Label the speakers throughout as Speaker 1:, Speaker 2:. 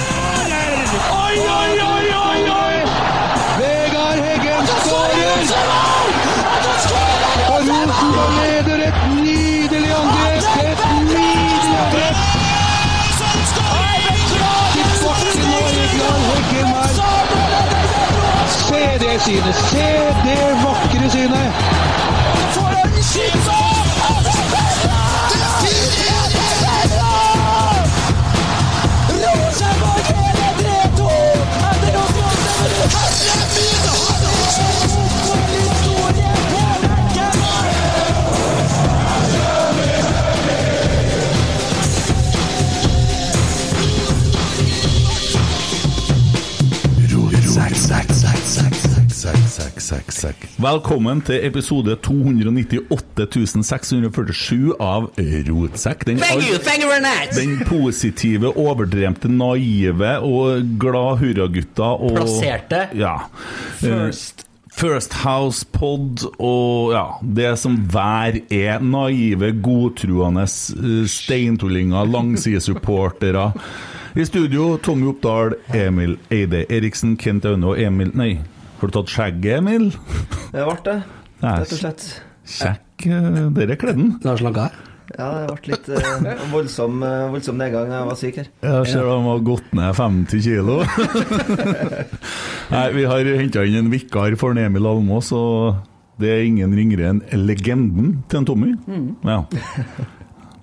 Speaker 1: Oi, oi, oi, oi, oi! Vegard Heggen skårer! Og Rosenborg leder et nydelig angrep! Et nydelig angrep! Tilbake nå, Vegard Heggen her. Se det synet! Se det vakre synet!
Speaker 2: Velkommen til episode 298 647 av Rotsekk. Den,
Speaker 3: Thank you,
Speaker 2: all-
Speaker 3: thank you very much.
Speaker 2: den positive, overdremte, naive og glad hurragutta og
Speaker 3: Plasserte.
Speaker 2: Ja.
Speaker 3: First.
Speaker 2: Eh, First House Pod og ja, det som hver er. Naive, godtruende eh, steintullinger, langsidesupportere. I studio Tommy Oppdal, Emil Eide Eriksen, Kent Aune og Emil Nei, har du tatt skjegget, Emil?
Speaker 4: Det ble det,
Speaker 2: Nei,
Speaker 4: rett og slett.
Speaker 2: Sjekk eh, dere kledden.
Speaker 3: Lars Langar.
Speaker 4: Ja, det ble litt eh, voldsom, eh, voldsom nedgang da jeg var syk her.
Speaker 2: Jeg ser de har gått ned 50 kilo. Nei, vi har henta inn en vikar for en Emil Almås, og det er ingen ringere enn legenden til en Tommy. Ja.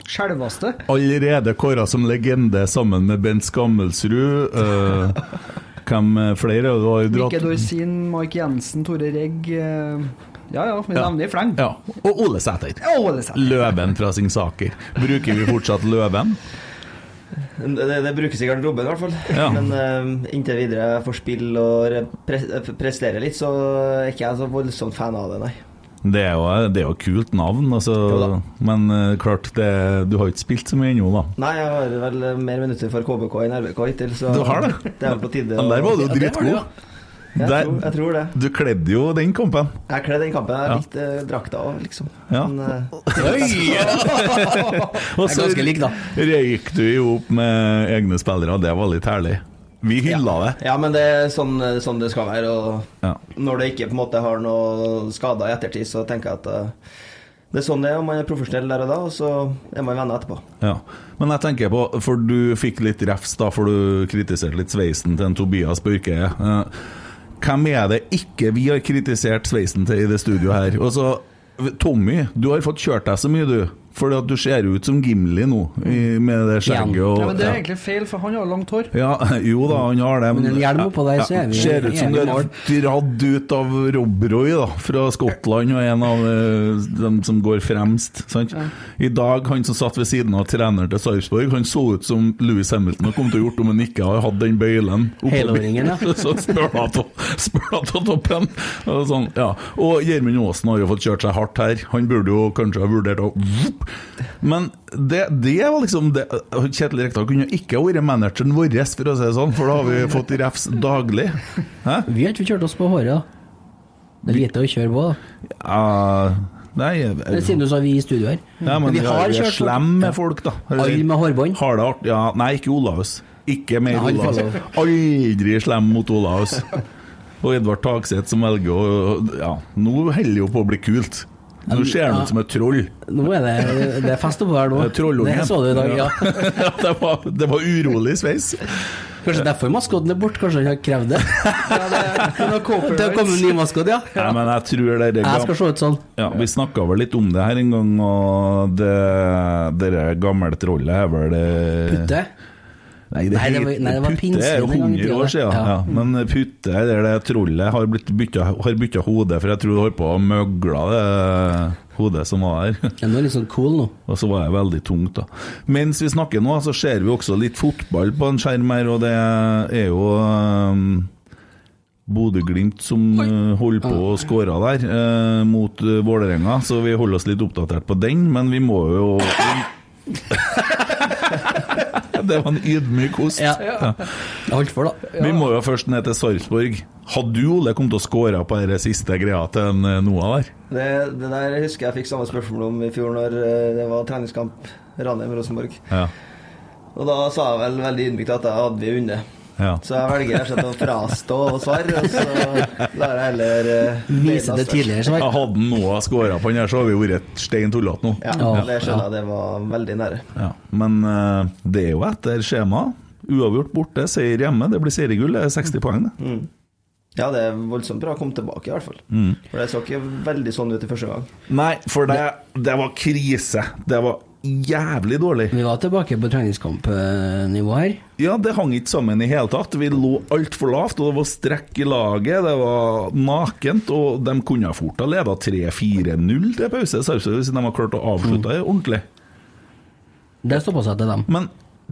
Speaker 5: Sjølveste.
Speaker 2: Allerede kåra som legende sammen med Bent Skammelsrud. eh, hvem flere? Du har jo
Speaker 5: Mikke
Speaker 2: dratt
Speaker 5: Dorsin, Mike Jensen, Tore Regg. eh, Ja ja, vi
Speaker 2: Ja.
Speaker 5: nevner i fleng.
Speaker 2: ja. Og Ole Sæter.
Speaker 5: Å, det er sant.
Speaker 2: Løven fra Singsaker. Bruker vi fortsatt løven?
Speaker 4: Det, det brukes i garderoben i hvert fall.
Speaker 2: Ja.
Speaker 4: Men eh, inntil videre jeg får spille og re- pre prestere litt, så er ikke jeg så voldsomt fan av det, nei.
Speaker 2: Det er jo, det er jo et kult navn, altså.
Speaker 4: Jo
Speaker 2: men eh, klart det, du har ikke spilt så mye ennå, da.
Speaker 4: Nei, jeg har vel eh, mer minutter for KBK enn RBK hittil, så
Speaker 2: Du har det?
Speaker 4: det er vel på tide.
Speaker 2: Men
Speaker 4: å-
Speaker 2: der var du jo dritgod.
Speaker 4: jeg,
Speaker 2: Der-
Speaker 4: tror, jeg tror det.
Speaker 2: Du kledde jo den kampen.
Speaker 4: Jeg kledde den kampen.
Speaker 2: Ja.
Speaker 4: Jeg likte eh, drakta òg, liksom.
Speaker 2: Ja.
Speaker 4: Men, eh,
Speaker 2: Og
Speaker 3: Det er ganske lik, da.
Speaker 2: røyk du jo opp med egne spillere, det var litt herlig. Vi hylla det.
Speaker 4: ja, men det er sånn, sånn det skal være. og...
Speaker 2: Ja.
Speaker 4: Når det ikke på en måte har noe skader i ettertid, så tenker jeg at eh, det er sånn det er. og Man er profesjonell der og da, og så er man venner etterpå.
Speaker 2: Ja. Men jeg tenker på, for du fikk litt refs da, for du kritiserte litt sveisen til en Tobias Børke. Eh, Hvem er det ikke vi har kritisert sveisen til i det studioet her? Og så, Tommy, du har fått kjørt deg så mye, du. Fordi at du ser ut som Gimli nå, i, med det skjegget og
Speaker 5: Ja, men det er egentlig feil, for han har langt hår.
Speaker 2: Ja, jo da, han har det.
Speaker 3: Men en hjelm oppå der, så er vi-
Speaker 2: Ser ut som
Speaker 3: er vi
Speaker 2: det
Speaker 3: i
Speaker 2: er
Speaker 3: mål.
Speaker 2: dradd ut av Rob Roy, da, fra Skottland, og en av eh, dem som går fremst. Sant? I dag, han som satt ved siden av treneren til Sarpsborg, han så ut som Louis Hamilton og kom til å gjort om han ikke hadde hatt den bøylen. oppå
Speaker 3: Helåringen, ja.
Speaker 2: bilen. så spør han to- spør han til toppen. Og, sånn, ja. og Gjermund Aasen har jo fått kjørt seg hardt her. Han burde jo kanskje ha vurdert å vup. Men det, det var liksom det. Kjetil Rekdal kunne ikke ha vært manageren vår, for å si det sånn, for da har vi fått refs daglig. Hæ?
Speaker 3: Vi har ikke kjørt oss på håret, da. Det er lite å kjøre på, da.
Speaker 2: Ja, nei
Speaker 3: Men siden du sa vi i studio her.
Speaker 2: Ja, men vi, har vi er
Speaker 3: på-
Speaker 2: slemme med folk, da.
Speaker 3: Alle med hårbånd?
Speaker 2: Har det art- Ja, nei, ikke Olaus. Ikke mer
Speaker 3: Nei, han får
Speaker 2: Olaus. Aldri slem mot Olaus. Og Edvard Takseth som velger å Ja, nå holder jo på å bli kult. Nå ser han ut som et troll.
Speaker 3: Nå er det, det er fest oppå her nå.
Speaker 2: Det er Trollungen.
Speaker 3: Det så du i dag, ja.
Speaker 2: Ja, det, var, det var urolig sveis.
Speaker 3: Kanskje derfor maskotten er borte, kanskje han har krevd det. Det har kommet en ny maskot, ja.
Speaker 2: Nei, men jeg tror det er
Speaker 3: Jeg skal se ut sånn.
Speaker 2: Ja, Vi snakka vel litt om det her en gang, og det, det der gamle trollet er vel eh, det-
Speaker 3: Putte.
Speaker 2: Nei, det,
Speaker 3: Nei, det var-
Speaker 2: het-
Speaker 3: nei, det var
Speaker 2: Putte er jo
Speaker 3: pinnsvin en gang i
Speaker 2: 100 år
Speaker 3: tida,
Speaker 2: siden.
Speaker 3: det.
Speaker 2: Ja.
Speaker 3: Ja.
Speaker 2: Men Putte, det er det trollet, har blitt bytta, har bytta hode, for jeg tror det holdt på å møgle det hodet som var der.
Speaker 3: Ja, nå er det litt sånn cool nå.
Speaker 2: Og så var det veldig tungt, da. Mens vi snakker nå, så ser vi også litt fotball på en skjerm her, og det er jo um, Bodø-Glimt som eh, holder på å skåre der eh, mot eh, Vålerenga, så vi holder oss litt oppdatert på den, men vi må jo Det var en ydmyk host.
Speaker 3: Ja. Det holdt for, da.
Speaker 2: Vi må jo først ned til Sarpsborg. Hadde du, Ole, kommet til å skåre på den siste greia til en, eh, Noah der?
Speaker 4: Det, det der husker jeg fikk samme spørsmål om i fjor når eh, det var treningskamp Ranheim-Rosenborg.
Speaker 2: Ja.
Speaker 4: Og da sa jeg vel veldig ydmykt at jeg hadde vi vunnet.
Speaker 2: Ja.
Speaker 4: Så jeg velger rett og slett å frastå å svare, og så lar jeg heller eh,
Speaker 3: Vise
Speaker 4: Leila
Speaker 3: det
Speaker 4: svare.
Speaker 3: tidligere. Så
Speaker 2: Ja,
Speaker 3: jeg,
Speaker 2: Hadde Noah skåra på den her, så hadde vi jo vært stein tullete nå.
Speaker 4: Ja,
Speaker 3: Ja.
Speaker 4: det skjønner jeg. Det var veldig nære.
Speaker 2: Ja, Men eh, det er jo etter skjema. Uavgjort borte, seier hjemme. Det blir seriegull. Det er 60 poeng, det.
Speaker 4: Ja, det er voldsomt bra å komme tilbake, i hvert fall. For det så ikke veldig sånn ut i første gang.
Speaker 2: Nei, for det, det var krise. Det var jævlig dårlig.
Speaker 3: vi var tilbake på treningskampnivå her.
Speaker 2: Ja, det hang ikke sammen i hele tatt. Vi lå altfor lavt, og det var strekk i laget. Det var nakent, og de kunne fort ha leda 3-4-0 til pause, Sarpsborg, hvis de hadde klart å avslutte det ordentlig.
Speaker 3: Det står på seg til dem.
Speaker 2: Men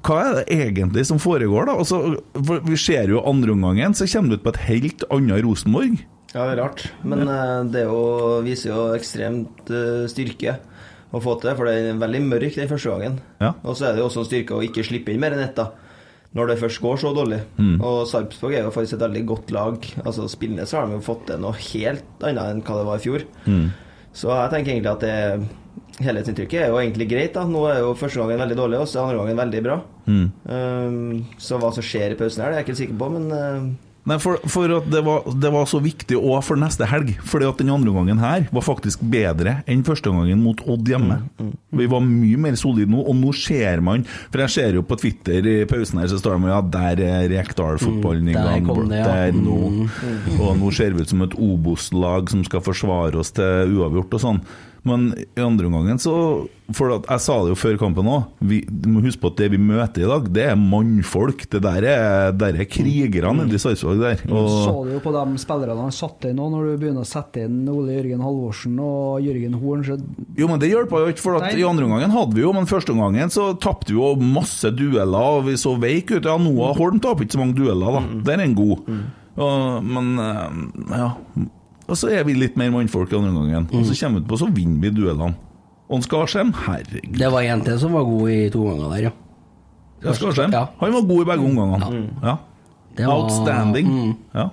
Speaker 2: hva er det egentlig som foregår, da? Altså, for vi ser jo andreomgangen, så kommer du ut på et helt annet Rosenborg.
Speaker 4: Ja, det er rart. Men eh, det er jo, viser jo ekstremt eh, styrke å få til, for det er veldig mørk den første gangen.
Speaker 2: Ja.
Speaker 4: Og så er det jo også en styrke å ikke slippe inn mer enn ett, da. Når det først går så dårlig. Og Sarpsborg er jo faktisk et veldig godt lag. Altså Spillende så har de jo fått til noe helt annet enn hva det var i fjor. Så jeg tenker egentlig at det helhetsinntrykket er jo egentlig greit. da Nå er jo første gangen veldig dårlig, og så er andre gangen veldig bra. Eh, så hva som skjer i pausen her, det er jeg ikke helt sikker på, men eh,
Speaker 2: Nei, for, for at det var, det var så viktig òg for neste helg. Fordi at den andre omgangen her var faktisk bedre enn første omgangen mot Odd hjemme.
Speaker 3: Mm,
Speaker 2: Vi var mye mer solide nå, og nå ser man For jeg ser jo på Twitter i pausen her, så står det ja, der er Rekdal-fotballen i
Speaker 3: Mm, der
Speaker 2: gang.
Speaker 3: kom
Speaker 2: bro.
Speaker 3: det, ja.
Speaker 2: Der nå. Og nå ser vi ut som et Obos-lag som skal forsvare oss til uavgjort og sånn. Men i andre omgangen så For at jeg sa det jo før kampen òg, du må huske på at det vi møter i dag, det er mannfolk. Det der er, der er krigerne nede i Sarpsborg der.
Speaker 5: Så
Speaker 2: Og
Speaker 5: du jo på de spillerne han satte inn nå, når du begynner å sette inn Ole Jørgen Halvorsen og Jørgen Horn. Så
Speaker 2: jo, men det hjelpa jo ikke, for at
Speaker 5: Nei.
Speaker 2: i andre omgangen hadde vi jo, men første omgangen så tapte vi jo masse dueller, og vi så veik ut. Ja, Noah Holm taper ikke så mange dueller, da. Der er en god. Og- men eh, ja Og så er vi litt mer mannfolk i andre omgangen. Og så kommer vi utpå, så vinner vi duellene. Og en Skarsheim, herregud.
Speaker 3: Det var en til som var god i to ganger der, ja.
Speaker 2: Ja, Skarsheim.
Speaker 3: Ja.
Speaker 2: Han var god i begge omgangene. Ja.
Speaker 3: Det var-
Speaker 2: Outstanding.
Speaker 3: Mm.
Speaker 2: Ja.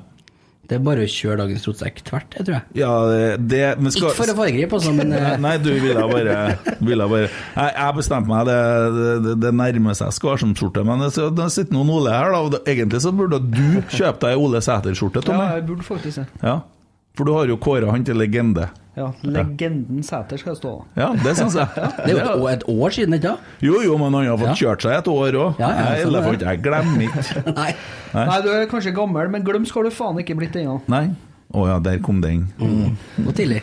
Speaker 3: Det er bare å kjøre dagens rotsekk tvert, jeg tror jeg.
Speaker 2: ja, det, det men Skar-
Speaker 3: Ikke for å foregripe, altså, men eh,
Speaker 2: Nei, Nei, du ville bare, ville bare. Jeg, jeg bestemte meg, det, det, det nærmer seg Skarsum-skjorte. Men det, så, det sitter noen Ole her, da. og det- Egentlig så burde du kjøpe deg Ole Sæter-skjorte,
Speaker 5: ja,
Speaker 2: Tommy.
Speaker 5: jeg burde faktisk det.
Speaker 2: Ja, for du har jo kåra han til legende.
Speaker 5: Ja, legenden Sæter skal stå.
Speaker 2: Ja, det syns jeg.
Speaker 3: det er jo et år, et år siden, ikke sant?
Speaker 2: Jo, jo, men han har fått
Speaker 3: Ja.
Speaker 2: kjørt seg et år òg.
Speaker 3: Ja, ja,
Speaker 2: jeg,
Speaker 3: sånn er
Speaker 2: elefant,
Speaker 3: det.
Speaker 2: jeg glemmer ikke.
Speaker 3: Nei.
Speaker 2: Nei.
Speaker 5: Nei, du er kanskje gammel, men glemsk har du faen ikke blitt ennå.
Speaker 2: Nei. Å ja, der kom den.
Speaker 5: Mm.
Speaker 3: Nå tidlig.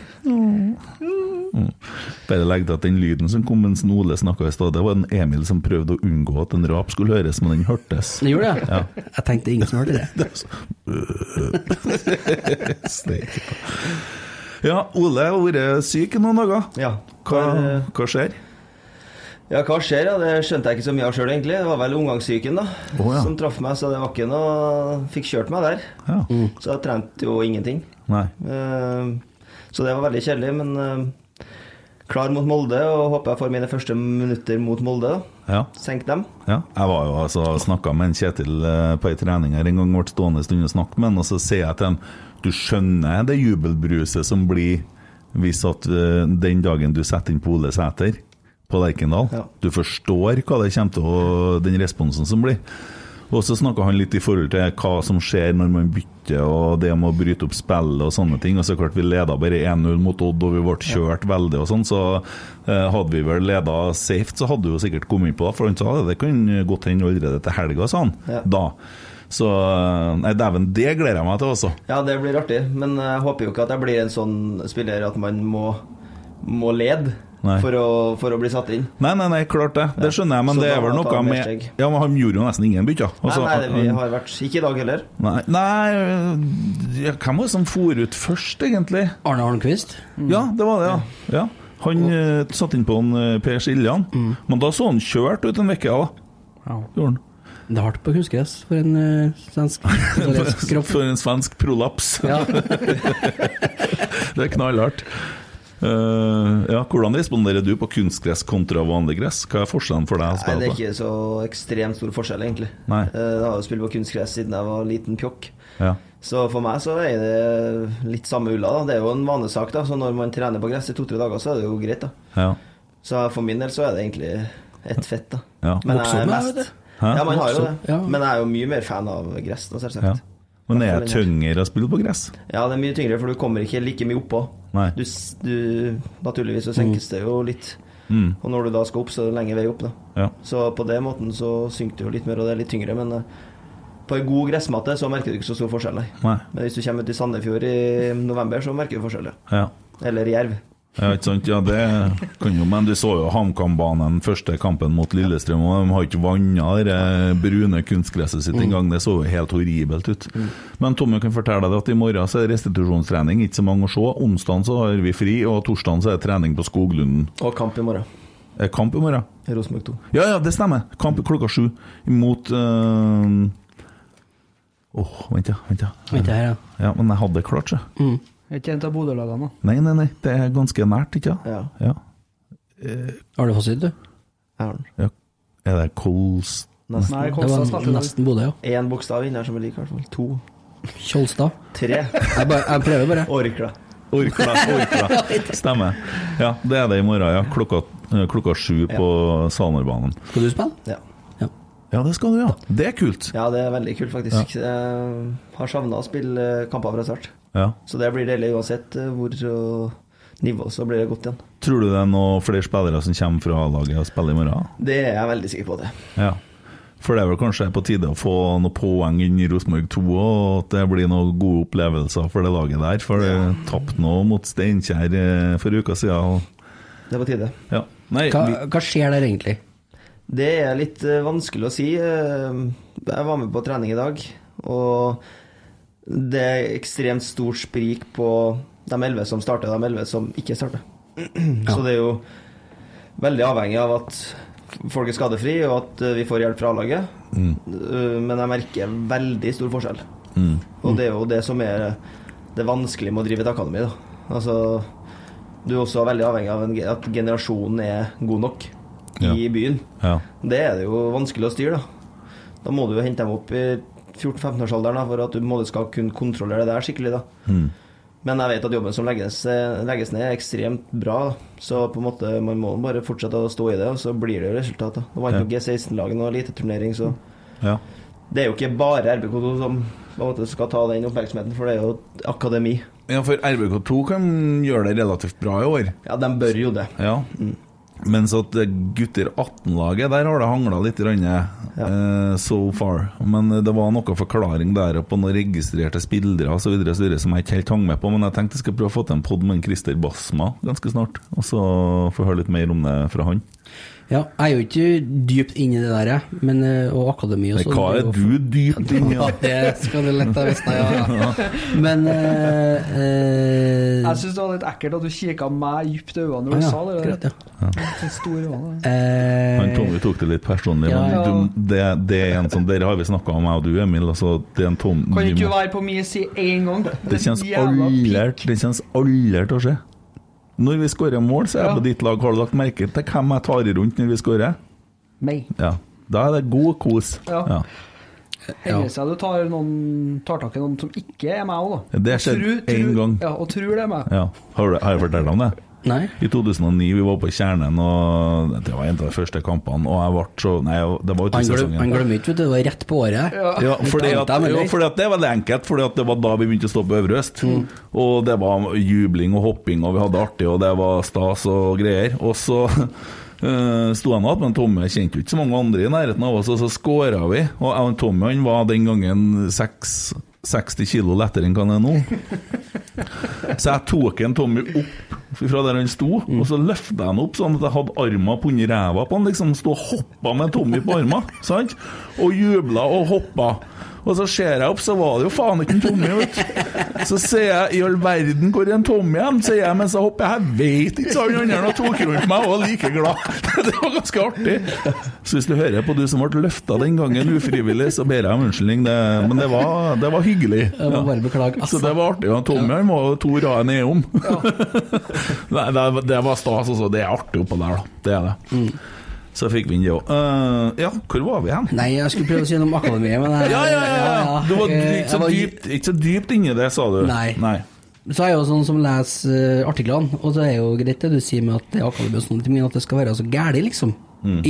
Speaker 2: Bare legg til at den lyden som kom mens Ole snakka i stad, det var en Emil som prøvde å unngå at en rap skulle høres, men den hørtes.
Speaker 3: Det gjorde det? Ja. Jeg tenkte ingen som hørte det.
Speaker 2: Det er så- Øh. Steik. Ja, Ole har vært syk i noen dager.
Speaker 4: eh, ja.
Speaker 2: Hva, hva skjer?
Speaker 4: Ja, hva skjer? Ja? Det skjønte jeg ikke så mye av sjøl, egentlig. Det var vel omgangssyken da
Speaker 2: Å, ja.
Speaker 4: som traff meg, så det var ikke noe Fikk kjørt meg der.
Speaker 2: Ja.
Speaker 4: Så jeg trente jo ingenting.
Speaker 2: Nei.
Speaker 4: Eh, Så det var veldig kjedelig, men eh, klar mot Molde, og håper jeg får mine første minutter mot Molde. da
Speaker 2: Ja.
Speaker 4: Senk dem.
Speaker 2: ja. Jeg var jo altså snakka med en Kjetil eh, på ei trening her en gang, ble stående en stund og snakke med han, og så sier jeg til ham Du skjønner det jubelbruset som blir hvis at eh, den dagen du setter inn på Ole Sæter på Lerkendal
Speaker 4: Ja.
Speaker 2: Du forstår hva det kommer til å Den responsen som blir. Og så snakka han litt i forhold til hva som skjer når man bytter, og det med å bryte opp spillet og sånne ting. Og så klart vi leda bare 1-0 mot Odd, og vi ble kjørt veldig og sånn, så eh, hadde vi vel leda safe, så hadde vi jo sikkert kommet på det. For han sa det, det kan godt hende allerede til helga, sa han
Speaker 4: Ja.
Speaker 2: da. Så eh, Nei, dæven, det gleder jeg meg til altså. også.
Speaker 4: Ja, det blir artig, men eh, jeg håper jo ikke at jeg blir en sånn spiller at man må, må lede
Speaker 2: Nei.
Speaker 4: for å, for å bli satt inn.
Speaker 2: Nei, nei, nei, klart det. Det skjønner jeg, men
Speaker 4: Så
Speaker 2: det
Speaker 4: da
Speaker 2: er vel
Speaker 4: må jeg ta
Speaker 2: noe
Speaker 4: mer
Speaker 2: med
Speaker 4: steg.
Speaker 2: Ja, men han gjorde jo nesten ingen bytter. Altså,
Speaker 4: nei, nei, det, vi
Speaker 2: han-
Speaker 4: har vært Ikke i dag heller.
Speaker 2: Nei, nei øh, ja, Hvem var det som for ut først, egentlig?
Speaker 3: Arne Holmquist.
Speaker 2: Ja, det var det, ja. ja. Han eh, satt inn på en, eh, Per Siljan, men da så han kjørt ut en uke, da. Gjorde han.
Speaker 3: Det er hardt på kunstgress for en eh, svensk italiensk kropp.
Speaker 2: For en svensk prolaps.
Speaker 3: Ja.
Speaker 2: Det er knallhardt. Eh, ja, hvordan responderer du på kunstgress kontra vanlig gress? Hva er forskjellen for deg å
Speaker 4: Nei, det
Speaker 2: spille
Speaker 4: er
Speaker 2: på?
Speaker 4: ikke så ekstremt stor forskjell, egentlig.
Speaker 2: Nei.
Speaker 4: Eh, Jeg har jo spilt på kunstgress siden jeg var liten pjokk.
Speaker 2: Ja.
Speaker 4: Så for meg så er det litt samme ulla, da. Det er jo en vanesak, da. Så når man trener på gress i to-tre dager, så er det jo greit, da.
Speaker 2: Ja.
Speaker 4: Så for min del så er det egentlig ett fett, da.
Speaker 2: Ja.
Speaker 4: Men jeg
Speaker 3: Vokser
Speaker 4: er
Speaker 3: opp med det,
Speaker 4: mest,
Speaker 3: vet
Speaker 2: Hæ?
Speaker 4: Ja, man har jo det.
Speaker 3: Ja.
Speaker 4: Men jeg er jo mye mer fan av gress, da,
Speaker 2: Ja.
Speaker 4: selvsagt.
Speaker 2: Men er det tyngre å spille på gress?
Speaker 4: Ja, det er mye tyngre, for du kommer ikke like mye oppå.
Speaker 2: Nei.
Speaker 4: Du, s- du, naturligvis så senkes det jo litt.
Speaker 2: Mm.
Speaker 4: Og når du da skal opp, så er det lenge vei opp, da.
Speaker 2: Ja.
Speaker 4: Så på den måten så synker det jo litt mer, og det er litt tyngre, men eh, på en god gressmatte så merker du ikke så stor forskjell, nei.
Speaker 2: Nei.
Speaker 4: Men hvis du kommer ut i Sandefjord i november, så merker du forskjell, ja.
Speaker 2: Ja.
Speaker 4: Eller Jerv.
Speaker 2: ja, ikke sant? Ja, det kan jo Men du så jo HamKam-banen første kampen mot Lillestrøm, og de har ikke vanna det eh, brune kunstgresset sitt engang. Det så jo helt horribelt ut. Men Tommy kan fortelle deg at i morgen så er det restitusjonstrening, ikke så mange å se. Onsdag så har vi fri, og torsdag så er det trening på Skoglunden.
Speaker 4: Og kamp i morgen.
Speaker 2: Er det kamp i morgen?
Speaker 4: Rosenborg 2.
Speaker 2: Ja, ja, det stemmer. Kamp klokka sju mot eh, Åh, vent, ja. Vent, ja.
Speaker 3: Vent her, ja.
Speaker 2: Ja, men jeg hadde det klart, så.
Speaker 5: Er ikke en av Bodø-lagene, da?
Speaker 2: Nei, nei, nei. Det er ganske nært, ikke sant?
Speaker 4: Ja,
Speaker 2: Ja.
Speaker 3: Har du fasit, du?
Speaker 4: jeg har den.
Speaker 2: ja. Er det Kols...
Speaker 4: Nesten.
Speaker 5: Nei,
Speaker 3: Det
Speaker 5: Kolstad
Speaker 3: var
Speaker 5: starter du.
Speaker 3: nesten Bodø, ja.
Speaker 4: Én bokstav inni her som er lik, i hvert fall. To.
Speaker 3: Kjolstad.
Speaker 4: Tre.
Speaker 3: Jeg, bare, jeg prøver bare.
Speaker 4: Orkla.
Speaker 2: Orkla, Orkla. Stemmer. Ja, det er det i morgen, ja. Klokka, eh, klokka sju på Salnerbanen.
Speaker 3: Skal du spille?
Speaker 4: Ja.
Speaker 2: Ja, det skal du, ja. Det er kult.
Speaker 4: ja, det er veldig kult, faktisk. Jeg har savna å spille eh, kamper fra start.
Speaker 2: Ja.
Speaker 4: Så det blir deilig uansett eh, hvor eh, nivå, så blir det godt igjen.
Speaker 2: Tror du det er noen flere spillere som kommer fra A-laget og spiller i morgen?
Speaker 4: Det er jeg veldig sikker på, det.
Speaker 2: Ja. For det er vel kanskje på tide å få noen poeng inn i Rosenborg 2 og at det blir noen gode opplevelser for det laget der. For det tapte nå mot Steinkjer eh, for uka siden. og-
Speaker 4: Det er på tide.
Speaker 2: Ja. Nei,
Speaker 3: Hva,
Speaker 2: vi,
Speaker 3: hva skjer der egentlig?
Speaker 4: Det er litt eh, vanskelig å si. Eh, Jeg var med på trening i dag, og det er ekstremt stort sprik på de elleve som starter, og de elleve som ikke starter. Så det er jo veldig avhengig av at folk er skadefri, og at eh, vi får hjelp fra A-laget. Eh, Men jeg merker veldig stor forskjell. Og det er jo det som er det vanskelige med å drive et akademi. Da. Altså, du er også veldig avhengig av en ge- at generasjonen er god nok i
Speaker 2: Ja.
Speaker 4: byen.
Speaker 2: ja.
Speaker 4: Det er det jo vanskelig å styre, da. Da må du jo hente dem opp i 14-15-årsalderen da, for at du på en måte skal kunne kontrollere det der skikkelig. da. Men jeg vet at jobben som legges, eh, legges ned, er ekstremt bra. Da. Så på en måte man må bare fortsette å stå i det, og så blir det jo resultat. da. Nå vant jo G16-laget og eliteturnering, så
Speaker 2: ja.
Speaker 4: det er jo ikke bare RBK2 som på en måte skal ta den oppmerksomheten, for det er jo et akademi.
Speaker 2: Ja, for RBK2 kan gjøre det relativt bra i år.
Speaker 4: Ja, de bør jo det.
Speaker 2: Ja. Mens at det gutter 18-laget, der har det hangla litt grann, eh, so far. Men eh, det var noe forklaring der og på noen registrerte spillere og så videre, og så videre, som jeg ikke helt hang med på. Men jeg tenkte jeg skal prøve å få til en pod med en Christer Basma ganske snart. Og så få høre litt mer om det fra han.
Speaker 3: Ja, jeg er jo ikke dypt inn i det der, jeg, men, eh, og akademi og
Speaker 2: Men
Speaker 3: sånn.
Speaker 2: hva er du dypt inni?
Speaker 3: Ja,
Speaker 2: da?
Speaker 3: det skal du lett ha visst, ja. Men eh, eh,
Speaker 5: Jeg syns det var litt ekkelt at du kikka meg dypt i øynene
Speaker 3: ah,
Speaker 5: når du
Speaker 3: ja,
Speaker 5: sa det.
Speaker 3: greit,
Speaker 5: der.
Speaker 3: ja.
Speaker 5: Så store øynene.
Speaker 3: Eh,
Speaker 2: Han Tommy tok det litt personlig, men
Speaker 5: Ja.
Speaker 2: du, det, det er en som Dere har vi snakka om, jeg og du, Emil. Altså, det er en Tom
Speaker 5: Kan ikke
Speaker 2: du
Speaker 5: du
Speaker 2: må-
Speaker 5: være på min side én gang?
Speaker 2: Det kjennes aldri Det kjennes aldri til å skje. Når vi skårer mål, så er jeg
Speaker 5: Ja.
Speaker 2: på ditt lag. Har du lagt merke til hvem jeg tar i rundt når vi skårer?
Speaker 5: Meg.
Speaker 2: Ja. Da er det god kos.
Speaker 5: Ja.
Speaker 2: Ja.
Speaker 5: Hender seg du tar, noen, tar tak i noen som ikke er meg òg, da.
Speaker 2: Det har skjedd
Speaker 5: Tru- tru-
Speaker 2: én gang.
Speaker 5: Ja, og tror det er meg.
Speaker 2: Ja. Har, du, har jeg fortalt om det?
Speaker 3: nei.
Speaker 2: I 2009 vi var på Kjernen, og det var en av de første kampene, og jeg ble så Nei, det var ute i
Speaker 3: Han glem- han
Speaker 2: sesongen.
Speaker 3: glemmer ikke, vet du. Det var rett på året.
Speaker 2: sånn, Ja, fordi at,
Speaker 3: Ikke annet,
Speaker 2: ja,
Speaker 3: eller?
Speaker 2: fordi at det er veldig enkelt, Mm. fordi at det var da vi begynte å stå på Øvre Øst. Og det var jubling og hopping, og vi hadde det artig, og det var stas og greier. Og så eh, sto han igjen, men Tommy kjente jo ikke så mange andre i nærheten av oss, og så skåra vi. Og jeg og Tommy han var den gangen seks 60 kilo lettere enn hva han er nå. Så jeg tok en Tommy opp fra der han sto, og så løfta jeg han opp sånn at jeg hadde armen på under ræva på han. liksom Stå og hoppa med Tommy på armen, sant? Og jubla og hoppa. Og så ser jeg opp, så var det jo faen ikke en Tommy, vet du. Så sier jeg i all verden hvor er en Tommy hen? sier jeg mens jeg hopper. Jeg veit ikke, sa han andre og tok rundt meg og var like glad. Det var ganske artig. Så hvis du hører på du som ble løfta den gangen ufrivillig, så ber jeg om unnskyldning, det, men det var, det var hyggelig.
Speaker 3: Jeg må bare beklage.
Speaker 2: Så
Speaker 3: Altså.
Speaker 2: det var artig. og Tommy han var jo to rader ned om. Nei, det, det var stas, altså. Det er artig oppå der, da. Det er det. Så fikk vi inn det òg. ja, hvor var vi hen?
Speaker 3: Nei, jeg skulle prøve å si noe om akademiet, men jeg,
Speaker 2: Ja, ja, ja! ja. Du var
Speaker 3: jeg-
Speaker 2: ikke så
Speaker 3: jeg var-
Speaker 2: dypt, ikke så dypt inni det, sa du.
Speaker 3: Nei. Så er jeg jo sånn som leser eh, artiklene, og det er jo greit det du sier med at det er
Speaker 4: Mm.
Speaker 3: akademi og sånn, men at det skal være så gærlig, liksom.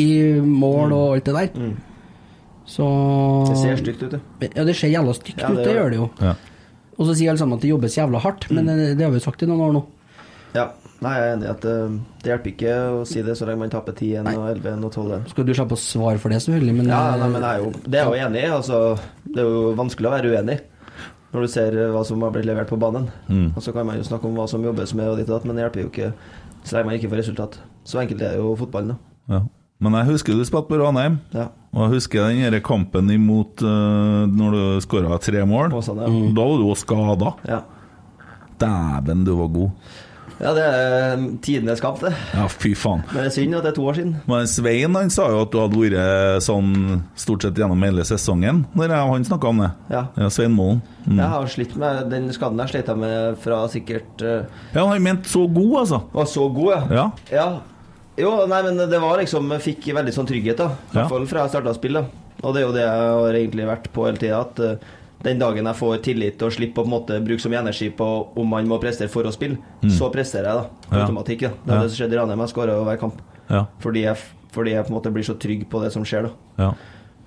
Speaker 3: I mål og alt det der. Så
Speaker 4: Det ser stygt ut, det.
Speaker 3: Ja, det ser jævla stygt
Speaker 4: Ja,
Speaker 3: ut,
Speaker 4: det
Speaker 3: det
Speaker 4: gjør
Speaker 3: gjør det jo.
Speaker 2: Ja.
Speaker 3: Og så sier alle sammen at det jobbes jævla hardt, men
Speaker 4: Mm.
Speaker 3: eh, det har vi jo sagt i noen år nå.
Speaker 4: Ja. Nei, jeg er enig i at eh, det hjelper ikke å si det så lenge man taper 10 og 11 og 12
Speaker 3: Skal du slippe å svare for det, selvfølgelig, men,
Speaker 4: Ja,
Speaker 3: eh,
Speaker 4: nei, men jeg er jo, det er jo enig i. Altså, det er jo vanskelig å være uenig når du ser eh, hva som har blitt levert på banen. Og så kan man jo snakke om hva som jobbes med, og ditt og datt, men det hjelper jo ikke så lenge man ikke får resultat. Så enkelt er jo fotballen, da.
Speaker 2: Ja. Men jeg husker du spilte på Ranheim,
Speaker 4: Ja.
Speaker 2: og jeg husker den her kampen imot eh, når du skåra tre mål.
Speaker 4: Åsane, ja.
Speaker 2: Da var du jo skada.
Speaker 4: Ja.
Speaker 2: Dæven, du var god.
Speaker 4: ja, det er eh, tidenes kamp, det.
Speaker 2: Ja, fy faen.
Speaker 4: Men det er synd at det er to år siden.
Speaker 2: Men Svein han sa jo at du hadde vært sånn stort sett gjennom hele sesongen, når jeg og han snakka om det.
Speaker 4: Ja.
Speaker 2: ja Svein Målen. Mm.
Speaker 4: Jeg har slitt med Den skaden der slet jeg med fra sikkert eh,
Speaker 2: Ja, han mente så god, altså.
Speaker 4: Var så god,
Speaker 2: Ja.
Speaker 4: Ja. Jo, nei, men det var liksom Jeg fikk veldig sånn trygghet, da. I
Speaker 2: Ja.
Speaker 4: hvert fall fra jeg starta å spille. da. Og det er jo det jeg har egentlig vært på hele tida, at eh, den dagen jeg får tillit og slipper å på en måte bruke så mye energi på om man må prestere for å spille, så presterer jeg, da. På
Speaker 2: Mm. Ja.
Speaker 4: automatikk. da Det er
Speaker 2: Ja.
Speaker 4: det som skjedde i Ranheim. Jeg skåra hver kamp.
Speaker 2: Ja.
Speaker 4: Fordi jeg, fordi jeg på en måte blir så trygg på det som skjer, da.
Speaker 2: Ja.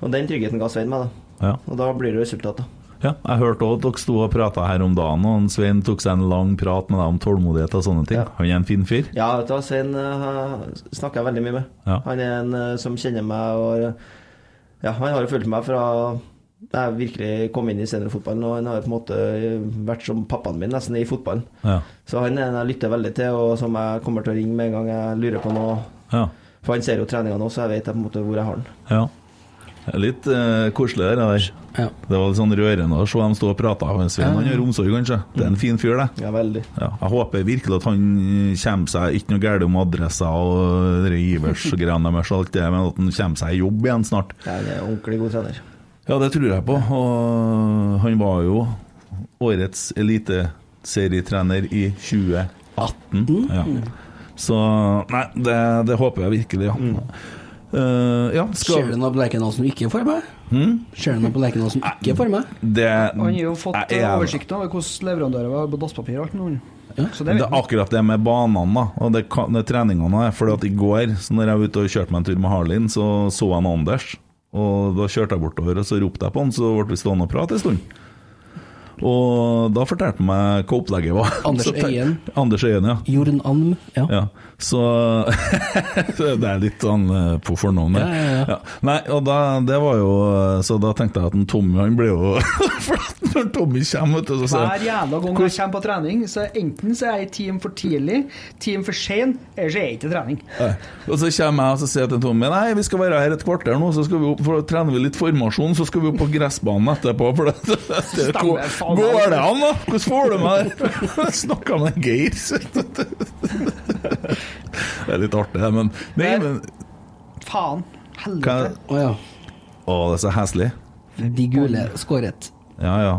Speaker 4: Og den tryggheten ga Svein meg, da.
Speaker 2: ja.
Speaker 4: Og da blir det resultat, da.
Speaker 2: Ja, jeg hørte også at dere sto og prata her om dagen, og han Svein tok seg en lang prat med deg om tålmodighet og sånne ting.
Speaker 4: Ja.
Speaker 2: Han er en fin fyr.
Speaker 4: Ja, vet du hva, Svein eh, snakker jeg veldig mye med.
Speaker 2: Ja.
Speaker 4: Han er en eh, som kjenner meg og Ja, han har jo fulgt meg fra jeg virkelig kom inn i seniorfotballen, og han har jo på en måte eh, vært som pappaen min nesten i fotballen.
Speaker 2: Ja.
Speaker 4: Så han er en jeg lytter veldig til, og som jeg kommer til å ringe med en gang jeg lurer på noe.
Speaker 2: Ja.
Speaker 4: For han ser jo treningene også, jeg vet på en måte hvor jeg har den.
Speaker 2: ja. Det er Litt eh, koselig det der.
Speaker 3: Ja.
Speaker 2: Det var litt sånn rørende å se dem stå og prate. Han Svein han har omsorg, kanskje. Det er en fin fyr, det.
Speaker 4: Ja, veldig.
Speaker 2: Ja. Jeg håper virkelig at han eh, kommer seg ikke noe galt om adressa og det Ivers-greiene deres, og alt det, men at han kommer seg i jobb igjen snart.
Speaker 4: Ja, Han er en ordentlig god trener.
Speaker 2: Ja, det tror jeg på. Og han var jo årets eliteserietrener i 2018.
Speaker 3: Mm.
Speaker 2: Ja. Så Nei, det, det håper jeg virkelig, ja. Eh, ja,
Speaker 3: Ser
Speaker 2: skal
Speaker 3: du noe på Lerkendal som ikke er for meg?
Speaker 4: Mm.
Speaker 3: Ser du noe på Lerkendal som ikke er for meg?
Speaker 2: det,
Speaker 5: Han har jo fått
Speaker 2: jeg
Speaker 5: eh,
Speaker 2: er-
Speaker 5: oversikt over hvordan leverandører var på dasspapir og alt nå. Så
Speaker 2: Det
Speaker 5: det vet
Speaker 2: er akkurat det med banene da, og det, kan- det treningene. For i går, så når jeg var ute og kjørte meg en tur med Harlin, så så jeg en Anders. Og da kjørte jeg bortover, og så ropte jeg på han, så ble vi stående og prate en stund. Og da fortalte han meg hva opplegget var.
Speaker 3: Anders
Speaker 2: Så tenk-
Speaker 3: Øyen.
Speaker 2: Anders Øyen, ja.
Speaker 3: Jorn Alm, ja.
Speaker 2: Ja, så så Det er litt sånn eh, på fornavnet.
Speaker 3: Ja, ja, ja.
Speaker 2: Nei, og da, det var jo eh, Så da tenkte jeg at en Tommy, han ble jo For at når Tommy kommer, vet du, så sier han
Speaker 5: Hver jævla gang jeg kommer på trening, så enten så er jeg i team for tidlig, team for sein, eller så er jeg ikke i trening.
Speaker 2: Nei. Og så kommer jeg og så sier jeg til Tommy Nei, vi skal være her et kvarter nå, så skal vi opp, for da trener vi litt formasjon, så skal vi opp på gressbanen etterpå. For det, det, det,
Speaker 5: Stemmer, faen.
Speaker 2: går det an, da? Hvordan får du meg der? Snakka med Geir. så- Det er litt artig, det, men, nei, men
Speaker 5: Faen.
Speaker 2: kan,
Speaker 5: Helvete.
Speaker 3: Å ja.
Speaker 2: Å, det er så heslig.
Speaker 3: De gule skåret.
Speaker 2: Ja, ja.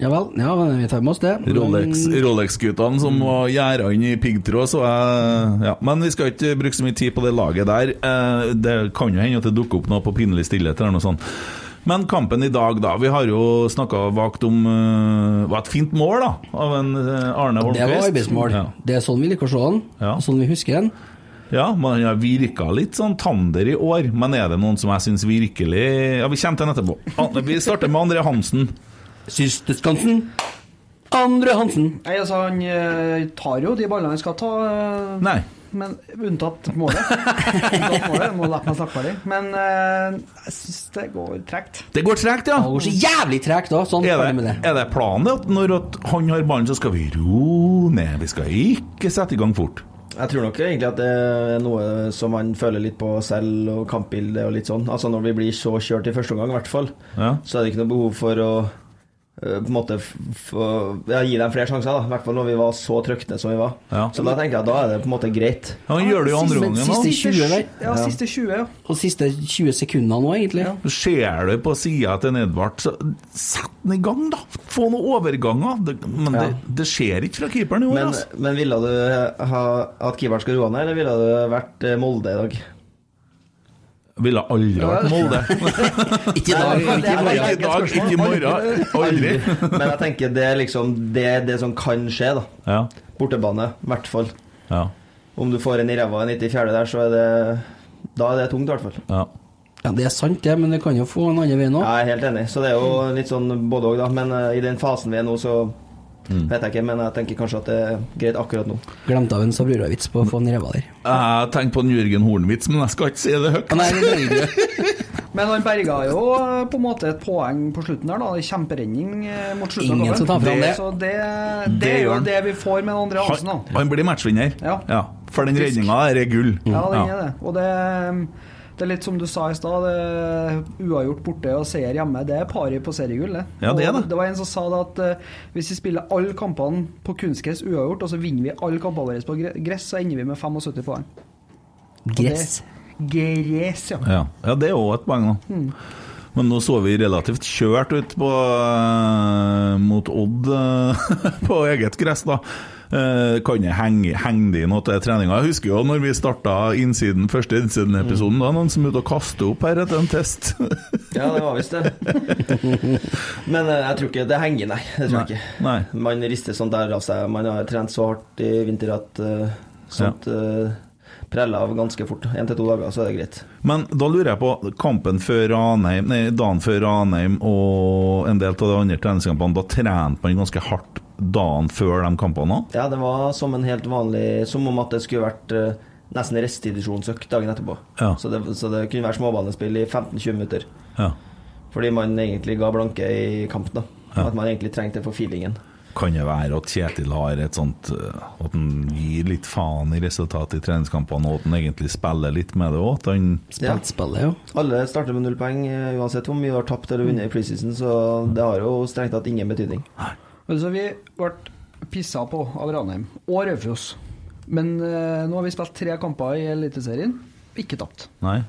Speaker 3: Ja vel, ja, men vi tar med oss det.
Speaker 2: Rolex-
Speaker 3: Men-
Speaker 2: Rolex-guttene som
Speaker 3: Mm.
Speaker 2: var gjerda inn i piggtråd, så jeg ja. Men vi skal ikke bruke så mye tid på det laget der. Eh, Det kan jo hende at det dukker opp noe på pinlig stillhet eller noe sånt. Men kampen i dag, da. Vi har jo snakka vagt om eh, Det var et fint mål, da, av en eh, Arne
Speaker 3: Det
Speaker 2: Holmquist.
Speaker 3: var arbeidsmål.
Speaker 2: Ja.
Speaker 3: Det er sånn vi liker å se den,
Speaker 2: Ja.
Speaker 3: og sånn vi husker den.
Speaker 2: ja, men han har virka litt sånn tander i år. Men er det noen som jeg syns virkelig Ja, vi kommer til den etterpå. An- Vi starter med André Hansen.
Speaker 3: Siste skansen. Andre Hansen.
Speaker 5: Nei, altså, han eh, tar jo de ballene han skal ta, eh,
Speaker 2: Nei.
Speaker 5: men unntatt målet. unntatt målet, må la meg snakke ferdig. Men eh, jeg syns det går tregt.
Speaker 2: Det går tregt, ja.
Speaker 3: Det går så jævlig tregt da. Sånn,
Speaker 2: Er
Speaker 3: ferdig med
Speaker 2: det,
Speaker 3: det.
Speaker 2: er det planen at når at han har ballen, så skal vi ro ned? Vi skal ikke sette i gang fort.
Speaker 4: Jeg tror nok egentlig at det er noe som man føler litt på selv, og kampbildet og litt sånn. Altså når vi blir så kjørt i første omgang, i hvert fall,
Speaker 2: Ja.
Speaker 4: så er det ikke noe behov for å eh, på en måte f f ja, gi dem flere sjanser, da. I hvert fall når vi var så trøkne som vi var.
Speaker 2: Ja.
Speaker 4: Så da tenker jeg at da er det på en måte greit.
Speaker 2: Ja, Han gjør det jo andre
Speaker 3: Men
Speaker 2: gangen òg.
Speaker 3: siste
Speaker 5: Siste
Speaker 3: 20 der.
Speaker 5: sj- Ja, siste 20, ja.
Speaker 3: Og siste 20 sekundene nå, egentlig.
Speaker 5: Ja.
Speaker 2: Ser du på sida til Edvard, så sett den i gang, da! Få noen overganger. Det, men
Speaker 4: Ja.
Speaker 2: det, det skjer ikke fra keeperen i år,
Speaker 4: Men,
Speaker 2: altså.
Speaker 4: men ville du ha at keeperen skal roe ned, eller ville du vært eh, Molde i dag?
Speaker 2: Ville aldri vært Molde.
Speaker 3: Ikke i dag.
Speaker 5: Nei,
Speaker 3: Ikke i
Speaker 2: Ikke
Speaker 3: morgen.
Speaker 2: i dag, ikke i morgen. Aldri.
Speaker 4: Men jeg tenker det er liksom det, er det som kan skje, da.
Speaker 2: Ja.
Speaker 4: Bortebane, i hvert fall.
Speaker 2: Ja.
Speaker 4: Om du får en i ræva en 94. der, så er det Da er det tungt, i hvert fall.
Speaker 2: ja.
Speaker 3: Ja, det er sant, det, men det kan jo få en annen vei nå.
Speaker 4: Jeg er helt enig. Så det er jo litt sånn både òg, da. Men eh, i den fasen vi er nå, så vet jeg ikke. Men jeg tenker kanskje at det er greit akkurat nå.
Speaker 3: Glemte av en Sabrura-vits på å få en ræva der.
Speaker 2: Jeg tenkte på en Jørgen Hornwitz, men jeg skal ikke si det høyt.
Speaker 3: Å, Nei, det trenger du ikke.
Speaker 5: Men han berga jo eh, på en måte et poeng på slutten der, da. En Kjemperedning eh, mot slutten.
Speaker 3: Ingen
Speaker 5: av kampen.
Speaker 3: som tar fra han det.
Speaker 5: Så det, det
Speaker 2: Det
Speaker 5: er
Speaker 2: gjør
Speaker 5: jo
Speaker 2: han.
Speaker 5: det vi får med den andre Hansen,
Speaker 2: Han,
Speaker 5: da.
Speaker 2: han blir matchvinner.
Speaker 5: Ja.
Speaker 2: For den redninga der er gull.
Speaker 5: Ja, den er det. Og det, eh, det er litt som du sa i stad. det- Uavgjort borte og seier hjemme, det er pari på seriegull, det.
Speaker 2: Ja, det er
Speaker 5: Og
Speaker 2: det.
Speaker 5: det var en som sa det at eh, hvis vi spiller alle kampene på kunstgress uavgjort, og så vinner vi alle kampene våre på gre- gress, så ender vi med 75 poeng.
Speaker 3: Gress.
Speaker 5: Gress, ja.
Speaker 2: Ja, ja det er òg et poeng, da. Men nå så vi relativt kjørt ut på, eh, mot Odd eh, på eget gress, da. Eh, kan jeg henge, henge det inn noe til treninga? Jeg husker jo når vi starta innsiden, første innsiden-episoden, da var det noen som begynte å kaste opp her etter en test.
Speaker 4: Ja, Mm. det var visst det. Men eh, jeg tror ikke det henger, nei. Det tror jeg ikke.
Speaker 2: Nei.
Speaker 4: Man rister sånt der av seg. Man har trent så hardt i vinter at eh, sånt eh, preller av ganske fort. Én til to dager, så er det greit.
Speaker 2: Men da lurer jeg på kampen før Ranheim, nei, dagen før Ranheim og en del av de andre treningskampene, da trente man ganske hardt dagen før de kampene òg?
Speaker 4: Ja, det var som en helt vanlig Som om at det skulle vært eh, nesten restitusjonsøkt dagen etterpå.
Speaker 2: Ja.
Speaker 4: Så, det, så det kunne vært småbanespill i 15-20 minutter.
Speaker 2: Ja.
Speaker 4: Fordi man egentlig ga blanke i kamp, da. At man egentlig trengte det for feelingen.
Speaker 2: Kan det være at Kjetil har et sånt eh, At han gir litt faen i resultatet i treningskampene, og at han egentlig spiller litt med det òg? At han
Speaker 4: Ja.
Speaker 3: Spilt spillet, jo.
Speaker 4: Alle starter med null poeng eh, uansett om vi har tapt eller vunnet i preseason, så det har jo strengt tatt ingen betydning.
Speaker 5: Altså, vi ble pissa på av Ranheim og Raufoss. Men eh, nå har vi spilt tre kamper i Eliteserien. Ikke tapt.
Speaker 2: Nei.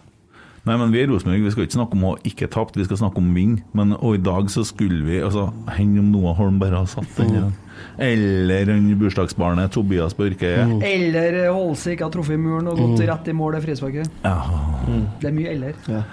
Speaker 2: Nei, men vi er Rosenborg. Vi skal ikke snakke om å ikke tapt, vi skal snakke om vinn. Men og i dag så skulle vi altså, Enn om Noah Holm bare har satt den igjen? Eller han bursdagsbarnet Tobias Børke.
Speaker 5: Eller Holse ikke har truffet i muren og gått rett i mål i frisparket.
Speaker 2: Ja.
Speaker 5: Det er mye eller.
Speaker 2: Ja, eh,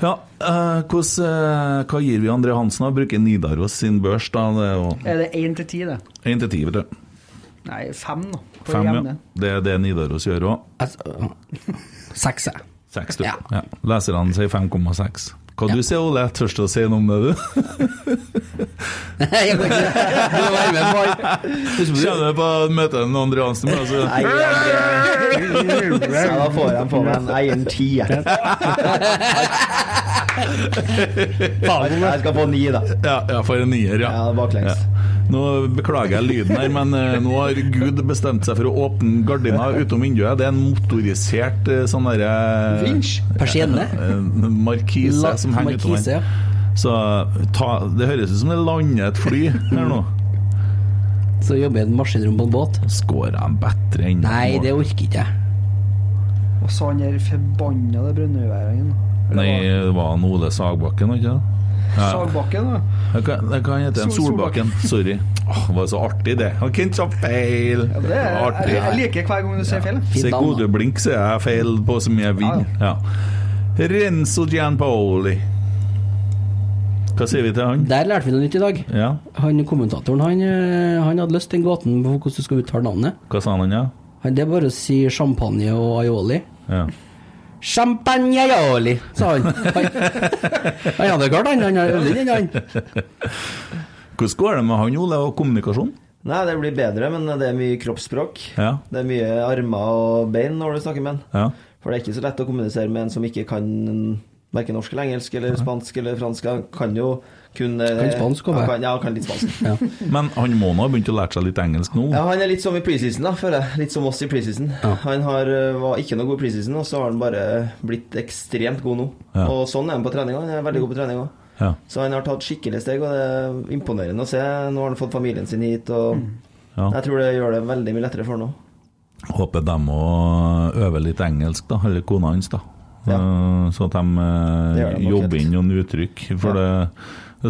Speaker 2: hvordan, eh, hva gir vi André Hansen? da? Bruker Nidaros sin børs, da. Det er jo
Speaker 5: Er det én til ti, det?
Speaker 2: 1 til 10, vet du.
Speaker 5: Nei, fem, da. For
Speaker 2: Fem, ja.
Speaker 5: jevne.
Speaker 2: Det er det Nidaros gjør òg.
Speaker 3: Altså, Seks, jeg.
Speaker 2: Seks, du.
Speaker 3: Ja.
Speaker 2: Ja. Leserne sier 5,6. Hva du sier Ole? Jeg tør ikke å si noe om det, du.
Speaker 3: Jeg kan ikke- du må være med på alt. Husk på det.
Speaker 2: Kjenner på å møte en André Hansen, men altså
Speaker 4: Nei, jeg- Så da får jeg på meg en egen tier. Jeg skal få ni, da.
Speaker 2: Ja, ja for en nier, ja.
Speaker 4: Ja, baklengs.
Speaker 2: Nå beklager jeg lyden her, men eh, nå har Gud bestemt seg for å åpne gardina utom vinduet. Det er en motorisert eh, sånn derre eh,
Speaker 5: Vinsj.
Speaker 3: Persienne.
Speaker 2: En markise
Speaker 3: La-
Speaker 2: som henger utover.
Speaker 3: markise, ja.
Speaker 2: Så eh, ta, det høres ut som det lander et fly her nå.
Speaker 3: Så jobber jeg i et maskinrom på en båt.
Speaker 2: Skårer jeg bedre enn
Speaker 3: Nei, det orker ikke jeg.
Speaker 5: Og så han der forbanna Brønnøyværingen. Eller
Speaker 2: Nei,
Speaker 5: hva?
Speaker 2: det var han Ole Sagbakken, var ikke det?
Speaker 5: Sagbakken, da.
Speaker 2: Hva- Hva hva heter han?
Speaker 5: Sol-
Speaker 2: Solbakken. Sorry. Åh, det var så artig, det. Han kan ikke ta feil.
Speaker 5: Ja, det
Speaker 2: var
Speaker 5: er, jeg, jeg liker hver gang du ser feil. jeg.
Speaker 3: Fint
Speaker 2: Se
Speaker 3: navn, da.
Speaker 2: gode blink, så er jeg feil på så mye jeg vil. Ja. Renzo Gianpaoli. Hva sier vi til han?
Speaker 3: Der lærte vi noe nytt i dag.
Speaker 2: Ja,
Speaker 3: Han kommentatoren han, eh, han hadde løst den gåten på hvordan du skal uttale navnet.
Speaker 2: hva sa han, ja?
Speaker 3: Han, det er bare å si champagne og aioli.
Speaker 2: ja.
Speaker 3: Champagne aioli, sa han. Han, han hadde klart han, han hadde øvd inn den, han.
Speaker 2: Hvordan går det med han, Ole, og kommunikasjon?
Speaker 4: Nei, det blir bedre, men det er mye kroppsspråk.
Speaker 2: Ja.
Speaker 4: Det er mye armer og bein når du snakker med han.
Speaker 2: Ja.
Speaker 4: For det er ikke så lett å kommunisere med en som ikke kan verken norsk eller engelsk eller spansk eller fransk. Han kan jo kun Kan
Speaker 3: spansk også,
Speaker 4: han
Speaker 3: vel?
Speaker 4: kan, Ja, han kan litt spansk.
Speaker 3: Ja.
Speaker 2: Men han må nå ha begynt å lære seg litt engelsk nå.
Speaker 4: Ja, han er litt som i preseason, da, føler jeg. Litt som oss i preseason. Han har, eh, var ikke noe god i preseason, og så har han bare blitt ekstremt god nå.
Speaker 2: Ja.
Speaker 4: Og sånn er han på trening også. Han er veldig god på trening òg.
Speaker 2: Ja.
Speaker 4: Så han har tatt skikkelig steg, og det er imponerende å se. Nå har han fått familien sin hit, og
Speaker 2: Ja.
Speaker 4: jeg tror det gjør det veldig mye lettere for ham nå.
Speaker 2: Håper de må øve litt engelsk, da, eller kona hans, da.
Speaker 4: Ja.
Speaker 2: Eh, Så at de,
Speaker 4: Det
Speaker 2: eh,
Speaker 4: gjør de nok
Speaker 2: jobber
Speaker 4: helt.
Speaker 2: inn noen uttrykk. For det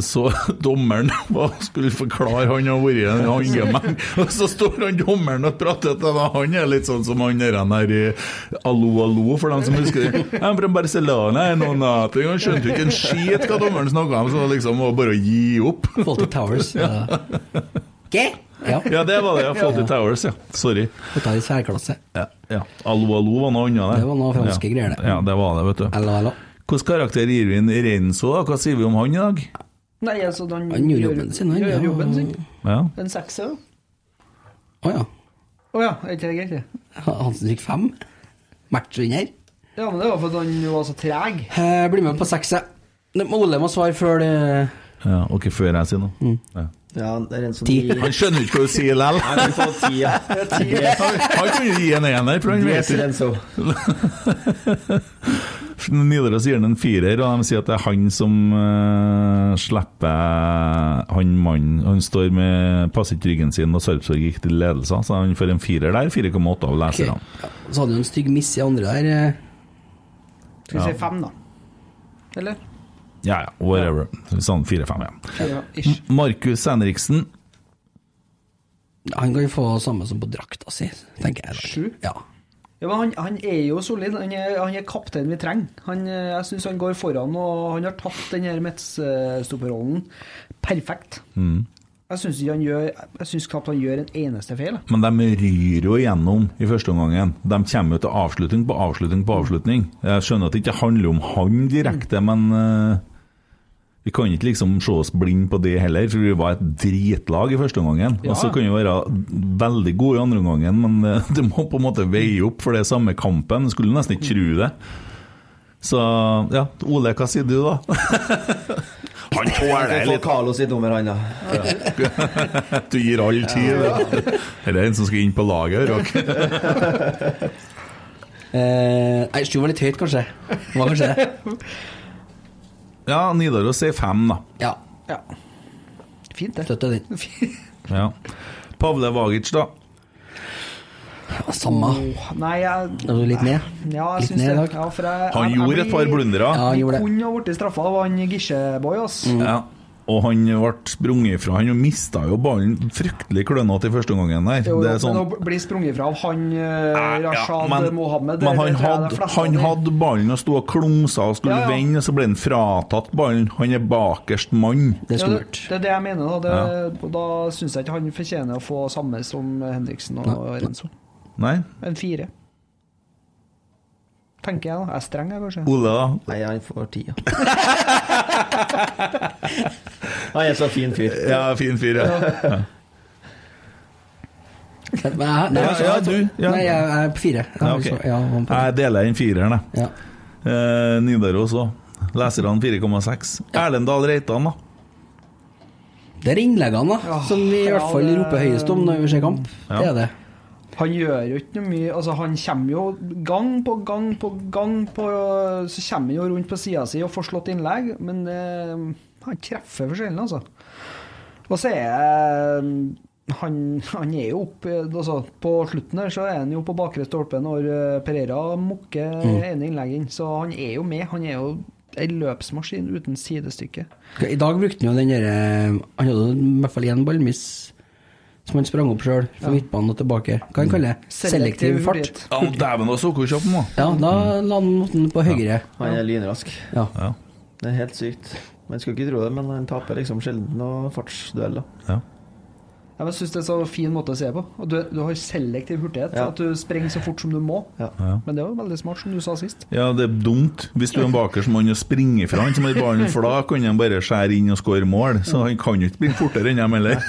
Speaker 2: så dommeren var- skulle forklare han har vært i en handgemeng, og så står han dommeren og prater til dem. Han er litt sånn som han der han her i Allo, allo, for dem som husker det. Jeg er fra Barcelona, jeg er noen nating, han skjønte jo ikke en skit hva dommeren snakka om, så det liksom var bare å gi opp.
Speaker 3: Fawlty Towers. Ja. Okay. Ja.
Speaker 2: Ja, det var det, ja. Fawlty Towers, ja. Sorry.
Speaker 3: Putta i særklasse.
Speaker 2: Ja, ja. Allo, allo var noe annet.
Speaker 3: Det var noe franske
Speaker 2: ja.
Speaker 3: greier, det.
Speaker 2: Ja, det var det, vet du.
Speaker 3: Eller, eller.
Speaker 2: Hvilken karakter gir vi en Reinso? da? Hva sier vi om han i dag?
Speaker 5: Nei, altså, den,
Speaker 3: Han gjør jobben sin, han,
Speaker 5: gjør
Speaker 3: ja.
Speaker 5: jobben sin.
Speaker 2: Ja.
Speaker 5: En sekser, da.
Speaker 3: Å ja.
Speaker 5: Å ja, er ikke det greit, det?
Speaker 3: Hansen fikk fem. Matchvinner.
Speaker 5: Ja, men det var fordi han var så treg.
Speaker 3: Eh, Bli med på seks, jeg. Det må Ole må svare før det
Speaker 2: ja ok, før jeg sier noe.
Speaker 3: Mm.
Speaker 2: Ja.
Speaker 4: Ja, det er en som
Speaker 3: Ti.
Speaker 4: gir
Speaker 2: Han skjønner ikke hva du sier lell.
Speaker 4: Nei, vi får ti, ja.
Speaker 2: Han kunne gi en ener, for han
Speaker 4: Det er
Speaker 2: vet ikke.
Speaker 4: Sirenzo.
Speaker 2: Nidaros gir han en firer, og de sier at det er han som eh, slipper han mannen. Han står med passer ikke ryggen sin, og Sarpsborg gikk til ledelse, så han får en firer der. 4,8 av
Speaker 3: Ok.
Speaker 2: leserne.
Speaker 3: Ja, Så hadde jo en stygg miss i andre der. eh.
Speaker 5: Skal vi
Speaker 2: Ja.
Speaker 5: si fem, da? Eller?
Speaker 2: Ja, ja, whatever. Sånn 4-5, ja.
Speaker 5: Fire, ish.
Speaker 2: Markus Henriksen.
Speaker 3: Han kan jo få samme som på drakta si, tenker jeg. da.
Speaker 5: Sju?
Speaker 3: Ja.
Speaker 5: Ja, men han, han er jo solid. Han er, han er kapteinen vi trenger. Han, eh, jeg syns han går foran, og han har tatt den her midtstopperrollen perfekt.
Speaker 3: Mm.
Speaker 5: Jeg syns ikke han gjør Jeg synes knapt han gjør en eneste feil. jeg.
Speaker 2: Men de ryr jo igjennom i første omgangen. De kommer jo til avslutning på avslutning på avslutning. Jeg skjønner at det ikke handler om han direkte, men eh, vi kan ikke liksom se oss blind på det heller, for vi var et dritlag i første omgangen.
Speaker 5: Ja.
Speaker 2: Og så kan vi være veldig gode i andre omgangen, men eh, det må på en måte veie opp for det er samme kampen. Jeg Skulle nesten ikke tro det. Så ja, Ole, hva sier du da? han tåler
Speaker 4: Vi
Speaker 2: det
Speaker 4: får
Speaker 2: litt.
Speaker 4: Carlo sitt nummer, han, da.
Speaker 2: Du gir all tid. Dette er en som skal inn på laget. Rock.
Speaker 3: Eh, nei, sju var litt høyt, kanskje. Det Var kanskje det.
Speaker 2: Ja, Nidaros sier fem, da.
Speaker 3: Ja.
Speaker 5: Ja. Fint, det.
Speaker 3: Støtter den.
Speaker 2: Ja. Pavle Vagic, da.
Speaker 3: Ja, samme.
Speaker 5: Åh, Nei, jeg
Speaker 3: Er du litt ned?
Speaker 5: ja, jeg
Speaker 3: Litt
Speaker 5: syns
Speaker 3: ned i
Speaker 5: det.
Speaker 3: dag?
Speaker 5: Ja, for jeg,
Speaker 2: Han
Speaker 5: jeg- jeg
Speaker 2: gjorde et par
Speaker 5: blir-
Speaker 2: blundere.
Speaker 3: Ja, han gjorde det. Mm.
Speaker 5: Kunne ha blitt straffa av han Gisjeboy, ass.
Speaker 2: Ja. Og han ble sprunget ifra. Han mista jo ballen fryktelig klønete i første omgangen der.
Speaker 5: Jo,
Speaker 2: Det er sånn
Speaker 5: Men å bli sprunget fra av han eh,
Speaker 2: Ja, ja,
Speaker 5: Rashad Mohammed
Speaker 2: men han,
Speaker 5: det- det tror jeg de
Speaker 2: hadde,
Speaker 5: fleste
Speaker 2: han
Speaker 5: av de-
Speaker 2: hadde ballen og sto og klumsa og skulle
Speaker 5: Ja, ja.
Speaker 2: vende, og så ble han fratatt ballen. Han er bakerst mann.
Speaker 3: Det er
Speaker 5: Ja, det,
Speaker 3: skummelt.
Speaker 5: det er det jeg mener. Da, det, og da syns jeg ikke han fortjener å få samme som Henriksen og
Speaker 3: Nei.
Speaker 5: Renzo.
Speaker 2: Nei,
Speaker 5: En fire. Tenker jeg, da. Jeg er streng, jeg, kanskje.
Speaker 2: Ole, da?
Speaker 4: Nei, han får ti, ja. Han er så fin fyr.
Speaker 2: Ja, fin fyr, ja.
Speaker 3: Men jeg- nei,
Speaker 2: Ja,
Speaker 3: altså,
Speaker 2: ja,
Speaker 3: jeg-
Speaker 2: du, ja.
Speaker 3: Nei, jeg jeg er på fire. Jeg,
Speaker 2: ja
Speaker 3: er
Speaker 2: ok.
Speaker 3: så- ja, han på-
Speaker 2: Jeg deler den fireren, jeg.
Speaker 3: ja.
Speaker 2: Eh, Nidaros òg. Leserne 4,6. Erlend Dahl Reitan, da.
Speaker 3: Det er innleggene, da,
Speaker 5: Ja,
Speaker 3: som vi i hvert
Speaker 5: ja,
Speaker 3: fall
Speaker 5: det-
Speaker 3: roper høyest om når vi ser kamp.
Speaker 2: Ja.
Speaker 3: Det er det.
Speaker 5: Han gjør jo ikke noe mye Altså, han kommer jo gang på gang på gang på Så kommer han jo rundt på sida si og får slått innlegg, men eh, han treffer for sjelden, altså. Og så er jeg han, han er jo oppe altså, På slutten her så er han jo på bakre stolpe når eh, Pereira mukker
Speaker 3: Mm.
Speaker 5: ene innlegget inn, så han er jo med. Han er jo ei løpsmaskin uten sidestykke.
Speaker 3: I dag brukte han jo den derre Han hadde jo i hvert fall én ballmiss som han sprang opp sjøl, fra midtbanen og tilbake. Hva han kaller det? Selektiv fart.
Speaker 2: Ja, men Dæven, da så hvor kjapp han var!
Speaker 3: Ja, da la han måten på høyre.
Speaker 4: Han er lynrask.
Speaker 3: Mm. Ja.
Speaker 2: Ja.
Speaker 4: Det er helt sykt. Man skulle ikke tro det, men han taper liksom sjelden noen fartsdueller.
Speaker 2: Ja.
Speaker 5: Ja, men Jeg syns det er så fin måte å se på. Og du, du har selektiv hurtighet.
Speaker 4: Ja.
Speaker 5: At du springer så fort som du må.
Speaker 4: Ja.
Speaker 5: Men det var veldig smart, som du sa sist.
Speaker 2: ja, det er dumt. Hvis du er en bakerst mann og springer fra han som har ballen, for da kan han bare skjære inn og skåre mål. Så han kan jo ikke springe fortere enn dem heller.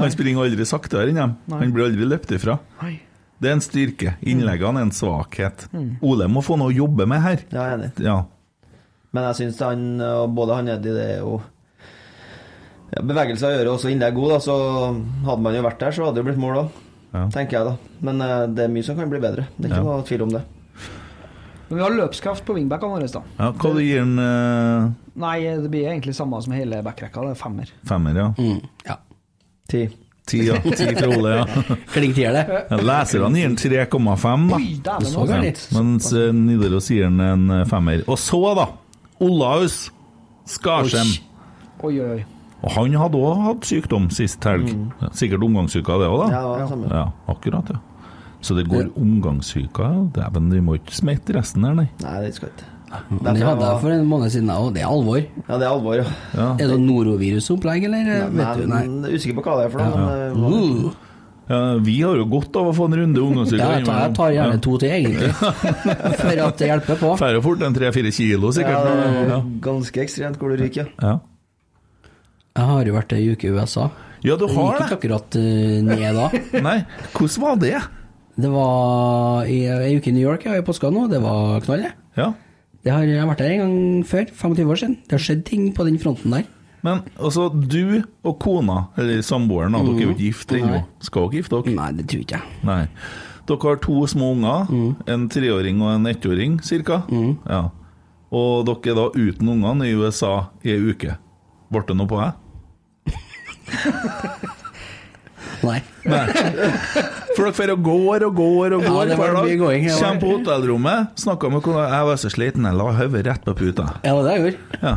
Speaker 2: Han springer aldri saktere enn dem. Han blir aldri løpt ifra.
Speaker 5: Nei.
Speaker 2: Det er en styrke. Innleggene er en svakhet. Ole må få noe å jobbe med her.
Speaker 4: Ja, jeg er enig.
Speaker 2: Ja.
Speaker 4: Men jeg syns han, og både han og Eddie, det er jo ja, Bevegelser gjør jo også innlegg god, da, så hadde man jo vært der, så hadde det jo blitt mål òg.
Speaker 2: Ja.
Speaker 4: Tenker jeg, da. Men eh, det er mye som kan bli bedre. Det er ikke
Speaker 2: Ja.
Speaker 4: noe tvil om det.
Speaker 5: Men vi har løpskraft på wingbackene våre, da.
Speaker 2: ja hva du gir han eh,
Speaker 5: Nei, det blir egentlig samme som hele backrekka, det er femmer.
Speaker 2: femmer, ja?
Speaker 3: Mm, ja.
Speaker 4: Ti.
Speaker 2: Ti, ja. Ti fra Ole, ja.
Speaker 3: Kling tier, det.
Speaker 2: Ja, Leserne gir han 3,5, da.
Speaker 5: Oi, dæven
Speaker 3: så
Speaker 5: også.
Speaker 3: gærent.
Speaker 2: Ja, Mens eh, Nidaros gir den en eh, femmer. Og så, da! Olaus Skarsheim.
Speaker 5: Oi, oi, oi.
Speaker 2: Og han hadde òg hatt sykdom sist helg.
Speaker 3: Mm.
Speaker 2: Sikkert omgangssyka, det òg,
Speaker 4: Ja,
Speaker 2: da.
Speaker 4: det var det samme.
Speaker 2: Ja, akkurat, ja. Så det går omgangssyka. ja. Dæven, vi må ikke smette resten her, nei.
Speaker 4: Nei, det skal ikke.
Speaker 3: Men det
Speaker 4: Derfor
Speaker 3: hadde jeg
Speaker 4: var-
Speaker 3: for en måned siden, og det er alvor.
Speaker 4: Ja, det er alvor, ja.
Speaker 2: Ja.
Speaker 3: Er det norovirusopplegg, eller?
Speaker 4: Nei,
Speaker 3: Vet du, nei.
Speaker 4: men jeg er usikker på hva det er for noe, men det var-
Speaker 3: Uh,
Speaker 2: Ja, vi har jo godt av å få en runde ungdomsuke.
Speaker 3: Ja, jeg tar, jeg tar gjerne to til, egentlig. For at det hjelper på.
Speaker 2: Færre fort enn tre-fire kilo,
Speaker 4: Ja,
Speaker 2: sikkert.
Speaker 4: det er
Speaker 2: Ja.
Speaker 4: ganske ekstremt hvor du ryker.
Speaker 2: Ja.
Speaker 3: Jeg har jo vært ei uke i USA.
Speaker 2: ja, du
Speaker 3: Det
Speaker 2: har
Speaker 3: gikk
Speaker 2: det!
Speaker 3: ikke akkurat eh, ned da.
Speaker 2: Nei, hvordan var det?
Speaker 3: Det var i- ei uke i New York ja, i påska nå. Det var knall, det.
Speaker 2: Ja,
Speaker 3: Det har jeg har vært der en gang før, 25 år siden. Det har skjedd ting på den fronten der.
Speaker 2: Men altså, du og kona, eller samboeren, da, dere er jo ikke gift ennå.
Speaker 3: Mm. Nei.
Speaker 2: Skal dere gifte dere?
Speaker 3: Nei, det tror ikke jeg.
Speaker 2: Nei. Dere har to små unger,
Speaker 3: Mm.
Speaker 2: en treåring og en ettåring cirka. Ja. Og dere er da uten ungene i USA i ei uke. Ble det noe på deg?
Speaker 3: Nei.
Speaker 2: For dere drar og går og går og
Speaker 3: Ja,
Speaker 2: går
Speaker 3: det var
Speaker 2: hver dag.
Speaker 3: mye gåing, det var-
Speaker 2: Kommer på hotellrommet, snakker med kona 'Jeg var så sliten, jeg la hodet rett på puta'.
Speaker 3: Ja, det var det jeg gjorde.
Speaker 2: Ja.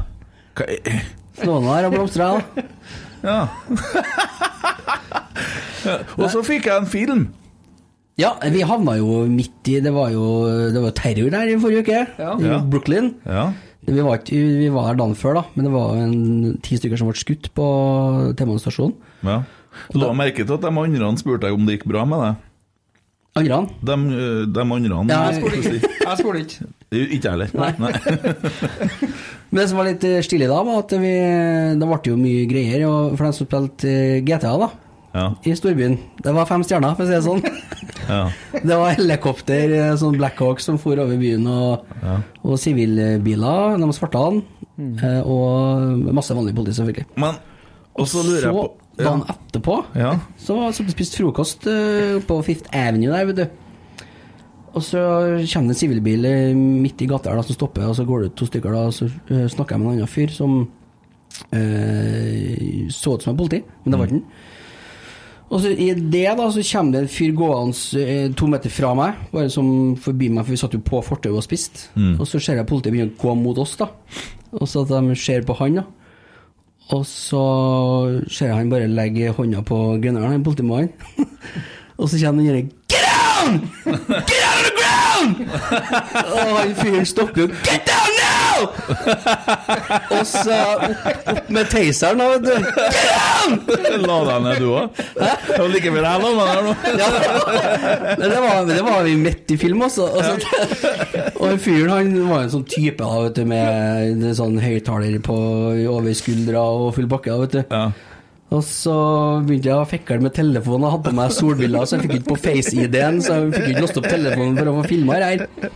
Speaker 2: Hva-
Speaker 3: Slåna her og blomstra. da.
Speaker 2: Ja. Ja, og så fikk jeg en film.
Speaker 3: Ja, vi havna jo midt i Det var jo, det var jo terror der i forrige uke,
Speaker 5: Ja.
Speaker 3: i
Speaker 2: Ja.
Speaker 3: Brooklyn.
Speaker 2: Ja.
Speaker 3: Vi var, ikke, vi var her dagen før, da, men det var jo en, ti stykker som ble skutt på T-banestasjonen.
Speaker 2: ja. La merke til at de andre spurte deg om det gikk bra med deg.
Speaker 3: Angrer han?
Speaker 2: De, øh, de andre
Speaker 3: Ja,
Speaker 5: Jeg spurte ikke. Jeg spurte ikke.
Speaker 2: Ikke jeg heller. Nei.
Speaker 3: Men det som var litt eh, stilig da, var at vi, det ble jo mye greier og for dem som spilte eh, GTA, da.
Speaker 2: Ja,
Speaker 3: I storbyen. Det var fem stjerner, for å si det sånn.
Speaker 2: ja.
Speaker 3: Det var helikopter, eh, sånn Blackhawk som for over byen, og, og sivilbiler, de svartene, eh, og masse vanlig politi, selvfølgelig.
Speaker 2: Men Og så lurer jeg på ja.
Speaker 3: dagen etterpå,
Speaker 2: Ja.
Speaker 3: så satt vi og spiste frokost eh, på Fifth Avenue der, vet du. Og så kommer det en sivilbil eh, midt i gata her da, som stopper, og så går det ut to stykker, da, og så eh, snakker jeg med en annen fyr som eh, så ut som en politi, men det var ikke han. Og så i det da, så kommer det en fyr gående eh, to meter fra meg, bare som forbi meg, for vi satt jo på fortauet og spiste. Og så ser jeg politiet begynne å gå mot oss, da. Og så at de ser på han, da. Og så ser jeg han bare legge hånda på greneren, han politimannen. og så kommer den derre Get down! Get out of the ground! og han fyren stopper jo. Get down now! og så opp, opp med taseren, da, vet du.
Speaker 2: La deg ned, du òg? Det var like før jeg la meg der nå.
Speaker 3: Ja, men det var, det var vi midt i film også. Og, så, og fyren han var en sånn type da, vet du, med en sånn høyttaler på- over skuldra og full bakke. da, vet du.
Speaker 2: Ja.
Speaker 3: Og så begynte jeg å fikle med telefonen og hadde på meg solbriller, så jeg fikk ikke på face-ID-en, så jeg fikk ikke låst opp telefonen for å få filma det her.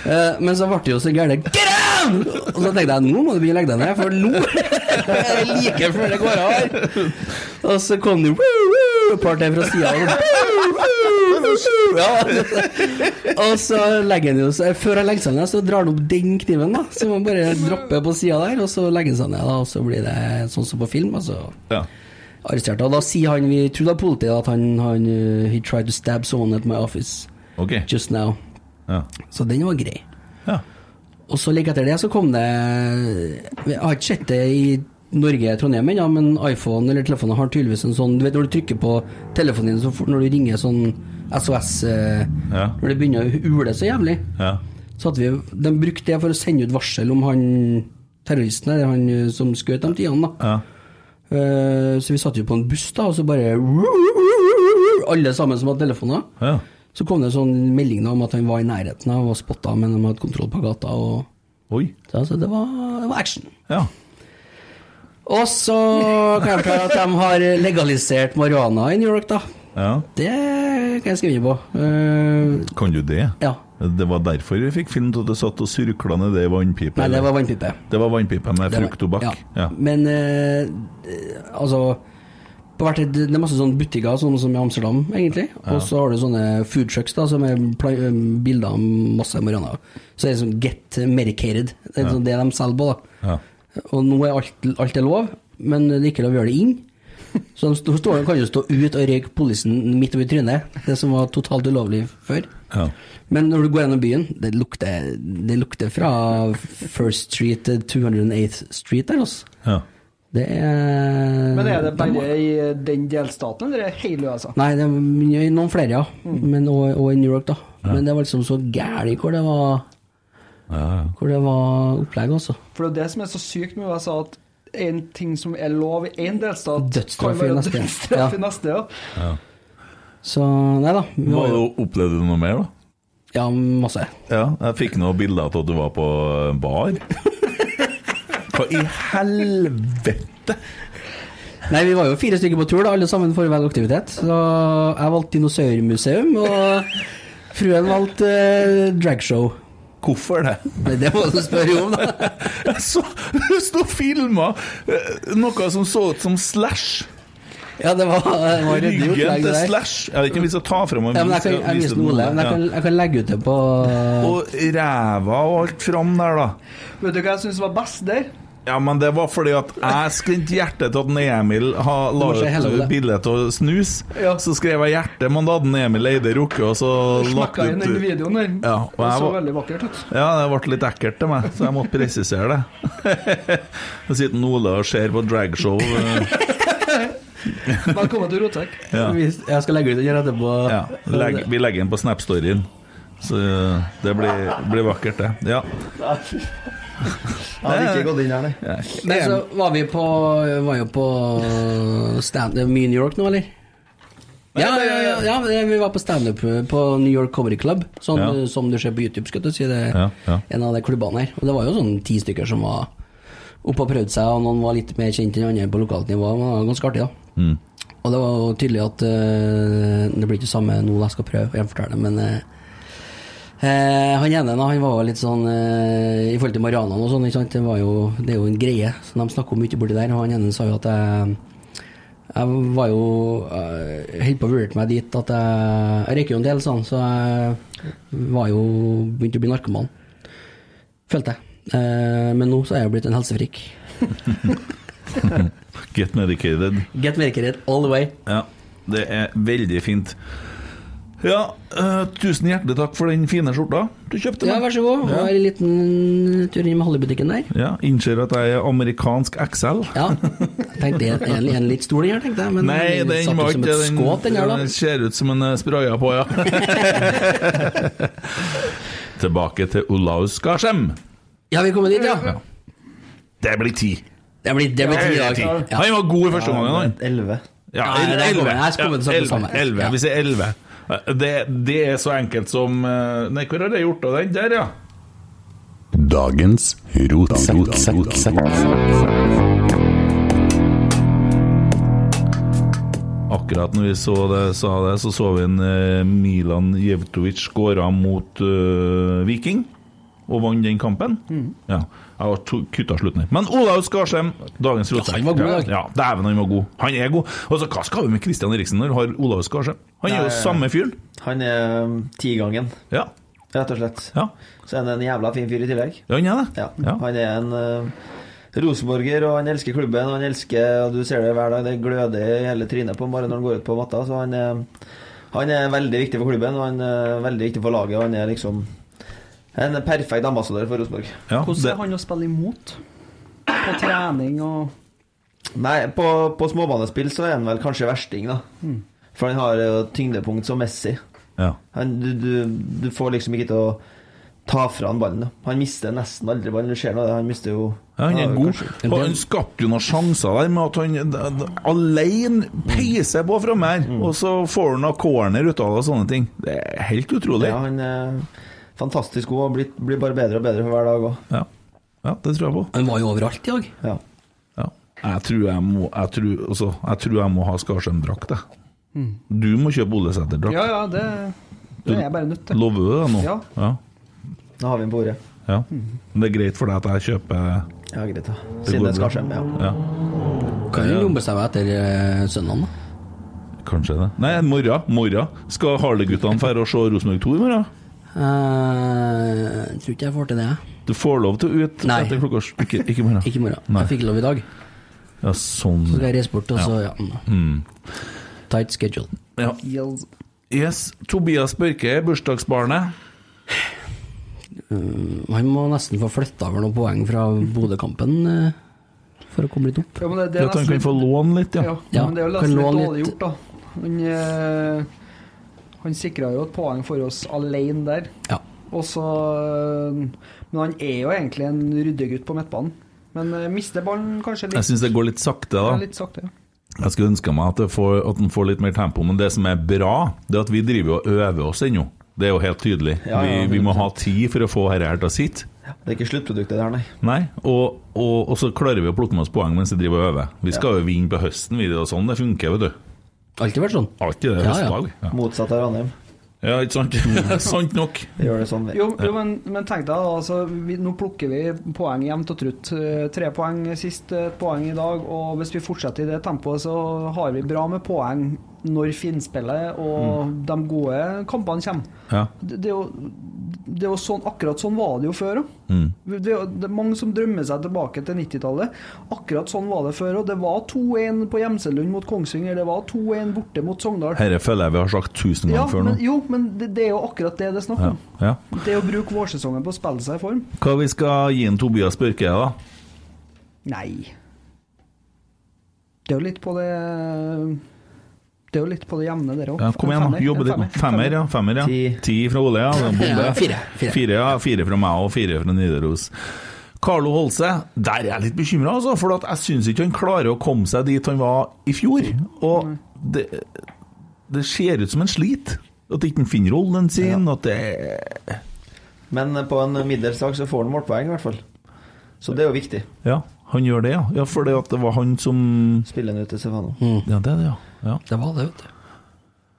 Speaker 3: Eh, Men så ble det jo så gærent. Get down! Og så tenkte jeg nå må du begynne å legge deg ned, for nå er det like før det går av her. Og så kom det woo, woo, et par til fra sida. Ja. Og så legger han jo seg Før han legger seg ned, så drar han opp den kniven, da. Så man bare dropper på sida der, og så legger han seg ned, da. Og så blir det sånn som på film, altså
Speaker 2: Ja.
Speaker 3: arrestert. Og da sier han, vi tror det er politiet, at han, han uh, He tried to stab someone at my office
Speaker 2: Ok.
Speaker 3: just now.
Speaker 2: Ja.
Speaker 3: Så den var grei.
Speaker 2: ja.
Speaker 3: Og så like etter det så kom det Jeg har ikke sett det i Norge, Trondheim ennå, men iPhone eller telefoner har tydeligvis en sånn Du vet når du trykker på telefonen din, så fort når du ringer sånn SOS eh,
Speaker 2: Ja.
Speaker 3: Når det begynner å ule så jævlig,
Speaker 2: ja.
Speaker 3: så at vi, de brukte det for å sende ut varsel om han terroristen, eller han eh, som skjøt de tidene, da.
Speaker 2: ja.
Speaker 3: Eh, Så vi satt jo på en buss da, og så bare Alle sammen som hadde telefoner.
Speaker 2: ja.
Speaker 3: Så kom det en sånn melding da om at han var i nærheten av og spotta, men de hadde kontroll på gata. Og...
Speaker 2: Oi.
Speaker 3: Så altså, det, var, det var action.
Speaker 2: Ja.
Speaker 3: Og så kan jeg fortelle at de har legalisert marihuana i New York, da.
Speaker 2: ja.
Speaker 3: Det kan jeg skrive under på. Eh,
Speaker 2: Kan du det?
Speaker 3: ja.
Speaker 2: Det var derfor vi fikk film av at du satt og surkla ned ei vannpipe?
Speaker 3: Nei, det
Speaker 2: eller?
Speaker 3: var vannpipe.
Speaker 2: det var vannpipe med
Speaker 3: Det var-
Speaker 2: frukttobakk?
Speaker 3: Ja.
Speaker 2: Ja.
Speaker 3: Men eh, altså på hvert, det er masse sånne butikker, sånn som i Amsterdam, egentlig. Og så har du sånne food trucks da, som er pla- eh, bilder av masse marihuana. Så det er sånn get medicated. Det er sånn det de selger på, da.
Speaker 2: Ja.
Speaker 3: Og nå er alt, alt er lov, men det er ikke lov å gjøre det inn. Så de sto- står, kan jo stå ut og røyke politien midt over trynet, det som var totalt ulovlig før.
Speaker 2: Ja.
Speaker 3: Men når du går gjennom byen, det lukter, det lukter fra First Street til 208th Street der, altså.
Speaker 2: Ja.
Speaker 3: Det er
Speaker 5: Men er det bare i den delstaten, eller er det hele USA?
Speaker 3: Nei, det er mye- noen flere, ja.
Speaker 5: Mm.
Speaker 3: Men, og, og i New York, da. Men det var liksom så gæli hvor det var
Speaker 2: Ja, ja.
Speaker 3: Hvor det var opplegg, altså.
Speaker 5: For det er jo det som er så sykt med USA, at en ting som er lov i én delstat,
Speaker 3: Dødsstraff
Speaker 5: kan
Speaker 3: i
Speaker 5: være
Speaker 3: neste.
Speaker 5: dødsstraff
Speaker 3: Ja.
Speaker 5: i neste. Ja.
Speaker 3: Så nei da. Vi
Speaker 2: Var
Speaker 3: var jo
Speaker 2: det- Opplevde du noe mer, da?
Speaker 3: Ja, masse.
Speaker 2: Ja, jeg fikk noen bilder av at du var på bar. Hva i helvete?
Speaker 3: Nei, vi var jo fire stykker på tur, da, alle sammen for hver aktivitet. Så jeg valgte dinosaurmuseum, og fruen valgte eh, dragshow.
Speaker 2: Hvorfor det?
Speaker 3: Nei, det må du spørre om, da.
Speaker 2: Jeg så Hun sto og filma eh, noe som så ut som Slash.
Speaker 3: Ja, det var, det var ryddig
Speaker 2: Ryggen
Speaker 3: opplegg,
Speaker 2: til
Speaker 3: det der.
Speaker 2: Slash. Jeg vet ikke om vi skal ta frem og
Speaker 3: Ja, men jeg
Speaker 2: vise-
Speaker 3: kan, jeg
Speaker 2: vise
Speaker 3: viser den
Speaker 2: det
Speaker 3: Ole, men jeg
Speaker 2: nå.
Speaker 3: kan,
Speaker 2: Ja.
Speaker 3: jeg kan legge ut det på
Speaker 2: Og ræva og alt fram der, da.
Speaker 5: Vet du hva jeg syns var best der?
Speaker 2: Ja, men det var fordi at jeg skrente hjertet til at den Emil ha- la
Speaker 3: Du må se hele
Speaker 2: ut
Speaker 3: bildet.
Speaker 2: bilde av snus.
Speaker 5: Ja.
Speaker 2: Så skrev jeg 'hjerte', men da hadde den Emil Eide rukket, og så lagt
Speaker 5: Smekka inn den
Speaker 2: ut
Speaker 5: videoen der.
Speaker 2: Ja, og
Speaker 5: det
Speaker 2: jeg
Speaker 5: så
Speaker 2: var-
Speaker 5: veldig vakkert ut.
Speaker 2: Ja, det ble litt ekkelt til meg, så jeg måtte presisere det. Så sitter en Ole og ser på dragshow. eh,
Speaker 5: Velkommen til Rotek.
Speaker 2: Ja.
Speaker 3: Hvis- Jeg skal legge ut den her etterpå.
Speaker 2: Ja, legg, vi legger den på Snap-storyen. Så eh, det blir, blir vakkert, det. Ja.
Speaker 4: Jeg hadde ikke gått inn her, nei.
Speaker 3: Nei, så var vi på Var jo på stand Det er mye New York nå, eller? Ja, ja, ja, ja, ja, vi var på standup på New York Comedy Club, sånn,
Speaker 2: Ja.
Speaker 3: som du ser på YouTube. Skal du si det er
Speaker 2: Ja, ja.
Speaker 3: En av de klubbene her. Og det var jo sånn ti stykker som var oppe og prøvde seg, og noen var litt mer kjent enn andre på lokalt nivå. Men det var ganske artig, da.
Speaker 2: Mm.
Speaker 3: Og det var jo tydelig at eh, det blir ikke samme nå jeg skal prøve å gjenfortelle, men eh, eh, han ene da, han var jo litt sånn eh, I forhold til Marianan og sånn, ikke sant? Det, var jo, det er jo en greie som de snakker om ute borti der. Og han ene sa jo at jeg, jeg var jo eh, Helt på å vurdere meg dit at jeg Jeg røyker jo en del, sånn, så jeg var jo begynte å bli narkoman. Følte jeg. Eh, men nå så er jeg jo blitt en helsefrik.
Speaker 2: Get medicated.
Speaker 3: Get medicated all the way.
Speaker 2: Ja, det er veldig fint. Ja, eh, tusen hjertelig takk for den fine skjorta du kjøpte.
Speaker 3: Ja,
Speaker 2: meg.
Speaker 3: vær så god.
Speaker 2: Ja.
Speaker 3: Ja. En liten tur inn med Hallibutikken der.
Speaker 2: Ja, Innser at jeg er amerikansk XL.
Speaker 3: Ja. Tenkte jeg, en, en litt stor den her, tenkte jeg. Men
Speaker 2: Nei, den
Speaker 3: satt
Speaker 2: var
Speaker 3: jo som
Speaker 2: ikke
Speaker 3: et skåt, den her,
Speaker 2: den
Speaker 3: da.
Speaker 2: ser ut som en eh, spraya på, ja. Tilbake til Olaus Garsem.
Speaker 3: Ja, vi kommer dit, ja.
Speaker 2: Det blir ti.
Speaker 3: Det blir, det blir ti i dag. Ja.
Speaker 2: Han var god i første omgang, han.
Speaker 4: Elleve.
Speaker 2: Ja,
Speaker 3: Nei, det er
Speaker 2: elleve.
Speaker 3: kommet- jeg skulle kommet til å si det
Speaker 2: elleve,
Speaker 3: samme.
Speaker 2: elleve.
Speaker 3: Ja.
Speaker 2: Vi sier elleve. Det, det er så enkelt som eh, Nei, hvor har jeg gjort av den? Der, ja.
Speaker 6: Dagens rotsekk.
Speaker 2: Akkurat når vi så det, sa det, så så vi en eh, Milan Jevtovic skåra mot eh, Viking. Og vant den kampen.
Speaker 3: Mm.
Speaker 2: Ja. Jeg har to- kutta slutten her. Men Olaus Garsheim, dagens rotsekk.
Speaker 3: han var god i dag.
Speaker 2: Ja, dæven, han var god. Han er god. Og så hva skal vi med Christian Eriksen når har Olaus Garsheim? Han er jo
Speaker 4: Nei.
Speaker 2: samme fyren.
Speaker 4: Han er um, tigangen,
Speaker 2: Ja.
Speaker 4: rett og slett.
Speaker 2: ja.
Speaker 4: Så er han en jævla fin fyr i tillegg.
Speaker 2: Ja, han er det.
Speaker 4: Ja.
Speaker 2: Ja.
Speaker 4: Han er en eh, rosenborger, og han elsker klubben, og han elsker Og du ser det hver dag, det gløder i hele trynet på ham bare når han går ut på matta. Så han er, han er veldig viktig for klubben, og han er veldig viktig for laget, og han er liksom en perfekt ambassadør for Rosenborg.
Speaker 2: Ja,
Speaker 5: Hvordan
Speaker 2: det-
Speaker 5: er han å spille imot? På trening og
Speaker 4: Nei, på, på småbanespill så er han vel kanskje versting, da.
Speaker 3: Mm.
Speaker 4: For han har jo tyngdepunkt som Messi.
Speaker 2: ja.
Speaker 4: Han, du, du, du får liksom ikke til å ta fra han ballen. da. Han mister nesten aldri ballen. Du ser nå det, han mister jo
Speaker 2: Ja, han er
Speaker 4: Ja,
Speaker 2: god.
Speaker 4: kanskje-
Speaker 2: Og han skapte jo noen sjanser der med at han d- d- alene peiser på framme her, og så får han noe corner ut av det og sånne ting. Det er helt utrolig.
Speaker 4: Ja,
Speaker 2: Ja.
Speaker 4: han er fantastisk god og blir, blir bare bedre og bedre for hver dag òg.
Speaker 2: Ja. det tror jeg på.
Speaker 3: Han var jo overalt i dag.
Speaker 4: Ja.
Speaker 2: Ja. Jeg tror jeg må, jeg tror, altså, jeg tror jeg må ha Skarsheim-drakt, jeg. Du må kjøpe Olesæter-drakt.
Speaker 5: Ja, ja, det, det er jeg bare nødt til.
Speaker 2: Lover du det nå?
Speaker 5: Ja.
Speaker 2: Ja.
Speaker 4: Da har vi ham på ordet.
Speaker 2: ja. Men det er greit for deg at jeg kjøper
Speaker 4: Ja, greit, da.
Speaker 2: Det
Speaker 4: Siden
Speaker 2: går
Speaker 4: det
Speaker 2: bra.
Speaker 4: skal skje. Ja.
Speaker 2: Ja,
Speaker 3: Kan jo ombestemme etter uh, søndagen, da.
Speaker 2: kanskje det. Nei, morgen. morgen. Skal Harle-guttene dra og se Rosenborg 2 i morgen?
Speaker 3: Eh, tror ikke jeg får til det, jeg.
Speaker 2: Du får lov til å ut
Speaker 3: Nei.
Speaker 2: etter klokka sj- Ikke, ikke morgen.
Speaker 3: Ikke i morgen.
Speaker 2: Nei.
Speaker 3: Jeg fikk lov i dag.
Speaker 2: Ja, sånn.
Speaker 3: Så skal jeg reise bort, og så ja. Tight schedule.
Speaker 2: Ja.
Speaker 5: Yes.
Speaker 2: Yes, Tobias Børke er bursdagsbarnet.
Speaker 3: Han må nesten få flytta over noen poeng fra Bodø-kampen eh, for å komme litt opp.
Speaker 5: Ja, men det,
Speaker 2: Det
Speaker 5: det er
Speaker 2: at han
Speaker 5: nesten
Speaker 2: kan få låne litt, ja.
Speaker 5: Ja,
Speaker 3: Ja,
Speaker 5: men det er jo
Speaker 3: kan
Speaker 5: nesten litt
Speaker 3: låne
Speaker 5: dårlig
Speaker 3: litt-
Speaker 5: gjort, da. Han, eh, han sikra jo et poeng for oss alene der.
Speaker 3: Ja.
Speaker 5: Og så eh, Men han er jo egentlig en ryddegutt på midtbanen. Men eh, mister ballen kanskje
Speaker 2: Jeg
Speaker 5: litt.
Speaker 2: syns det går litt sakte,
Speaker 5: Ja,
Speaker 2: da.
Speaker 5: litt sakte, ja.
Speaker 2: Jeg skulle ønske meg at, det får, at den får litt mer tempo, men det som er bra, det er at vi driver og øver oss ennå. Det er jo helt tydelig.
Speaker 4: Ja, ja,
Speaker 2: vi, vi må ha tid for å få dette her til å sitte.
Speaker 4: Det er ikke sluttproduktet der, nei.
Speaker 2: Nei, og, og, og så klarer vi å plukke med oss poeng mens vi driver og øver. Vi skal jo vinne på høsten, vi. Det er jo sånn det funker, vet du.
Speaker 3: Alltid vært sånn.
Speaker 2: Alltid det
Speaker 3: Ja,
Speaker 2: er
Speaker 3: ja.
Speaker 2: høstdag. Ja,
Speaker 4: Motsatt av Ranheim.
Speaker 2: ja. ikke sant? sant nok.
Speaker 4: Vi gjør det sånn. vi.
Speaker 5: Jo, jo men, men tenk deg, da, altså, vi, nå plukker vi poeng jevnt og trutt. Eh, Tre poeng sist, eh, et poeng i dag. Og hvis vi fortsetter i det tempoet, så har vi bra med poeng når finspillet og de gode kampene kommer.
Speaker 2: Mm. Ja.
Speaker 5: Det, det, er jo, det er jo sånn, akkurat sånn var det jo før òg.
Speaker 2: Mm.
Speaker 5: Det, er jo- det er mange som drømmer seg tilbake til 90-tallet. Akkurat sånn var det før òg. Det var 2-1 på Gjemselund mot Kongsvinger, det var 2-1 borte mot Sogndal.
Speaker 2: Dette føler jeg vi har sagt tusen ganger
Speaker 5: Ja,
Speaker 2: før nå.
Speaker 5: men, jo, men det, det er jo akkurat det det er snakk
Speaker 2: Ja.
Speaker 5: om.
Speaker 2: ja.
Speaker 5: Det å bruke vårsesongen på å spille seg i form?
Speaker 2: Hva vi skal gi en Tobias Børke, da?
Speaker 5: Nei. Det er jo litt på det Det er jo litt på det jevne, der òg.
Speaker 2: Ja, kom igjen, da. Jobbe litt. nå. Femmer, ja. Femmer, ja.
Speaker 4: Ti.
Speaker 2: Ti fra Ole, ja. Det er en bombe.
Speaker 3: Ja, fire, fire.
Speaker 2: ja. Fire fra meg og fire fra Nidaros. Carlo Holse, der er jeg litt bekymra, altså. For at jeg syns ikke han klarer å komme seg dit han var i fjor. Og det, det ser ut som en slit. At ikke han finner rollen sin, at det
Speaker 4: Men eh, på en middels dag så får han målpoeng, i hvert fall. Så det er jo viktig.
Speaker 2: Ja, han gjør det, ja. ja for det, at det var han som
Speaker 4: Spille den ut til Stefano.
Speaker 3: Mm.
Speaker 2: Ja, det er det, ja. ja.
Speaker 3: Det var det, vet du.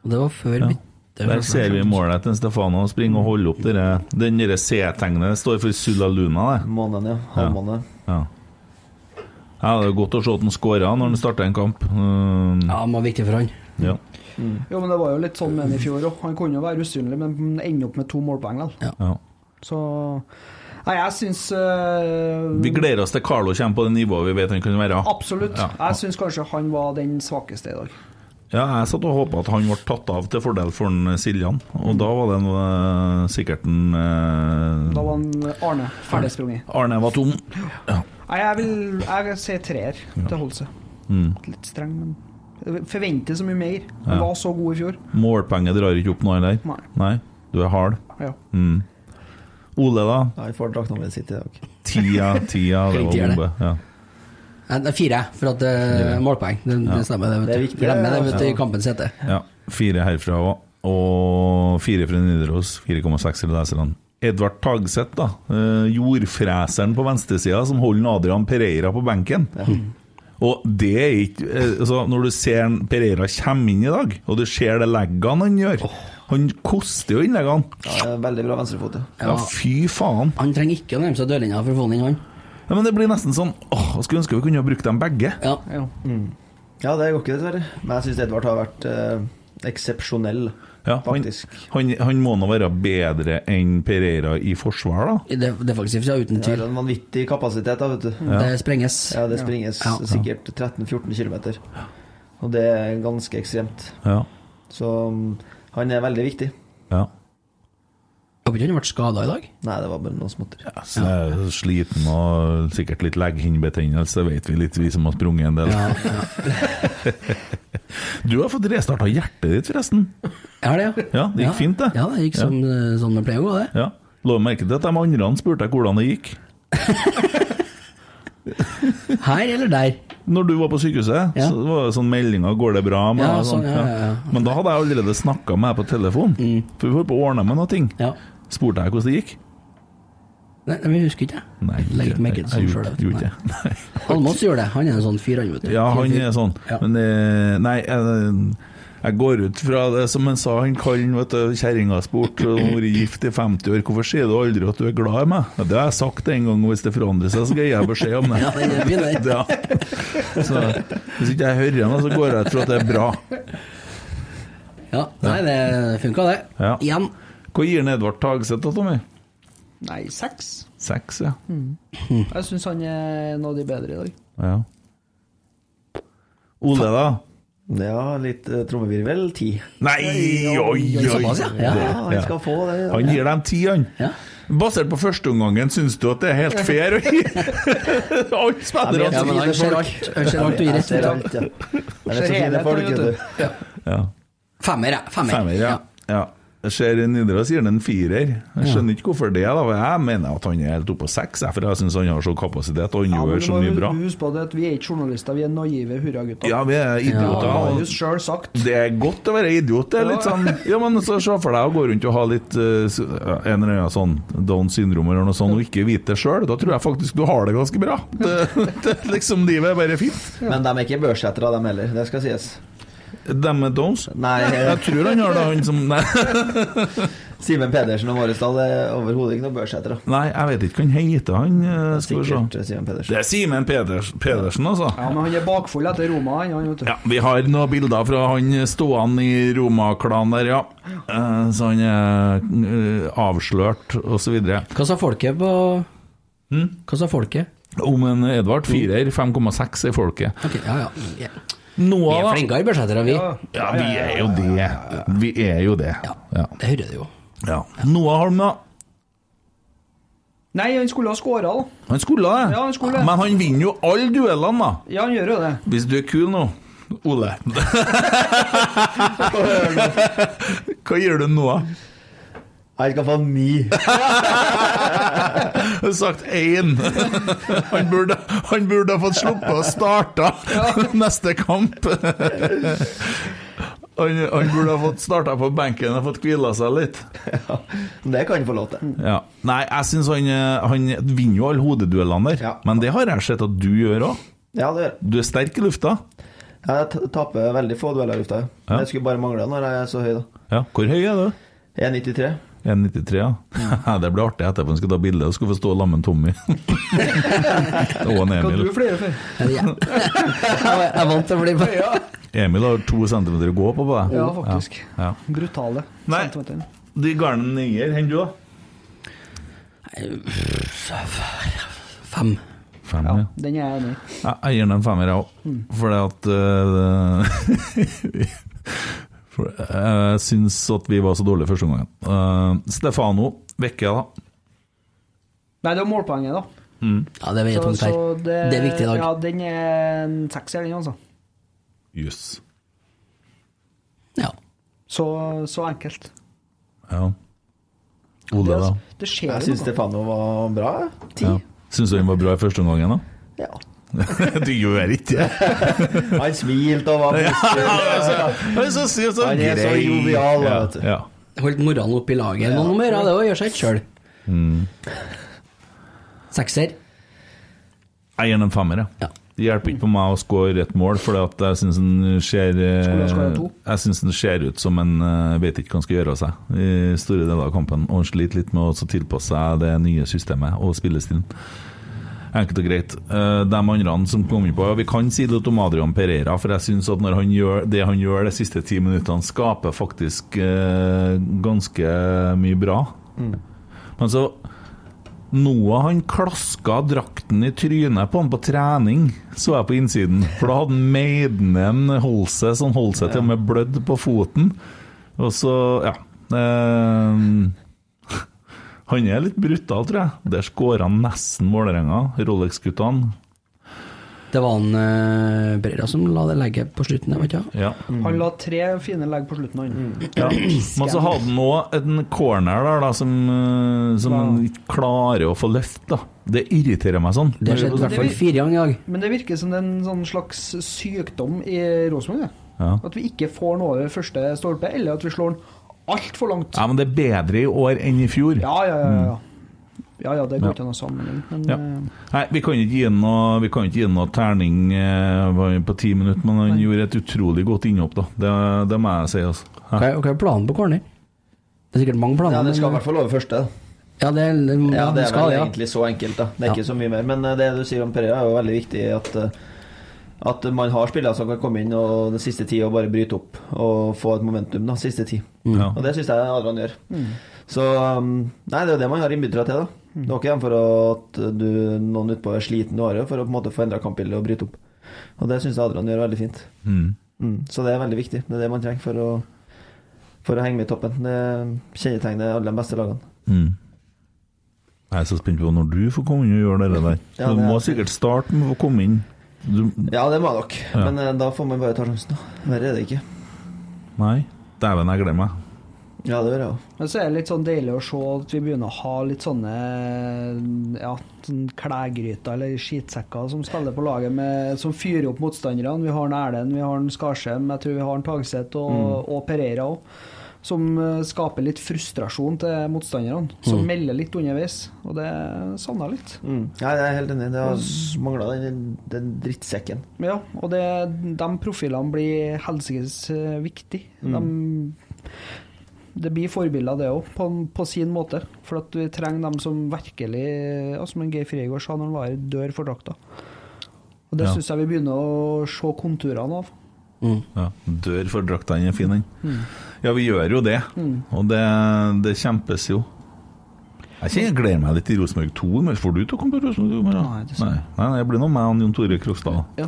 Speaker 3: Og det var før
Speaker 2: Ja.
Speaker 3: mitt- det var
Speaker 2: Der ser vi målet til Stefano. Springe og holde opp dere. den der C-tegnet. Det står for Sulla Luna, det.
Speaker 4: Måneden, ja. Halvmåned.
Speaker 2: Ja. ja, det er godt å se at han skåra når han starter en kamp. Mm,
Speaker 3: Ja, han var viktig for han.
Speaker 2: ja.
Speaker 5: Jo, men det var jo litt sånn med han i fjor òg. Han kunne jo være usynlig, men ender opp med to målpoeng likevel.
Speaker 2: Ja.
Speaker 5: Så Nei, jeg syns eh,
Speaker 2: Vi gleder oss til Carlo kommer på det nivået vi vet han kan være.
Speaker 5: Absolutt.
Speaker 2: Ja.
Speaker 5: Jeg syns kanskje han var den svakeste i dag.
Speaker 2: Ja, jeg satt og håpa at han ble tatt av til fordel for en Siljan, og da var den eh, sikkert en eh,
Speaker 5: Da var han Arne ferdigsprunget.
Speaker 2: Arne var tom.
Speaker 5: Nei, jeg vil jeg sier treer til Holse.
Speaker 2: Mm.
Speaker 5: Litt streng, men Forventer så mye mer.
Speaker 2: Ja.
Speaker 5: Han var så god i fjor.
Speaker 2: Målpenger drar ikke opp noe der.
Speaker 5: Nei.
Speaker 2: Nei. Du er hard.
Speaker 5: Ja.
Speaker 2: Mm. Ole, da?
Speaker 4: Ja, vi får draktnummeret sitt i dag.
Speaker 2: Tida, tida, det var
Speaker 3: Riktig er det.
Speaker 2: bombe. Ja.
Speaker 3: Nei, det er fire, for at det er målpoeng. Det, det stemmer, det. vet du.
Speaker 4: Det er viktig,
Speaker 3: Glemmer det
Speaker 4: ja.
Speaker 3: vet du, i kampens hete.
Speaker 2: Ja, fire herfra også, og fire fra Nidaros. 4,6 i leserne. Edvard Tagseth, da. Eh, jordfreseren på venstresida som holder Adrian Pereira på benken. Og det er ikke eh, altså, Når du ser en Pereira komme inn i dag, og du ser det leggene han gjør Han koster jo innleggene.
Speaker 4: Ja, det er veldig bra venstrefot, ja.
Speaker 2: Ja, fy faen.
Speaker 3: Han trenger ikke å nærme seg dørlinja for å få den inn, han.
Speaker 2: Ja, men det blir nesten sånn åh, jeg Skulle ønske vi kunne ha brukt dem begge.
Speaker 3: Ja.
Speaker 5: Ja.
Speaker 4: Ja, det går ikke, dessverre. Men jeg syns Edvard har vært eh, eksepsjonell,
Speaker 2: Ja, han,
Speaker 4: faktisk.
Speaker 2: han, han må nå være bedre enn Pereira i forsvar, da.
Speaker 3: Det, det er faktisk ja, uten
Speaker 4: Det er
Speaker 3: tvil.
Speaker 4: en vanvittig kapasitet, da, vet du.
Speaker 3: Det sprenges.
Speaker 4: Ja, det springes
Speaker 3: Ja.
Speaker 4: sikkert 13-14 km. Og det er ganske ekstremt.
Speaker 2: Ja,
Speaker 4: Så mm, han er veldig viktig.
Speaker 2: ja.
Speaker 3: Håper ikke han ble skada i dag.
Speaker 4: Nei, det var bare noen småtter.
Speaker 2: Ja, så jeg er sliten og sikkert litt legghinnebetennelse, vet vi litt, vi som har sprunget en del. Du har fått restarta hjertet ditt, forresten.
Speaker 3: Jeg har det, ja.
Speaker 2: Ja, det gikk fint, det.
Speaker 3: Ja, det gikk som, eh, som det pleier å gå, det.
Speaker 2: Ja. La meg merke til at de andre spurte deg hvordan det gikk
Speaker 3: Her eller der.
Speaker 2: når du var på sykehuset.
Speaker 3: Ja.
Speaker 2: Så det var det sånn meldinger 'går det bra?' med
Speaker 3: Ja,
Speaker 2: deg?»
Speaker 3: sånn, ja, ja, Mm. ja.
Speaker 2: Men da hadde jeg allerede snakka med deg på telefon, for vi holdt på å ordne med noe. ting.
Speaker 3: Ja.
Speaker 2: Spurte jeg hvordan det gikk?
Speaker 3: Nei, men jeg husker ikke.
Speaker 2: Nei,
Speaker 3: Legger ikke meg
Speaker 2: jeg-
Speaker 3: ikke sånn
Speaker 2: jeg
Speaker 3: selv,
Speaker 2: gjorde-
Speaker 3: vet du.
Speaker 2: gjorde ikke. Nei.
Speaker 3: Almås gjør det. Han er en sånn fyr, han, vet du.
Speaker 2: Ja, han er sånn.
Speaker 3: Ja.
Speaker 2: Men eh, nei, jeg, jeg går ut fra det som han sa, han kallen, vet du, kjerringa spurte om hun har vært gift i 50 år, hvorfor sier du aldri at du er glad i meg? Ja, det har jeg sagt en gang, og hvis det forandrer seg, så skal jeg gi deg beskjed om det.
Speaker 3: Ja, den er fin, den.
Speaker 2: Ja. Så hvis ikke jeg hører henne, så går jeg ut fra at det er bra.
Speaker 3: Ja. Nei, det funka, det.
Speaker 2: Ja.
Speaker 3: Igjen.
Speaker 2: Hva gir han Edvard Tagseth da, Tommy?
Speaker 5: Nei, seks.
Speaker 2: Seks, ja.
Speaker 5: Jeg syns han er en av de bedre i dag.
Speaker 2: ja. Ole, da?
Speaker 4: Ja, litt eh, trommevirvel. Ti.
Speaker 2: Nei, oi, oi!
Speaker 3: Såpass, ja. Ja.
Speaker 4: Ja, han skal få det. ja.
Speaker 2: Han gir dem ti, han.
Speaker 3: Ja.
Speaker 2: Basert på førsteomgangen, syns du at det er helt fair å gi alle spillere
Speaker 3: Ja, men han ser alt. Han ser alt og gir
Speaker 4: Jeg ser
Speaker 3: resultat.
Speaker 4: alt, ja. Han er
Speaker 5: Ser
Speaker 4: så fin,
Speaker 5: helheten,
Speaker 4: folk,
Speaker 5: vet du.
Speaker 4: vet du.
Speaker 2: Ja.
Speaker 3: Femmer, ja. Femmer.
Speaker 2: Femmer, ja. ja. Jeg ser Nidaros gir den en firer. Jeg skjønner ikke hvorfor det. da Jeg mener at han er helt oppe på seks, jeg, for jeg syns han har så kapasitet og han
Speaker 5: Ja, men
Speaker 2: gjør
Speaker 5: du
Speaker 2: så
Speaker 5: må
Speaker 2: mye
Speaker 5: jo
Speaker 2: bra.
Speaker 5: huske på det at vi er ikke journalister, vi er naive hurragutter.
Speaker 2: Ja, vi er idioter.
Speaker 5: det har
Speaker 2: og-
Speaker 5: du sjøl sagt.
Speaker 2: Det er godt å være idiot. Det er litt sånn Ja, men så se for deg å gå rundt og ha litt eh, s- en eller annen sånn down syndrom eller noe sånt, og ikke vite det sjøl. Da tror jeg faktisk du har det ganske bra. Det, det, er liksom Livet er bare fint.
Speaker 4: Men de er ikke børsettere, dem heller. Det skal sies.
Speaker 2: Dem med downs
Speaker 4: Nei, eh,
Speaker 2: Jeg tror han har det, han som Nei,
Speaker 4: Simen Pedersen og Måresdal er overhodet ikke noen børsettere.
Speaker 2: nei jeg vet ikke hva han heter, han. eh, Skal vi
Speaker 4: Sikkert
Speaker 2: se.
Speaker 4: eh, Simen Pedersen.
Speaker 2: Det er Simen Peders, Pedersen, altså.
Speaker 5: Ja, men han er bakfull etter Roma, han, han, vet du.
Speaker 2: Ja, Vi har noen bilder fra han stående i Roma-klanen der, ja. Eh, Så han er eh, avslørt, osv.
Speaker 3: Hva sa folket på Hva sa folket?
Speaker 2: Om en Edvard firer, 5,6 er folket.
Speaker 3: Ok, ja, ja. Vi er- Vi
Speaker 2: Noe
Speaker 3: er
Speaker 2: av det
Speaker 3: flinkere budsjettere, vi.
Speaker 2: Ja, vi er jo det. Vi er jo det. Ja.
Speaker 3: Det hører du jo.
Speaker 2: ja. Noah Holm, da.
Speaker 5: Nei, han skulle ha skåra, da.
Speaker 2: Han skulle det.
Speaker 5: Ja, han skulle det.
Speaker 2: Men han vinner jo alle duellene, da.
Speaker 5: Ja, han gjør jo det.
Speaker 2: Hvis du er kul nå, Ole Hva gjør du nå?
Speaker 4: Jeg skal få ni.
Speaker 2: Jeg har sagt én. Han burde, han burde ha fått sluppet å starte neste kamp. Han, han burde ha fått starta på benken og fått hvila seg litt.
Speaker 4: Det kan du få lov til.
Speaker 2: Ja. Nei, jeg syns han, eh, han vinner jo alle hodeduellene der,
Speaker 4: Ja.
Speaker 2: men det har jeg sett at du gjør òg.
Speaker 4: Ja, det gjør jeg.
Speaker 2: Du er sterk i lufta.
Speaker 4: Jeg t- taper veldig få dueller i lufta.
Speaker 2: Ja.
Speaker 4: Ja. Det skulle bare mangle når jeg er så høy, da.
Speaker 2: Ja. Hvor høy er du?
Speaker 4: 1,93.
Speaker 2: 1,93, ja. Det blir artig etterpå. Vi skal ta bilde og skal få stå sammen med Tommy. og en
Speaker 5: Hva du
Speaker 2: Emil.
Speaker 5: flere for?
Speaker 3: Ja. Jeg er vant til å bli
Speaker 5: Ja,
Speaker 2: Emil har to centimeter å gå på på deg.
Speaker 5: ja faktisk.
Speaker 2: Ja.
Speaker 5: Brutale.
Speaker 2: Nei.
Speaker 5: centimeter.
Speaker 2: De garnene nier, hender du, da?
Speaker 3: fem.
Speaker 2: Fem,
Speaker 5: Ja,
Speaker 2: ja.
Speaker 5: den er jeg enig i.
Speaker 2: Jeg jeg gir den en femmer, jeg
Speaker 5: Mm.
Speaker 2: òg. Fordi at eh, for, eh, Jeg syns at vi var så dårlige første gangen. Eh, Stefano Vekke, da.
Speaker 5: Nei, det er målpoenget, da.
Speaker 3: Ja, det veier
Speaker 5: Så-
Speaker 3: tungt her.
Speaker 5: så
Speaker 3: Det er viktig i dag.
Speaker 5: Ja, den er en sekser, den, altså.
Speaker 2: Jøss.
Speaker 3: Ja.
Speaker 5: Så, så enkelt.
Speaker 2: Ja. Ole, da.
Speaker 5: Det, det skjer
Speaker 4: Jeg
Speaker 5: jo
Speaker 4: syns
Speaker 5: noe.
Speaker 4: Stefano var bra. jeg. Ti.
Speaker 2: Ja. Syns du den var bra i første omgang, da?
Speaker 4: Ja.
Speaker 2: du gjør ikke det!
Speaker 4: Han smilte og var positiv.
Speaker 2: Han er så, så, så
Speaker 4: Han er så
Speaker 2: grei.
Speaker 4: jovial, da, vet du.
Speaker 2: Ja.
Speaker 3: Holdt moralen oppe i laget noen nummer, ja, det også gjør seg ikke sjøl. Sekser.
Speaker 2: Jeg gir den en femmer,
Speaker 3: Ja.
Speaker 2: Det hjelper ikke på meg å skåre et mål, for jeg syns den ser eh,
Speaker 5: Skulle ha skåret to.
Speaker 2: Jeg synes den ser ut som en eh, vet ikke hva han skal gjøre av seg i store deler av kampen. Og han sliter litt med å også tilpasse seg det nye systemet og spillestilen. Enkelt og greit. Eh, De andre som kom inn på ja, Vi kan si litt om Adrian Pereira, for jeg syns at når han gjør det han gjør de siste ti minuttene, skaper faktisk eh, ganske mye bra.
Speaker 4: Mm.
Speaker 2: Men så Noah han klaska drakten i trynet på han på trening, så jeg på innsiden. For da hadde han meid ned en Holse, så han holdt seg til og med blødd på foten. Og så, ja ehm, Han er litt brutal, tror jeg. Der skåra han nesten Vålerenga, Rolex-guttene.
Speaker 3: Det var han eh, Brera som la det legget på slutten, jeg vet ikke.
Speaker 2: Ja.
Speaker 5: Han la tre fine legg på slutten,
Speaker 4: Mm.
Speaker 5: han.
Speaker 2: Ja. Men så hadde han òg en corner der da, som, eh, som han ikke klarer å få løft. da. Det irriterer meg sånn.
Speaker 3: Det har skjedd i hvert fall fire ganger i dag.
Speaker 5: Men det virker som det er en sånn slags sykdom i Rosenborg. det.
Speaker 2: Ja.
Speaker 5: At vi ikke får den over første stolpe, eller at vi slår den altfor langt.
Speaker 2: Ja, men det er bedre i år enn i fjor.
Speaker 5: Ja, ja, ja. ja. Ja, ja, det går ikke an å sammenligne, men
Speaker 2: Mm. Ja.
Speaker 5: eh,
Speaker 2: Nei, vi kan ikke gi ham noe, vi kan ikke gi han noe terning eh, var jo på ti minutter, men han gjorde et utrolig godt innhopp, da. Det, det må jeg si, altså.
Speaker 3: Hva
Speaker 2: Ja.
Speaker 3: er, hva er planen på corner? Det er sikkert mange planer.
Speaker 4: Ja, det skal i
Speaker 3: men-
Speaker 4: hvert fall over
Speaker 5: eh,
Speaker 4: første. da.
Speaker 3: Ja, det, er- det,
Speaker 4: Ja, det er
Speaker 3: skal,
Speaker 4: vel
Speaker 3: ja.
Speaker 4: egentlig så enkelt, da. Det er
Speaker 3: Ja.
Speaker 4: ikke så mye mer. Men eh, det du sier om Pereira, er jo veldig viktig at eh, at man har spillere som kan komme inn og den siste ti og bare bryte opp og få et momentum. da, siste ti.
Speaker 2: Ja.
Speaker 4: Mm. Og det syns jeg Adrian gjør. Så um, Nei, det er jo det man har innbyttere til, da. Det er ikke dem for at du, noen utpå er sliten du har jo, for å på en måte få endra kampbildet og bryte opp. Og det syns jeg Adrian gjør veldig fint.
Speaker 2: Mm.
Speaker 4: Mm. Så det er veldig viktig. Det er det man trenger for å, for å henge med i toppen. Det kjennetegner alle de beste lagene.
Speaker 2: Mm. Jeg er så spent på når du får komme inn og gjøre det der.
Speaker 4: Ja,
Speaker 2: du
Speaker 4: det er-
Speaker 2: må sikkert starte med å komme inn. Du,
Speaker 4: Ja, det må jeg nok.
Speaker 2: Ja.
Speaker 4: Men eh, da får man bare ta sjansen, da. Verre er det ikke.
Speaker 2: nei. Dæven, jeg gleder meg.
Speaker 4: Ja, det gjør jeg òg.
Speaker 5: Men så er det litt sånn deilig å se at vi begynner å ha litt sånne ja, sånn klærgryter eller skitsekker som spiller på laget, med, som fyrer opp motstanderne. Vi har en Erlend, vi har en Skarsheim, jeg tror vi har en Tagseth og, og Pereira òg. Som eh, skaper litt frustrasjon til motstanderne, som melder litt underveis. Og det savner jeg litt.
Speaker 4: Mm. Nei, jeg er helt enig. Det har mangla den, den drittsekken.
Speaker 5: Men Ja, og det, de profilene blir helsikes eh, viktig.
Speaker 4: Mm.
Speaker 5: De, det blir forbilder, det òg, på, på sin måte. For at vi trenger dem som virkelig ja, Som en Geir Frigård sa når han var her, dør for drakta. Og det
Speaker 2: Ja.
Speaker 5: synes syns jeg vi begynner å se konturene av.
Speaker 2: Ja, dør for drakta, den er fin, den.
Speaker 5: Mm.
Speaker 2: Ja, vi gjør jo det, og det, det kjempes jo. Jeg kjenner jeg gleder meg litt til Rosenborg 2, men får du til å komme på Rosenborg 2? i morgen?
Speaker 5: Nei, det skal
Speaker 2: nei, nei, nei, jeg blir nå med han Jon Tore Krokstad.
Speaker 5: Ja.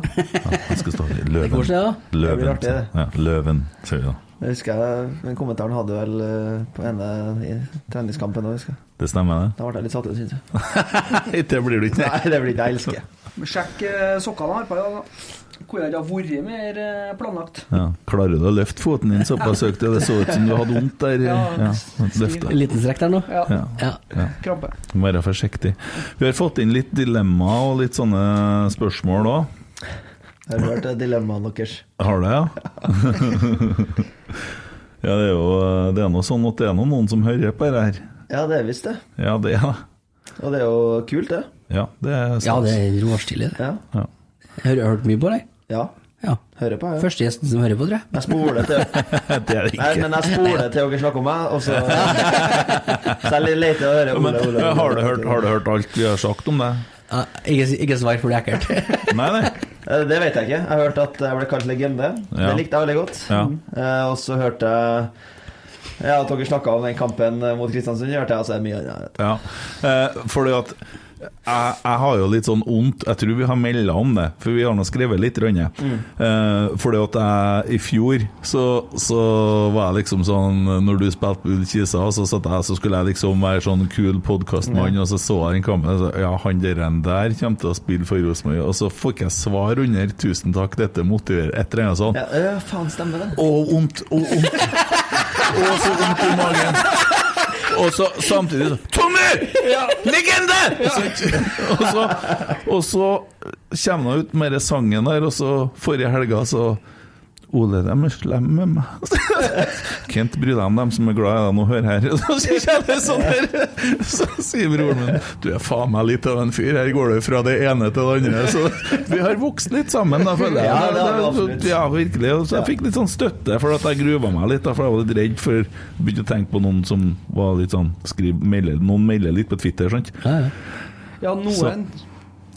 Speaker 2: jeg skal stå i Løven.
Speaker 3: Går det, da?
Speaker 4: Det blir
Speaker 2: Løven,
Speaker 4: artig, det.
Speaker 2: Ja, løven sier vi da.
Speaker 4: Jeg husker jeg, den kommentaren hadde jeg vel eh, på ene i treningskampen òg, husker jeg.
Speaker 2: Det stemmer, det?
Speaker 4: Da ble jeg litt satt ut, syns jeg.
Speaker 2: Nei, det blir du ikke.
Speaker 4: Nei, det blir ikke jeg elsker.
Speaker 5: Men sjekk eh, sokkene her på ja, da. Kunne det ha vært mer eh, planlagt?
Speaker 2: Ja. Klarer du å løfte foten din såpass høyt? Det så ut som du hadde vondt der.
Speaker 5: Ja.
Speaker 2: Ja, løfte.
Speaker 3: En liten strekk der nå?
Speaker 5: Ja.
Speaker 2: Ja.
Speaker 3: Ja.
Speaker 5: Krampe.
Speaker 2: Må Være forsiktig. Vi har fått inn litt dilemma og litt sånne spørsmål òg.
Speaker 4: Jeg har hørt eh, dilemmaene deres.
Speaker 2: Har det, ja? ja, det er jo Det er noe sånn at det er noe noen som hører på det her.
Speaker 4: Ja, det er visst det.
Speaker 2: Ja, det er det.
Speaker 4: Og det er jo kult, det.
Speaker 2: Ja, det er
Speaker 3: ja,
Speaker 2: sant.
Speaker 3: det er råstilig, det.
Speaker 4: Ja.
Speaker 2: Ja.
Speaker 3: Jeg har hørt mye på deg.
Speaker 4: ja.
Speaker 3: Ja.
Speaker 4: Hører på, jeg. Ja.
Speaker 3: Første gjesten som hører på, tror jeg.
Speaker 4: Jeg spoler til
Speaker 2: Det er det
Speaker 4: Nei,
Speaker 2: ikke.
Speaker 4: men jeg spoler til dere snakker om meg, og så Så jeg leter og hører
Speaker 2: Men,
Speaker 4: Ole, Ole. Ole.
Speaker 2: har, du hørt, har du hørt alt vi har sagt om deg?
Speaker 3: Ja, ikke, ikke svar, for det er ekkelt.
Speaker 2: Nei, nei.
Speaker 4: Eh, Det vet jeg ikke. Jeg hørte at jeg ble kalt legende.
Speaker 2: Ja.
Speaker 4: Det likte jeg veldig godt.
Speaker 2: Ja.
Speaker 4: Eh, og så hørte jeg ja, at dere snakka om den kampen eh, mot Kristiansund. hørte jeg altså det er mye annet.
Speaker 2: Ja, eh, fordi at jeg, jeg har jo litt sånn ondt Jeg tror vi har melda om det, for vi har nå skrevet litt. Rønne. Eh, fordi at jeg i fjor så, så var jeg liksom sånn Når du spilte Ull Kisa, så satt jeg så skulle jeg liksom være sånn kul podkastmann, og så så jeg den kampen og så, Ja, han der, enn der kommer til å spille for Rosenborg. Og så fikk jeg svar under 'Tusen takk, dette motiverer', et eller annet sånt.
Speaker 4: Ja, øh, faen, stemmer det?
Speaker 2: Og vondt, og vondt. Og så vondt i magen. Og så samtidig så Tommy! Legende! Og så, og så kommer han ut med den sangen der, og så forrige helga så Ole, de er slemme med meg. Kent, bry deg om dem som er glad i deg nå, hør her. Så kjenner jeg sånn her. Så sier broren min du er faen meg litt av en fyr, her går du fra det ene til det andre. Så vi har vokst litt sammen, da, føler jeg.
Speaker 4: Ja, det har vi absolutt.
Speaker 2: Ja, virkelig. Og så jeg fikk litt sånn støtte, for at jeg gruva meg litt. Da, for jeg var litt redd for Begynte å tenke på noen som var litt sånn skriv, melder, Noen melder litt på Twitter, sant?
Speaker 3: Ja, ja.
Speaker 5: Ja, noen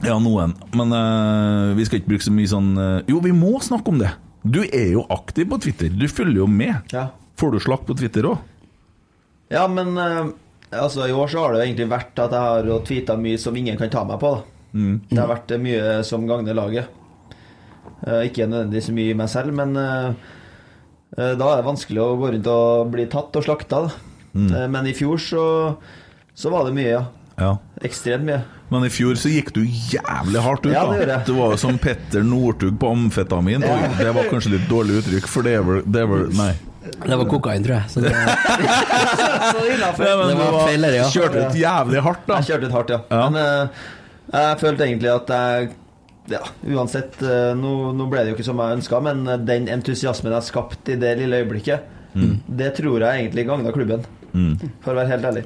Speaker 2: Ja, noen. Men eh, vi skal ikke bruke så mye sånn eh, Jo, vi må snakke om det! Du er jo aktiv på Twitter. Du følger jo med.
Speaker 4: Ja.
Speaker 2: Får du slakk på Twitter òg?
Speaker 4: ja, men eh, altså, i år så har det jo egentlig vært at jeg har tweeta mye som ingen kan ta meg på. da
Speaker 2: Mm.
Speaker 4: Det har vært eh, mye som gagner laget. Eh, ikke nødvendigvis mye meg selv, men eh, eh, da er det vanskelig å gå rundt og bli tatt og slakta. Da.
Speaker 2: Mm.
Speaker 4: Eh, men i fjor så, så var det mye, ja.
Speaker 2: Ja.
Speaker 4: Ekstremt mye.
Speaker 2: Men i fjor så gikk du jævlig hardt ut,
Speaker 4: Ja, det gjorde
Speaker 2: da.
Speaker 4: jeg.
Speaker 2: Du var jo som Petter Northug på amfetamin. Oi, det var kanskje litt dårlig uttrykk, for det er vel, det er vel Nei.
Speaker 3: Det var kokain, tror jeg. Så det,
Speaker 2: Ja, men
Speaker 3: Det
Speaker 2: du
Speaker 3: var feil, det, ja.
Speaker 2: Kjørte ut jævlig hardt, da.
Speaker 4: Jeg kjørte litt hardt, ja.
Speaker 2: Ja.
Speaker 4: Men eh, jeg følte egentlig at jeg ja, Uansett, eh, nå, nå ble det jo ikke som jeg ønska, men eh, den entusiasmen jeg skapte i det lille øyeblikket,
Speaker 2: Mm.
Speaker 4: det tror jeg egentlig gagna klubben, for å være helt ærlig.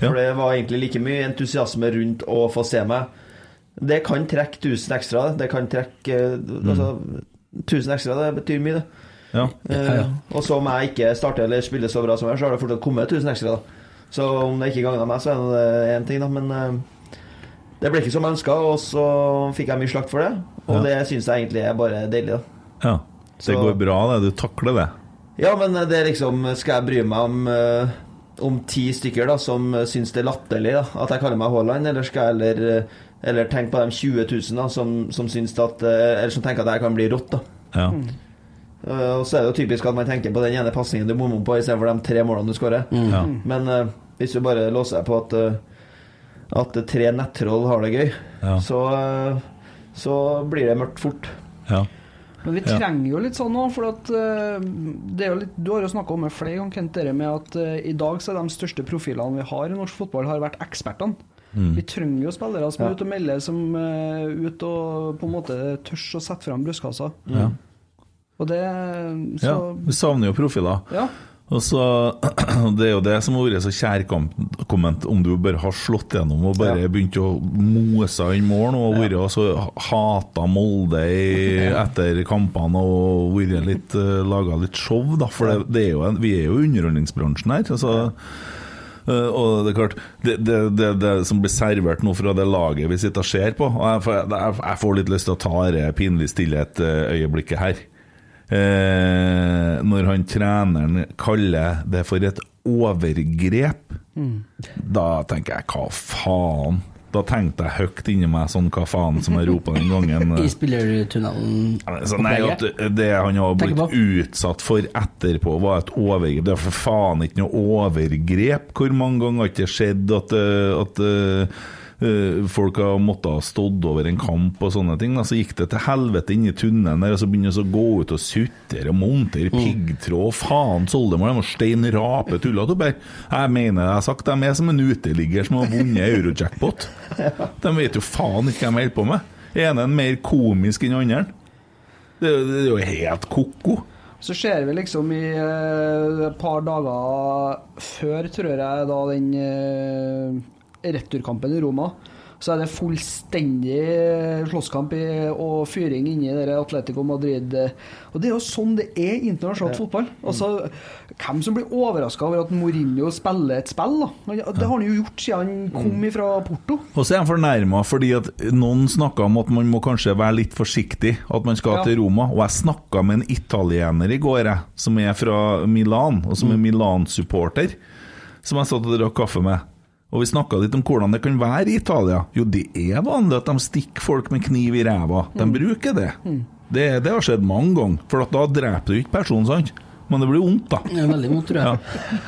Speaker 2: Ja.
Speaker 4: For det var egentlig like mye entusiasme rundt å få se meg. Det kan trekke 1000 ekstra. Det kan trekke eh, altså, 1000 ekstra, det betyr mye, det.
Speaker 2: Ja.
Speaker 3: Ja, ja.
Speaker 4: Eh, Og så om jeg ikke starter eller spiller så bra som jeg, så har det fortsatt kommet 1000 ekstra. da. Så om det ikke gagna meg, så er det én ting, da. Men eh, det ble ikke som jeg ønska, og så fikk jeg mye slakt for det. Og
Speaker 2: Ja.
Speaker 4: det syns jeg egentlig er bare deilig, da.
Speaker 2: ja. Det
Speaker 4: Så-
Speaker 2: går bra, det. Du takler det.
Speaker 4: Ja, men det er liksom Skal jeg bry meg om eh, om ti stykker da som syns det er latterlig da at jeg kaller meg Haaland, eller skal jeg eller, eh, eller tenke på de 20 000 da, som, som, syns at, eh, eller som tenker at jeg kan bli rått, da.
Speaker 2: Ja.
Speaker 4: Mm. Eh, Og så er det jo typisk at man tenker på den ene pasningen du bommer på, istedenfor de tre målene du skårer.
Speaker 2: Mm. Ja.
Speaker 4: Men eh, hvis du bare låser deg på at, eh, at tre nettroll har det gøy,
Speaker 2: Ja.
Speaker 4: så, eh, så blir det mørkt fort.
Speaker 2: ja.
Speaker 5: Men vi
Speaker 2: Ja.
Speaker 5: trenger jo litt sånn òg, for at eh, det er jo litt, du har jo snakka om det flere ganger, Kent, det med at eh, i dag så er de største profilene vi har i norsk fotball, har vært ekspertene.
Speaker 2: Mm.
Speaker 5: Vi trenger jo spillere som er
Speaker 4: Ja.
Speaker 5: ute og melder, som eh, ut og på en måte tør å sette fram brystkassa.
Speaker 2: Ja.
Speaker 5: Og det Så
Speaker 2: ja. Vi savner jo profiler.
Speaker 5: ja.
Speaker 2: Og så, Det er jo det som har vært så kjærkomment, om du bare har slått gjennom og bare
Speaker 4: Ja.
Speaker 2: begynt å mose inn mål og vært og så hata Molde i, etter kampene og vært litt eh, laga litt show, da. For det, det er jo en, vi er jo i underholdningsbransjen her. altså... Eh, og det er klart, det, det, det, det som blir servert nå fra det laget vi sitter og ser på og jeg, får, jeg, jeg får litt lyst til å ta det pinlig stillhet-øyeblikket her. Eh, når han treneren kaller det for et overgrep, da tenker jeg hva faen? Da tenkte jeg høyt inni meg sånn hva faen som jeg ropa den gangen. eh.
Speaker 3: I spillertunnelen.
Speaker 2: Så Altså, sånn, nei, at det han har
Speaker 3: Tenker
Speaker 2: blitt utsatt for etterpå, var et overgrep. Det er for faen ikke noe overgrep. Hvor mange ganger har det ikke skjedd at, eh, at eh, eh, folk har måttet ha stått over en kamp og sånne ting? Da. Så gikk det til helvete inn i tunnelen der, og så begynner vi å gå ut og sutre og montere piggtråd. Faen, Soldemar, de var stein rape tullete oppi her. Jeg mener jeg har sagt, de er som en uteligger som har vunnet euro-jackpot. De vet jo faen ikke hva de holder på med. Ene er mer komisk enn andre. Det, er jo- det er jo helt koko.
Speaker 5: Så ser vi liksom i eh, et par dager før, tror jeg, da den eh, returkampen i Roma, så er det fullstendig eh, slåsskamp i, og fyring inni dere Atletico Madrid. eh. Og det er jo sånn det er i internasjonal fotball. Altså, Hvem som blir overraska over at Mourinho spiller et spill, da? Han- Det har han jo gjort siden han kom ifra Porto.
Speaker 2: Og så er han fornærma fordi at noen snakka om at man må kanskje være litt forsiktig, at man skal
Speaker 5: Ja.
Speaker 2: til Roma. Og jeg snakka med en italiener i går, jeg, som er fra Milan, og som er Milan-supporter, som jeg satt og drakk kaffe med. Og vi snakka litt om hvordan det kan være i Italia. Jo, det er vanlig at de stikker folk med kniv i ræva. De bruker det. det. Det har skjedd mange ganger. For at da dreper du ikke personen, sant? Men det blir vondt, da.
Speaker 3: Det er veldig vondt, tror jeg.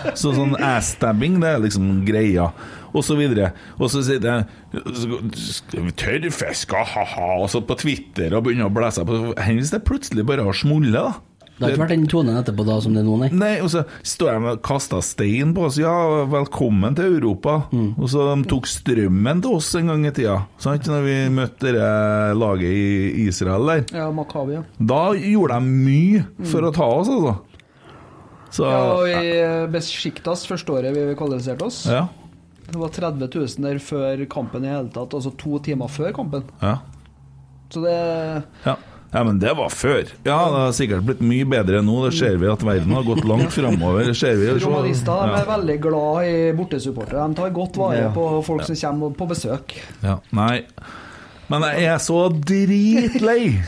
Speaker 2: Ja. Så sånn ass-stabbing, det er liksom greia. Og så videre. Og så sitter jeg så- skal vi Tørrfiska, ha-ha. Og så på Twitter og begynner å blæse på Enn hvis det plutselig bare har smulle, da?
Speaker 3: Det har ikke vært den tonen etterpå da som det er nå, nei.
Speaker 2: Nei, og så står de og kaster stein på oss. Ja, velkommen til Europa.
Speaker 3: Mm.
Speaker 2: Og så de tok strømmen til oss en gang i tida, sant? Når vi møtte det laget i Israel der.
Speaker 5: Ja, Makabi, ja.
Speaker 2: Da gjorde de mye for å ta oss, altså. Så
Speaker 5: ja og i eh, Besiktas første året vi kvalifiserte oss.
Speaker 2: ja,
Speaker 5: Det var 30 000 der før kampen i hele tatt, altså to timer før kampen.
Speaker 2: ja.
Speaker 5: Så det
Speaker 2: Ja. ja, men det var før. Ja, det har sikkert blitt mye bedre nå. Det ser vi at verden har gått langt framover. Det ser vi.
Speaker 5: Romanister de er
Speaker 2: Ja.
Speaker 5: veldig glad i bortesupportere. De tar godt vare
Speaker 4: Ja.
Speaker 5: på folk som kommer på besøk.
Speaker 2: Ja. Nei. Men jeg er så dritlei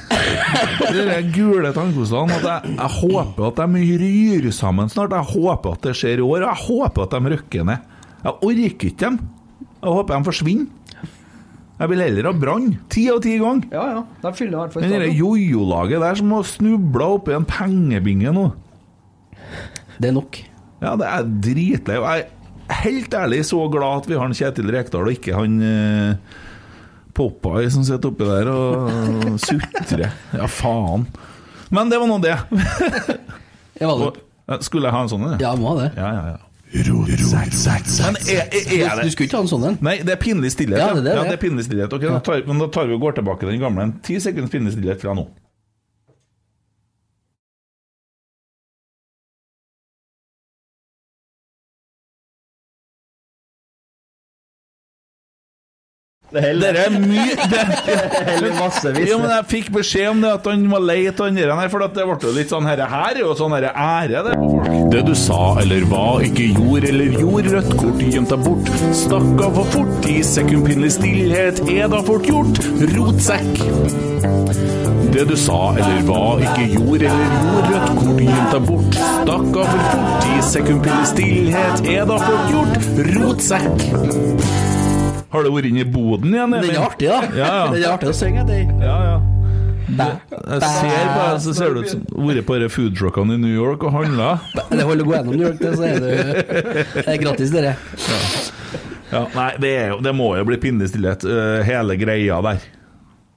Speaker 2: de der gule tannkostene at jeg, jeg håper at de ryr sammen snart. Jeg håper at det skjer i år, og jeg håper at de røkker ned. Jeg orker ikke dem. Jeg håper de forsvinner. Jeg vil heller ha Brann. Ti av ti ganger.
Speaker 5: Ja, ja. De fyller i hvert fall
Speaker 2: Men det der
Speaker 5: stadion.
Speaker 2: jojo-laget der som har snubla oppi en pengebinge nå.
Speaker 3: Det er nok.
Speaker 2: Ja, det er dritlei. Og jeg er helt ærlig så glad at vi har en Kjetil Rekdal og ikke han eh, Popeye som sitter oppi der og sutrer. Ja, faen. Men det var nå det.
Speaker 3: Jeg var
Speaker 2: Og,
Speaker 3: det.
Speaker 2: eh, Skulle jeg ha en sånn en?
Speaker 3: Ja, jeg må ha det.
Speaker 2: ja, ja. ja. Men er, er, er
Speaker 3: Du
Speaker 2: det
Speaker 3: skulle ikke ha en sånn en.
Speaker 2: Nei, det er pinlig stillhet.
Speaker 3: Ja, det er det.
Speaker 2: ja, det er pinlig stillhet. Ok, da tar, Men da tar vi og går tilbake til den gamle. en. Ti sekunds pinlig stillhet fra nå.
Speaker 4: Det heller,
Speaker 2: Dere er mye det,
Speaker 4: heller massevis.
Speaker 2: Jo, men jeg fikk beskjed om det, at han var lei av den der, for at det ble jo litt sånn herre her, og sånn herre ære, det på folk.
Speaker 6: Det du sa eller hva, ikke gjorde eller gjorde, rødt kort gjemt deg bort. Stakk av for fort, ti sekund pinlig stillhet er da fort gjort. Rotsekk. Det du sa eller hva, ikke gjorde eller gjorde, rødt kort gjemt deg bort. Stakk av for fort, ti sekund pinlig stillhet er da fort gjort. Rotsekk.
Speaker 2: Har du vært inne i boden igjen,
Speaker 3: Den
Speaker 2: Emil?
Speaker 3: er artig, da.
Speaker 2: Ja, ja.
Speaker 3: Den er artig å synge etter.
Speaker 2: Ja, ja.
Speaker 3: Bæ.
Speaker 2: Jeg ser på deg, så ser du ut som vært på de foodtruckene i New York og handla.
Speaker 3: Det holder å gå gjennom New York, det, så er det, det er gratis, dere.
Speaker 2: Ja, nei, det, er jo, det må jo bli pinlig stillhet, eh, hele greia der.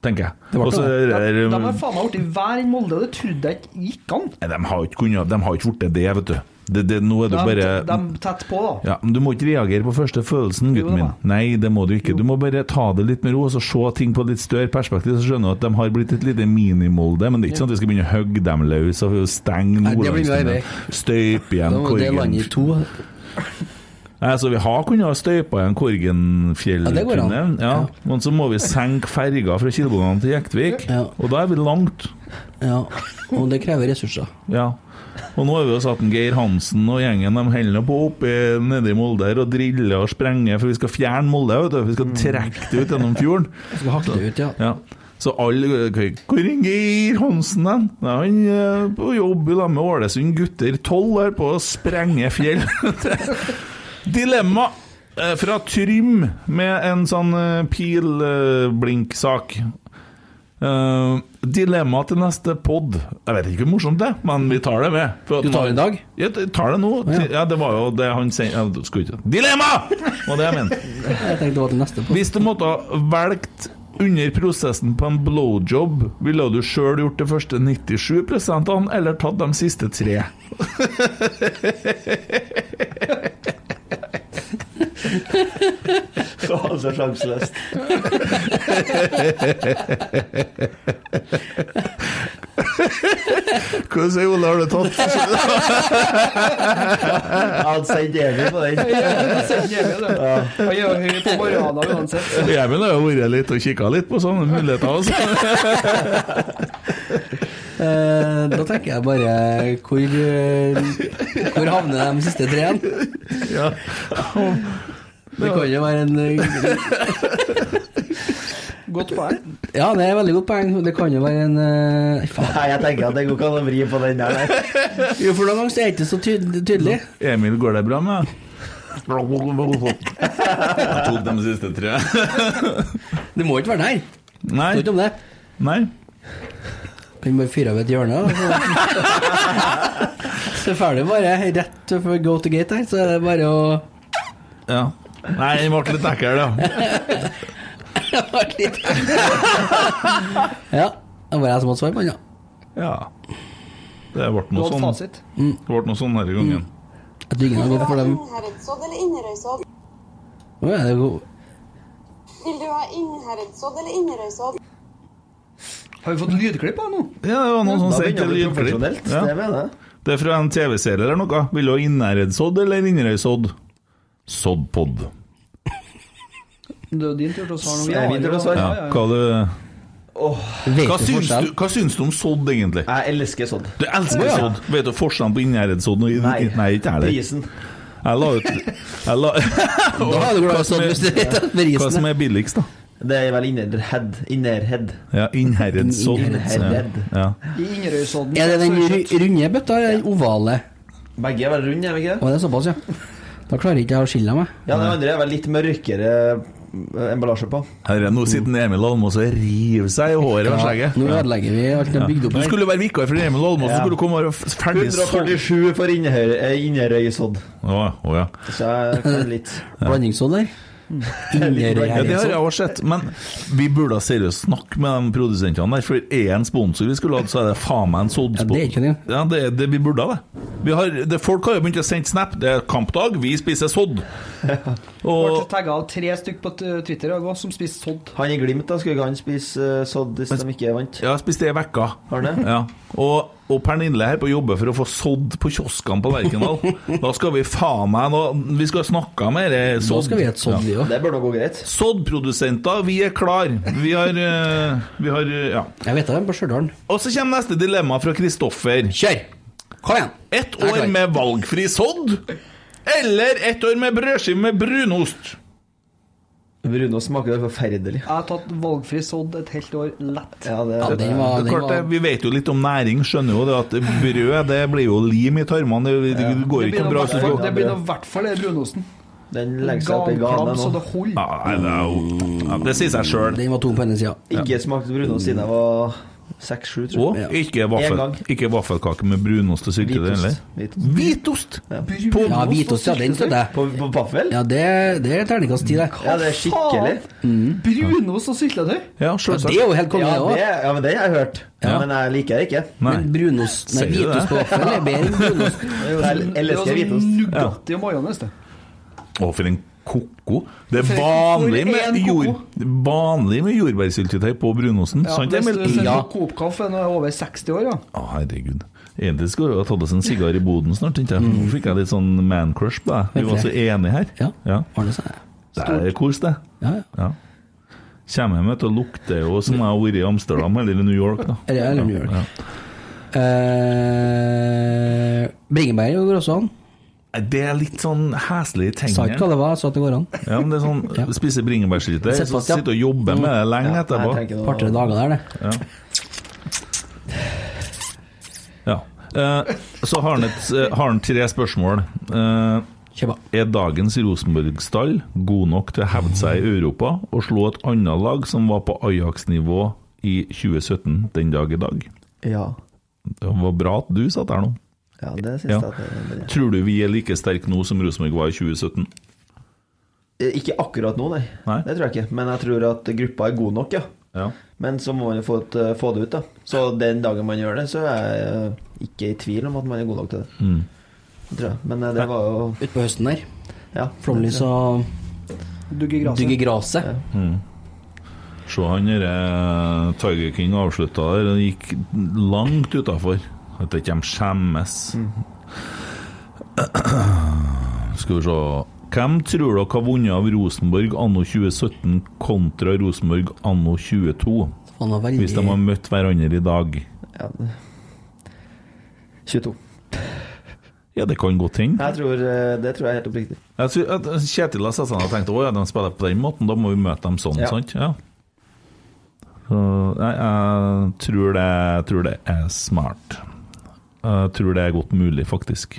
Speaker 2: tenker jeg.
Speaker 3: ble
Speaker 2: Og så er
Speaker 5: De,
Speaker 2: det-
Speaker 5: de har faen meg blitt hver i Molde, og det trodde jeg ikke gikk an.
Speaker 2: Nei, de har ikke kunnet De har ikke blitt det, det, vet du. Det, det, nå er
Speaker 5: De,
Speaker 2: det bare
Speaker 5: de tett på, da.
Speaker 2: ja, men Du må ikke reagere på første følelsen,
Speaker 5: Jo,
Speaker 2: gutten
Speaker 5: da.
Speaker 2: min. Nei, det må du ikke. Du må bare ta det litt med ro og så se ting på litt større perspektiv. Så skjønner du at de har blitt et lite minimolde, men det er ikke sånn at vi skal begynne å hogge dem løs og stenge
Speaker 3: Nei, det blir mye
Speaker 2: Nordlandstunga. Støype
Speaker 3: Da
Speaker 2: igjen
Speaker 3: var det
Speaker 2: Korgen.
Speaker 3: landet i to.
Speaker 2: Nei, altså, vi har kunnet ha støypa igjen
Speaker 3: Ja, det går an.
Speaker 2: Korgenfjelltunnelen. Ja, Men så må vi senke ferga fra Kilbogan til Jektvik,
Speaker 3: Ja.
Speaker 2: og da er vi langt.
Speaker 3: Ja. Og det krever ressurser.
Speaker 2: Ja. Og nå har vi jo satt en Geir Hansen og gjengen de holder nå på oppe nede i Molde her og driller og sprenger, for vi skal fjerne Molde. Vet du. Vi skal trekke det ut gjennom fjorden.
Speaker 3: Vi skal hakke det ut, ja.
Speaker 2: Ja. Så alle eh, Hvor er Geir Hansen hen? Nei, Han er på jobb i lag med Ålesund gutter 12 her på å sprenge fjell. Dilemma eh, fra Trym med en sånn pilblink-sak. Eh, dilemma til neste pod. Jeg vet ikke hvor morsomt det er, men vi tar det med. For at
Speaker 3: Du tar det i dag?
Speaker 2: Ja, jeg tar det nå. Ja, det var jo det han sier ja, Skulle ikke Dilemma! var det jeg mente.
Speaker 3: Jeg tenkte det var til neste på.
Speaker 2: Hvis du måtte ha valgt under prosessen på en blowjob, ville du sjøl gjort det første 97 -ene, eller tatt de siste tre?
Speaker 4: Så altså sjanseløst.
Speaker 2: Hva sier Ole, har du tatt?
Speaker 4: Jeg hadde sendt Emil på den.
Speaker 5: Og jeg er høy på morgenen uansett.
Speaker 2: Emil har jo vært litt og kikka litt på sånne muligheter. Altså.
Speaker 3: Eh, da tenker jeg bare hvor, eh, hvor havner de siste tre igjen?
Speaker 2: Ja.
Speaker 3: Det kan jo være en eh,
Speaker 5: Godt poeng.
Speaker 3: Ja, det er et veldig godt poeng. og Det kan jo være en eh, Faen.
Speaker 4: Nei, jeg tenker at det går ikke an å vri på den der. Nei.
Speaker 3: Jo, for noen ganger så er det ikke så tydelig. tydelig.
Speaker 2: Emil, går det bra med deg? Jeg tok de siste tre.
Speaker 3: Det må ikke være der. Det er
Speaker 2: Nei.
Speaker 3: ikke om det.
Speaker 2: Nei.
Speaker 3: Kan bare fyre av et hjørne. og Så Så er ferdig bare rett for go to gate her, så er det bare å
Speaker 2: Ja. Nei, den ble litt ekkel, ja.
Speaker 3: Ja. Det var jeg som hadde svar på den, ja.
Speaker 2: ja. Det ble noe
Speaker 5: Godt
Speaker 2: sånn.
Speaker 5: fasit.
Speaker 2: Det ble noe sånn denne gangen.
Speaker 3: Jeg tror ingen har gått for dem.
Speaker 7: Innherredsodd eller Inderøysodd?
Speaker 3: Å, ja, det er god.
Speaker 7: Vil du ha Innherredsodd eller Inderøysodd?
Speaker 5: Har vi fått lydklipp av nå?
Speaker 2: Ja, det var noen som
Speaker 4: Da
Speaker 2: sendte
Speaker 4: begynner det å bli
Speaker 2: lydklipp.
Speaker 4: profesjonelt.
Speaker 2: Ja.
Speaker 4: Det mener jeg.
Speaker 2: Det er fra en TV-serie eller noe. Vil du ha Innherredsodd eller Inderøysodd? Soddpod.
Speaker 5: Det er jo din tur til å svare nå.
Speaker 4: Det er min tur til å svare.
Speaker 2: Ja,
Speaker 5: Ja, ja, ja.
Speaker 2: hva, du,
Speaker 3: Vet
Speaker 2: hva,
Speaker 3: du
Speaker 2: syns
Speaker 3: forskjell?
Speaker 2: du, hva syns du om sodd, egentlig?
Speaker 4: Jeg elsker sånn.
Speaker 2: Du elsker sodd. Vet du forskjellen på Innherredsodd og Nei, Nei ikke jeg heller.
Speaker 4: Prisen.
Speaker 2: Jeg la ut jeg la,
Speaker 3: Da er du glad
Speaker 2: Hva
Speaker 3: i
Speaker 2: som
Speaker 3: sånn
Speaker 2: er-
Speaker 3: hvis du vet at
Speaker 2: Hva som
Speaker 3: risene
Speaker 2: er billigst, da?
Speaker 4: Det er vel innerhead. Innerhead.
Speaker 2: Ja, Innherredsodd.
Speaker 4: Innherred.
Speaker 2: Ja.
Speaker 5: I Inderøysodden.
Speaker 3: Er det den ru- runde bøtta eller den ovale?
Speaker 4: Begge er vel runde, er vi ikke det?
Speaker 3: Å, det er såpass, ja. Da klarer ikke jeg å skille meg.
Speaker 4: Ja, den andre er vel litt mørkere eh, emballasje på.
Speaker 2: Herre, nå sitter Emil Almås og river seg i håret og skjegget.
Speaker 3: Nå ødelegger vi alt det er bygd opp
Speaker 2: Du
Speaker 3: her.
Speaker 2: skulle være vikar for Emil Almås, du
Speaker 4: Ja.
Speaker 2: skulle komme her og f- ferdig sodd.
Speaker 4: 147 for Innerøy- eh, Innerøysodd.
Speaker 2: Å, å, ja.
Speaker 4: Så jeg kan litt
Speaker 3: Blandingssodd der. Inderøy
Speaker 2: Ja, det har
Speaker 3: herredsånd.
Speaker 2: jeg også sett, men vi burde da seriøst snakke med de produsentene der, for er en sponsor vi skulle hatt, så er det faen meg en
Speaker 3: Ja, det er ikke
Speaker 2: soddsponsor.
Speaker 3: det.
Speaker 2: Ja, det, det vi burde ha det. Vi har, det. Folk har jo begynt å sende snap. Det er kampdag, vi spiser sodd.
Speaker 5: Ble
Speaker 2: Og
Speaker 5: tagga av tre stykk på t- Twitter i dag også, som spiste sodd.
Speaker 4: Han i Glimt, da, skulle ikke han spise eh, sodd hvis de ikke vant?
Speaker 2: ja, spiste det i vekka.
Speaker 4: Har han det?
Speaker 2: Ja. Og, og Pernille her på jobbe for å få sodd på kioskene på Lerkendal. Da skal vi faen meg nå Vi skal snakke med dere
Speaker 3: Da
Speaker 2: sodd.
Speaker 3: skal vi ha et sånt, vi òg.
Speaker 4: Det bør da gå greit.
Speaker 2: Soddprodusenter, vi er klar. Vi har, eh, vi har eh, Ja.
Speaker 3: Jeg vet det, på Stjørdal.
Speaker 2: Og så kommer neste dilemma fra Kristoffer.
Speaker 3: Kjør! Kom igjen!
Speaker 2: Ett
Speaker 3: Jeg er
Speaker 2: år
Speaker 3: klar.
Speaker 2: med valgfri sodd eller ett år med brødskive med brunost?
Speaker 4: Bruno smaker det forferdelig.
Speaker 5: Jeg har tatt valgfri sodd et helt år lett.
Speaker 4: Ja, det,
Speaker 3: Ja,
Speaker 4: det,
Speaker 3: den
Speaker 2: Det
Speaker 3: var,
Speaker 2: er
Speaker 3: den
Speaker 2: klart det,
Speaker 3: var
Speaker 2: Vi vet jo litt om næring, skjønner jo det at brød det blir jo lim i tarmene. Det, det går
Speaker 5: Det
Speaker 2: ikke
Speaker 5: blir
Speaker 2: noe bra. hvis du får-
Speaker 4: det
Speaker 5: nå i hvert fall det brunosten.
Speaker 4: den legger seg opp i gana
Speaker 5: Ganklam så
Speaker 4: nå.
Speaker 5: det holder.
Speaker 2: Ja, nei, det er jo- ja, Det sier seg sjøl.
Speaker 3: den var tom på hennes sida.
Speaker 4: Ikke smakt brunost siden jeg var Seks-sju, tror
Speaker 2: Og
Speaker 4: jeg.
Speaker 2: ikke,
Speaker 4: En
Speaker 2: vaffel,
Speaker 4: gang.
Speaker 2: ikke vaffelkake med brunost og sylte, det, eller?
Speaker 4: Hvitost. Hvitost.
Speaker 2: Hvitost!
Speaker 4: Ja.
Speaker 2: På,
Speaker 3: Ja, hvitost, ja, den støtter jeg.
Speaker 4: På, på vaffel? Ja.
Speaker 3: Ja, det, det er terningkast ti, det.
Speaker 4: det er skikkelig.
Speaker 5: Brunost og syltetøy?
Speaker 2: ja,
Speaker 3: Ja,
Speaker 2: selvsagt.
Speaker 3: det er jo helt konge,
Speaker 4: Ja,
Speaker 3: det
Speaker 4: det,
Speaker 3: òg.
Speaker 4: ja, men det har jeg hørt.
Speaker 2: Ja.
Speaker 4: Men jeg liker det ikke.
Speaker 2: Nei.
Speaker 3: Men brunost Nei,
Speaker 2: Sier du det?
Speaker 3: hvitost på vaffel er bedre enn brunost.
Speaker 4: Jeg elsker hvitost.
Speaker 5: altså Nugatti og majones, det.
Speaker 2: Å, for en koko. Det er
Speaker 5: For en-
Speaker 2: vanlig
Speaker 5: for en
Speaker 2: med,
Speaker 5: koko.
Speaker 2: jord, vanlig med jordbærsyltetøy på brunosten.
Speaker 5: Ja,
Speaker 2: sant,
Speaker 5: hvis
Speaker 2: Emil?
Speaker 5: du ser
Speaker 2: Ja.
Speaker 5: på Coop-kaffe når jeg er over 60 år, ja.
Speaker 2: Å, herregud. Egentlig skulle jeg jo ha tatt oss en sigar i boden snart, tenkte jeg. Nå fikk jeg litt sånn man-crush på deg. Vi var så enige her.
Speaker 3: Ja.
Speaker 2: ja.
Speaker 3: Ordner seg.
Speaker 2: Det er kos, det.
Speaker 3: Ja, ja.
Speaker 2: Ja. Kommer hjem vet du, og lukter jo som jeg har vært i Amsterdam eller i New York, da.
Speaker 3: Eller- eller New York. Eh, Bringebær går også an.
Speaker 2: Det er litt sånn heslig i
Speaker 3: Sa ikke hva
Speaker 2: tennene.
Speaker 3: det var, jeg sa at det går an.
Speaker 2: Ja, men det er sånn,
Speaker 3: Ja.
Speaker 2: Spise bringebærsyltetøy,
Speaker 3: Sett
Speaker 2: så
Speaker 3: fast, ja.
Speaker 2: sitte og jobbe med det lenge etterpå.
Speaker 4: Jeg tenker
Speaker 3: Par-tre
Speaker 4: noe-
Speaker 3: dager der, det.
Speaker 2: Ja. ja. Eh, så har han, et, eh, har han tre spørsmål. Eh,
Speaker 3: Kjøpa.
Speaker 2: er dagens Rosenborg-stall god nok til å hevde seg i Europa og slå et annet lag som var på Ajax-nivå i 2017 den dag i dag?
Speaker 4: Ja.
Speaker 2: Det var bra at du satt her nå.
Speaker 4: ja, det syns
Speaker 2: Ja.
Speaker 4: jeg at det er.
Speaker 2: Tror du vi er like sterke nå som Rosenborg var i 2017?
Speaker 4: Eh, Ikke akkurat nå, nei.
Speaker 2: Nei.
Speaker 4: Det tror jeg ikke. Men jeg tror at gruppa er god nok, ja.
Speaker 2: Ja.
Speaker 4: Men så må man jo få, et, eh, få det ut, da. Så den dagen man gjør det, så er jeg eh, ikke i tvil om at man er god nok til det. Det tror jeg. Men eh, det var jo
Speaker 3: Utpå høsten der.
Speaker 4: Ja.
Speaker 3: Flomlys og
Speaker 5: Dugger
Speaker 3: dugge
Speaker 5: gresset.
Speaker 3: graset.
Speaker 2: Se han derre Tiger King avslutta der, han gikk langt utafor. At ikke de skjemmes. Skal vi se Hvem tror dere har vunnet av Rosenborg anno 2017 kontra Rosenborg anno 22?
Speaker 3: Han var veldig
Speaker 2: Hvis de har møtt hverandre i dag?
Speaker 4: ja. 22.
Speaker 2: Ja, det kan godt hende.
Speaker 4: Jeg tror, eh, det tror jeg er helt oppriktig.
Speaker 2: Jeg tror at Kjetil har sett seg ned og tenkt Å ja, de spiller på den måten, da må vi møte dem sånn,
Speaker 4: Ja.
Speaker 2: sant? Ja. Så jeg, jeg tror, det, jeg tror det er smart. Jeg tror det er godt mulig, faktisk.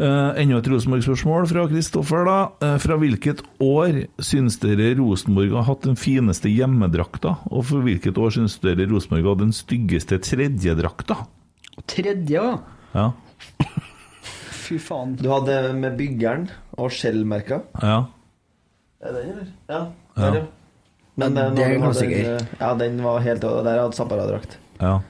Speaker 2: Eh, enda et Rosenborg-spørsmål fra Kristoffer, da. Eh, fra hvilket år syns dere Rosenborg har hatt den fineste hjemmedrakta? Og for hvilket år syns dere Rosenborg har hatt den styggeste tredjedrakta?
Speaker 5: Tredje, ja.
Speaker 2: Ja.
Speaker 5: Fy faen.
Speaker 4: Du hadde med byggeren og skjellmerka.
Speaker 2: ja.
Speaker 4: Er det den, eller? Ja. Der, ja. Men
Speaker 3: Ja,
Speaker 4: eh, når
Speaker 3: det er
Speaker 4: du hadde
Speaker 3: ganske
Speaker 4: den, eh, Ja, den var helt Og der hadde Zappara-drakt.
Speaker 2: ja.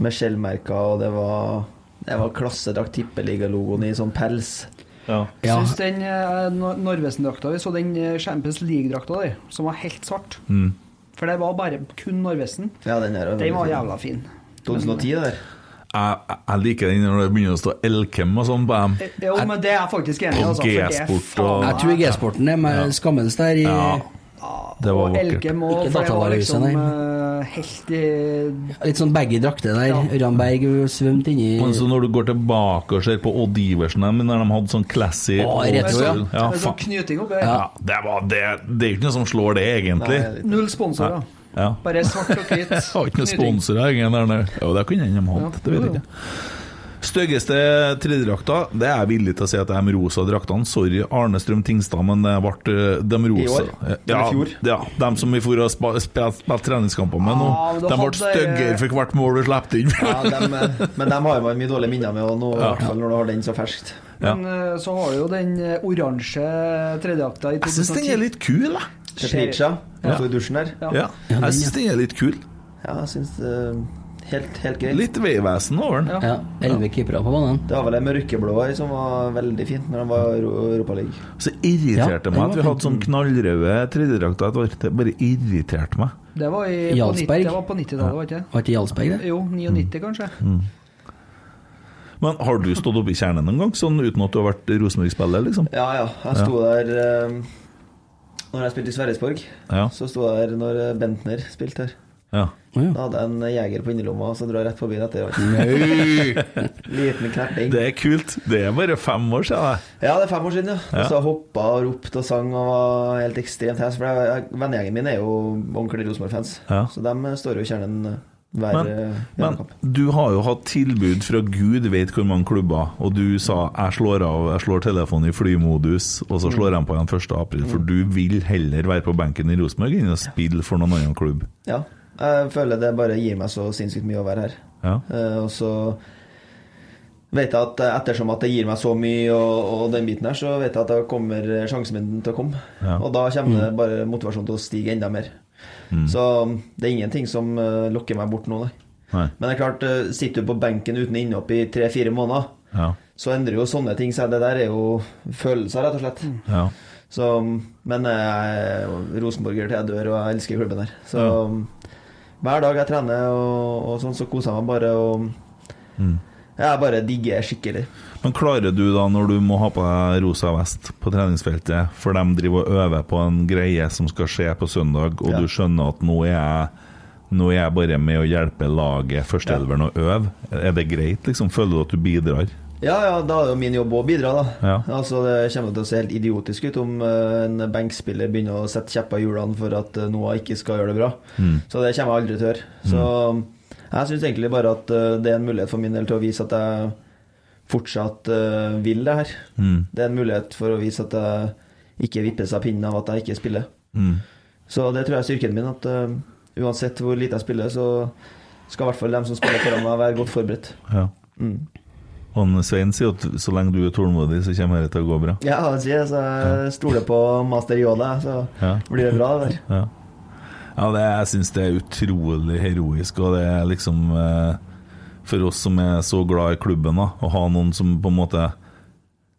Speaker 4: Med skjellmerka, og det var Det var klassedrakt, tippeliga-logoen i sånn pels.
Speaker 2: ja.
Speaker 3: Ja.
Speaker 5: Syns den eh, Nor- Norvesen-drakta vi så den eh, Champions League-drakta der, som var helt svart.
Speaker 2: Mm.
Speaker 5: For det var bare kun Norvesen.
Speaker 4: Ja, den der.
Speaker 5: Den var jævla fin.
Speaker 4: 2010, det der.
Speaker 2: jeg, jeg- jeg liker den når det begynner å stå Elkem og sånn på dem.
Speaker 5: Eh, Jo, men det er jeg faktisk enig i.
Speaker 2: Og
Speaker 5: Altså, for det er
Speaker 2: G-sport
Speaker 5: faen
Speaker 2: og-
Speaker 3: Jeg tror G-sporten er med skammens der. I,
Speaker 2: Ja, det var
Speaker 5: Og
Speaker 2: vakkert.
Speaker 5: Elkem og
Speaker 3: Ikke
Speaker 5: for det var
Speaker 3: datavarehuset,
Speaker 5: liksom
Speaker 3: nei.
Speaker 5: eh, helt i
Speaker 3: Litt sånn baggy drakter der. Ørjan Berg svømte inni
Speaker 2: Men så når du går tilbake og ser på Odd Iversen dem, når de hadde sånn classy
Speaker 3: Å, retro,
Speaker 5: med sånn,
Speaker 3: ja.
Speaker 2: Ja,
Speaker 5: med sånn
Speaker 2: faen.
Speaker 5: knyting oppi. her.
Speaker 2: Ja, det, var det, det er jo ikke noe som slår det, egentlig.
Speaker 5: Null sponsorer.
Speaker 2: Ja.
Speaker 5: Bare svart og hvitt.
Speaker 2: Jeg har ikke noen
Speaker 5: knyting.
Speaker 2: sponsorer, ingen der nede. Jo, det kunne hende de hadde, det vet jeg ikke. Styggeste tredjedrakta, det er jeg villig til å si at det er de rosa draktene. Sorry, Arne Strøm Tingstad, men det ble eh, de rosa.
Speaker 4: år? Eller i
Speaker 2: Ja,
Speaker 4: fjor?
Speaker 2: ja, de som vi for å spa- spille spille treningskamper med nå.
Speaker 5: Ah, men da
Speaker 2: De ble
Speaker 5: hadde-
Speaker 2: styggere for hvert mål du slapp inn.
Speaker 4: Ja, dem, eh, men dem har man mye dårlige minner med, og nå, i hvert fall når du har den så ferskt.
Speaker 2: Ja.
Speaker 5: Men eh, så har du jo den eh, oransje tredjeakta i 2010.
Speaker 2: Jeg syns den er litt kul, jeg.
Speaker 4: Teplica.
Speaker 2: Ja.
Speaker 4: Han sto i dusjen der.
Speaker 5: Ja.
Speaker 2: Ja. Jeg syns den er litt kul.
Speaker 4: Ja, jeg syns eh, helt, helt greit.
Speaker 2: Litt veivesen over den.
Speaker 5: Ja.
Speaker 3: Ja, elleve keepere på banen.
Speaker 4: Det var vel det mørkeblå her som var veldig fint når de var i Euro- Europaligaen.
Speaker 2: Så irriterte
Speaker 3: Ja,
Speaker 2: meg at vi
Speaker 3: det var
Speaker 2: hadde sånn knallrøde tredjedrakter et år. Det bare irriterte meg.
Speaker 5: Det var, i, på
Speaker 3: Jarlsberg.
Speaker 5: nitt- det var på 90-tallet, var det ikke?
Speaker 3: Var ikke Jarlsberg
Speaker 5: det?
Speaker 3: det?
Speaker 5: Jo, 99 kanskje.
Speaker 2: Mm. Men har du stått oppe i kjernen noen gang, sånn uten at du har vært Rosenborg-spiller, liksom?
Speaker 4: Ja, ja. Jeg sto der eh, Når jeg spilte i Sverresborg,
Speaker 2: Ja.
Speaker 4: så sto jeg der når eh, Bentner spilte her.
Speaker 2: Ja.
Speaker 4: Da hadde jeg en jeger på innerlomma, så dro jeg rett forbi den etter hvert. Liten knerting.
Speaker 2: Det er kult. Det er bare fem år siden. det.
Speaker 4: Ja, det er fem år siden, ja. Og så
Speaker 2: Mm.
Speaker 4: hoppa og ropte og sang og var helt ekstremt hes. For jeg- jeg- vennegjengen min er jo ordentlige Rosenborg-fans,
Speaker 2: Ja.
Speaker 4: så de eh, står jo i kjernen eh, hver
Speaker 2: Men,
Speaker 4: eh,
Speaker 2: men
Speaker 4: hjemmekamp.
Speaker 2: du har jo hatt tilbud fra gud vet hvor mange klubber, og du sa 'jeg slår av, jeg slår telefonen i flymodus', og så
Speaker 5: Mm.
Speaker 2: slår jeg på igjen 1. april, for du vil heller være på benken i Rosenborg enn å spille for noen annen klubb.
Speaker 4: Ja.
Speaker 5: Jeg føler det bare gir meg så sinnssykt mye å være her.
Speaker 2: Ja.
Speaker 5: Eh, og så vet jeg at eh, ettersom at det gir meg så mye og, og den biten her, så vet jeg at da kommer eh, sjansen min til å komme.
Speaker 2: Ja. Mm.
Speaker 5: Og da kommer det bare motivasjonen til å stige enda mer. Så um, det er ingenting som eh, lokker meg bort nå, nei.
Speaker 2: Nei.
Speaker 5: Men det er klart, eh, sitter du på benken uten innhopp i tre-fire måneder,
Speaker 2: Ja.
Speaker 5: så endrer jo sånne ting seg. Det der er jo følelser, rett og slett.
Speaker 2: Ja.
Speaker 5: Så, men jeg er jo rosenborger til jeg dør, og jeg elsker klubben her. Så hver dag jeg trener, og, og sånn, så koser jeg meg bare. Og jeg bare digger skikkelig.
Speaker 2: Men klarer du da, når du må ha på deg rosa vest på treningsfeltet, for de driver og øver på en greie som skal skje på søndag, og
Speaker 5: Ja.
Speaker 2: du skjønner at nå er jeg nå er jeg bare med å hjelpe laget, førsteelveren, å øve. Er det greit, liksom? Føler du at du bidrar?
Speaker 5: Ja, ja, da er det jo min jobb å bidra, da.
Speaker 2: Ja.
Speaker 5: Altså, Det kommer til å se helt idiotisk ut om eh, en benkspiller begynner å sette kjepper i hjulene for at eh, Noah ikke skal gjøre det bra. Så det kommer jeg aldri til å gjøre. Så jeg syns egentlig bare at eh, det er en mulighet for min del til å vise at jeg fortsatt eh, vil det her.
Speaker 2: Mm.
Speaker 5: Det er en mulighet for å vise at jeg ikke vippes av pinnen av at jeg ikke spiller.
Speaker 2: mm,
Speaker 5: Så det tror jeg er styrken min, at eh, uansett hvor lite jeg spiller, så skal i hvert fall dem som spiller foran meg, være godt forberedt.
Speaker 2: Ja. Og en Svein sier at så lenge du er tålmodig, så kommer dette til å gå bra.
Speaker 5: Ja, han sier det, så jeg stoler på master Yoda, så
Speaker 2: Ja.
Speaker 5: blir det bra. det der.
Speaker 2: Ja, ja det, jeg syns det er utrolig heroisk, og det er liksom eh, For oss som er så glad i klubben, da, å ha noen som på en måte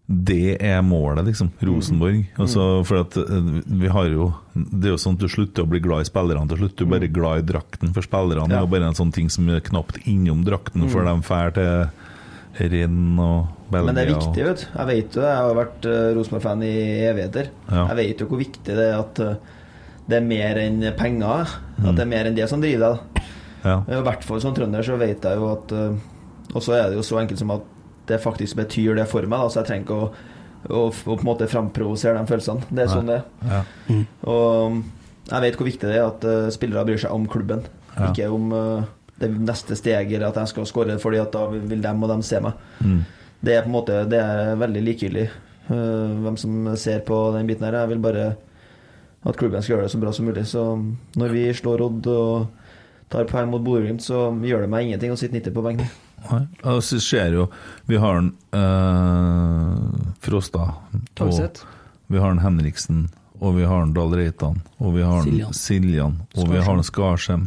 Speaker 2: Det er målet, liksom. Rosenborg.
Speaker 5: Mm.
Speaker 2: Altså, for at eh, vi har jo Det er jo sånn at du slutter å bli glad i spillerne til slutt. Du er bare
Speaker 5: Mm.
Speaker 2: glad i drakten, for spillerne er jo bare en sånn ting som er knapt innom
Speaker 5: Mm.
Speaker 2: drakten før de drar til renn og Belgia.
Speaker 5: Men det er
Speaker 2: og-
Speaker 5: viktig, vet du. Jeg vet jo, jeg har jo vært eh, Rosenborg-fan i evigheter.
Speaker 2: Ja.
Speaker 5: Jeg vet jo hvor viktig det er at eh, det er mer enn penger. At det er mer enn det som driver deg. da.
Speaker 2: Ja.
Speaker 5: I hvert fall som trønder så vet jeg jo at eh, Og så er det jo så enkelt som at det faktisk betyr det for meg, da, så jeg trenger ikke å, å, å på en måte framprovosere de følelsene. Det er sånn det er.
Speaker 2: Ja.
Speaker 5: Og jeg vet hvor viktig det er at eh, spillere bryr seg om klubben,
Speaker 2: Ja.
Speaker 5: ikke om eh, det neste steget eller at jeg skal skåre, fordi at da vil dem og dem se meg.
Speaker 2: Mm.
Speaker 5: Det er på en måte Det er veldig likegyldig eh, hvem som ser på den biten her. Jeg vil bare at klubben skal gjøre det så bra som mulig. Så når vi slår Odd og tar poeng mot Bodø-Glimt, så gjør det meg ingenting å sitte 90 på benken.
Speaker 2: Nei, og så skjer jo Vi har en eh, Frosta
Speaker 8: Tagseth.
Speaker 2: og Vi har en Henriksen Og vi har en Dahl Reitan Og vi har en Siljan,
Speaker 3: Siljan.
Speaker 2: Og vi har en Skarsheim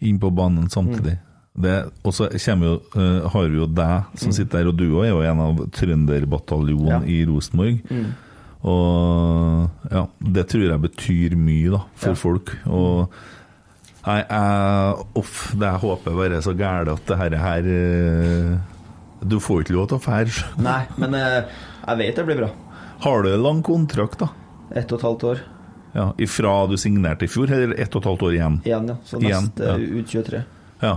Speaker 2: Mm. Inn på banen samtidig det, Og så kommer jo, eh, har vi jo deg Som sitter der Og du også er jo en av Trønderbataljonen
Speaker 5: Ja.
Speaker 2: i Rosenborg Og ja Det tror jeg betyr mye da For folk Og Nei, jeg, uff, det jeg håper bare så gærent at det her, her eh, Du får ikke lov til å fære.
Speaker 5: Nei, men eh, jeg vet det blir bra.
Speaker 2: Har du en lang kontrakt, da?
Speaker 5: Ett og et halvt år
Speaker 2: Ja, Ifra du signerte i fjor, eller ett og et halvt år igjen?
Speaker 5: igjen, ja. Så
Speaker 2: Igjen,
Speaker 5: neste
Speaker 2: ja.
Speaker 5: ut 23.
Speaker 2: Ja.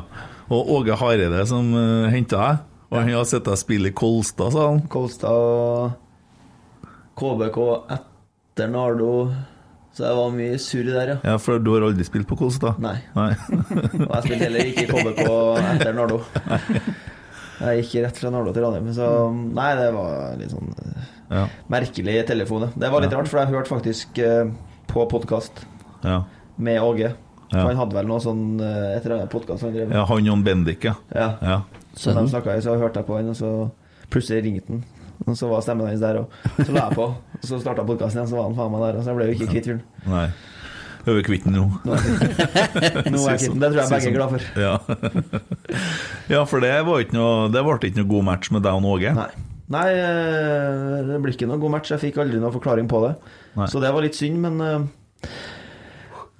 Speaker 2: Og Åge Hareide som uh, henta deg, og han har sett deg spille i Kolstad, sa han.
Speaker 5: Kolstad og KBK etter Nardo. Så det var mye surr der, ja.
Speaker 2: Ja, for du har aldri spilt på Kolstad?
Speaker 5: Nei.
Speaker 2: Nei.
Speaker 5: Og jeg spilte heller ikke i KBK etter Nardo. Jeg gikk rett fra Nardo til Ranheim. Så nei, det var litt sånn eh,
Speaker 2: Ja,
Speaker 5: merkelig telefon. ja. Det var litt rart, for jeg hørte faktisk eh, på podkast
Speaker 2: ja.
Speaker 5: med Åge.
Speaker 2: Ja.
Speaker 5: For han hadde vel noe sånn eh, et eller annet podkast han drev med.
Speaker 2: ja han og Bendik, ja.
Speaker 5: Ja.
Speaker 2: ja.
Speaker 5: Så de snakka jo, så hørte jeg på han, og så plutselig ringte han. Og så var stemmen hans der òg. Så la jeg på, og så starta podkasten igjen, så var han faen meg der. Og så jeg ble jo ikke kvitt fyren.
Speaker 2: Nei. Er vi kvitt den nå?
Speaker 5: Nå er jeg kvitt den. Det tror jeg begge er glad for.
Speaker 2: Ja. ja, for det var ikke noe Det ble ikke noe god match med deg og Åge.
Speaker 5: Nei. Nei, eh, det blir ikke noen god match. Jeg fikk aldri noen forklaring på det.
Speaker 2: Nei.
Speaker 5: Så det var litt synd, men eh,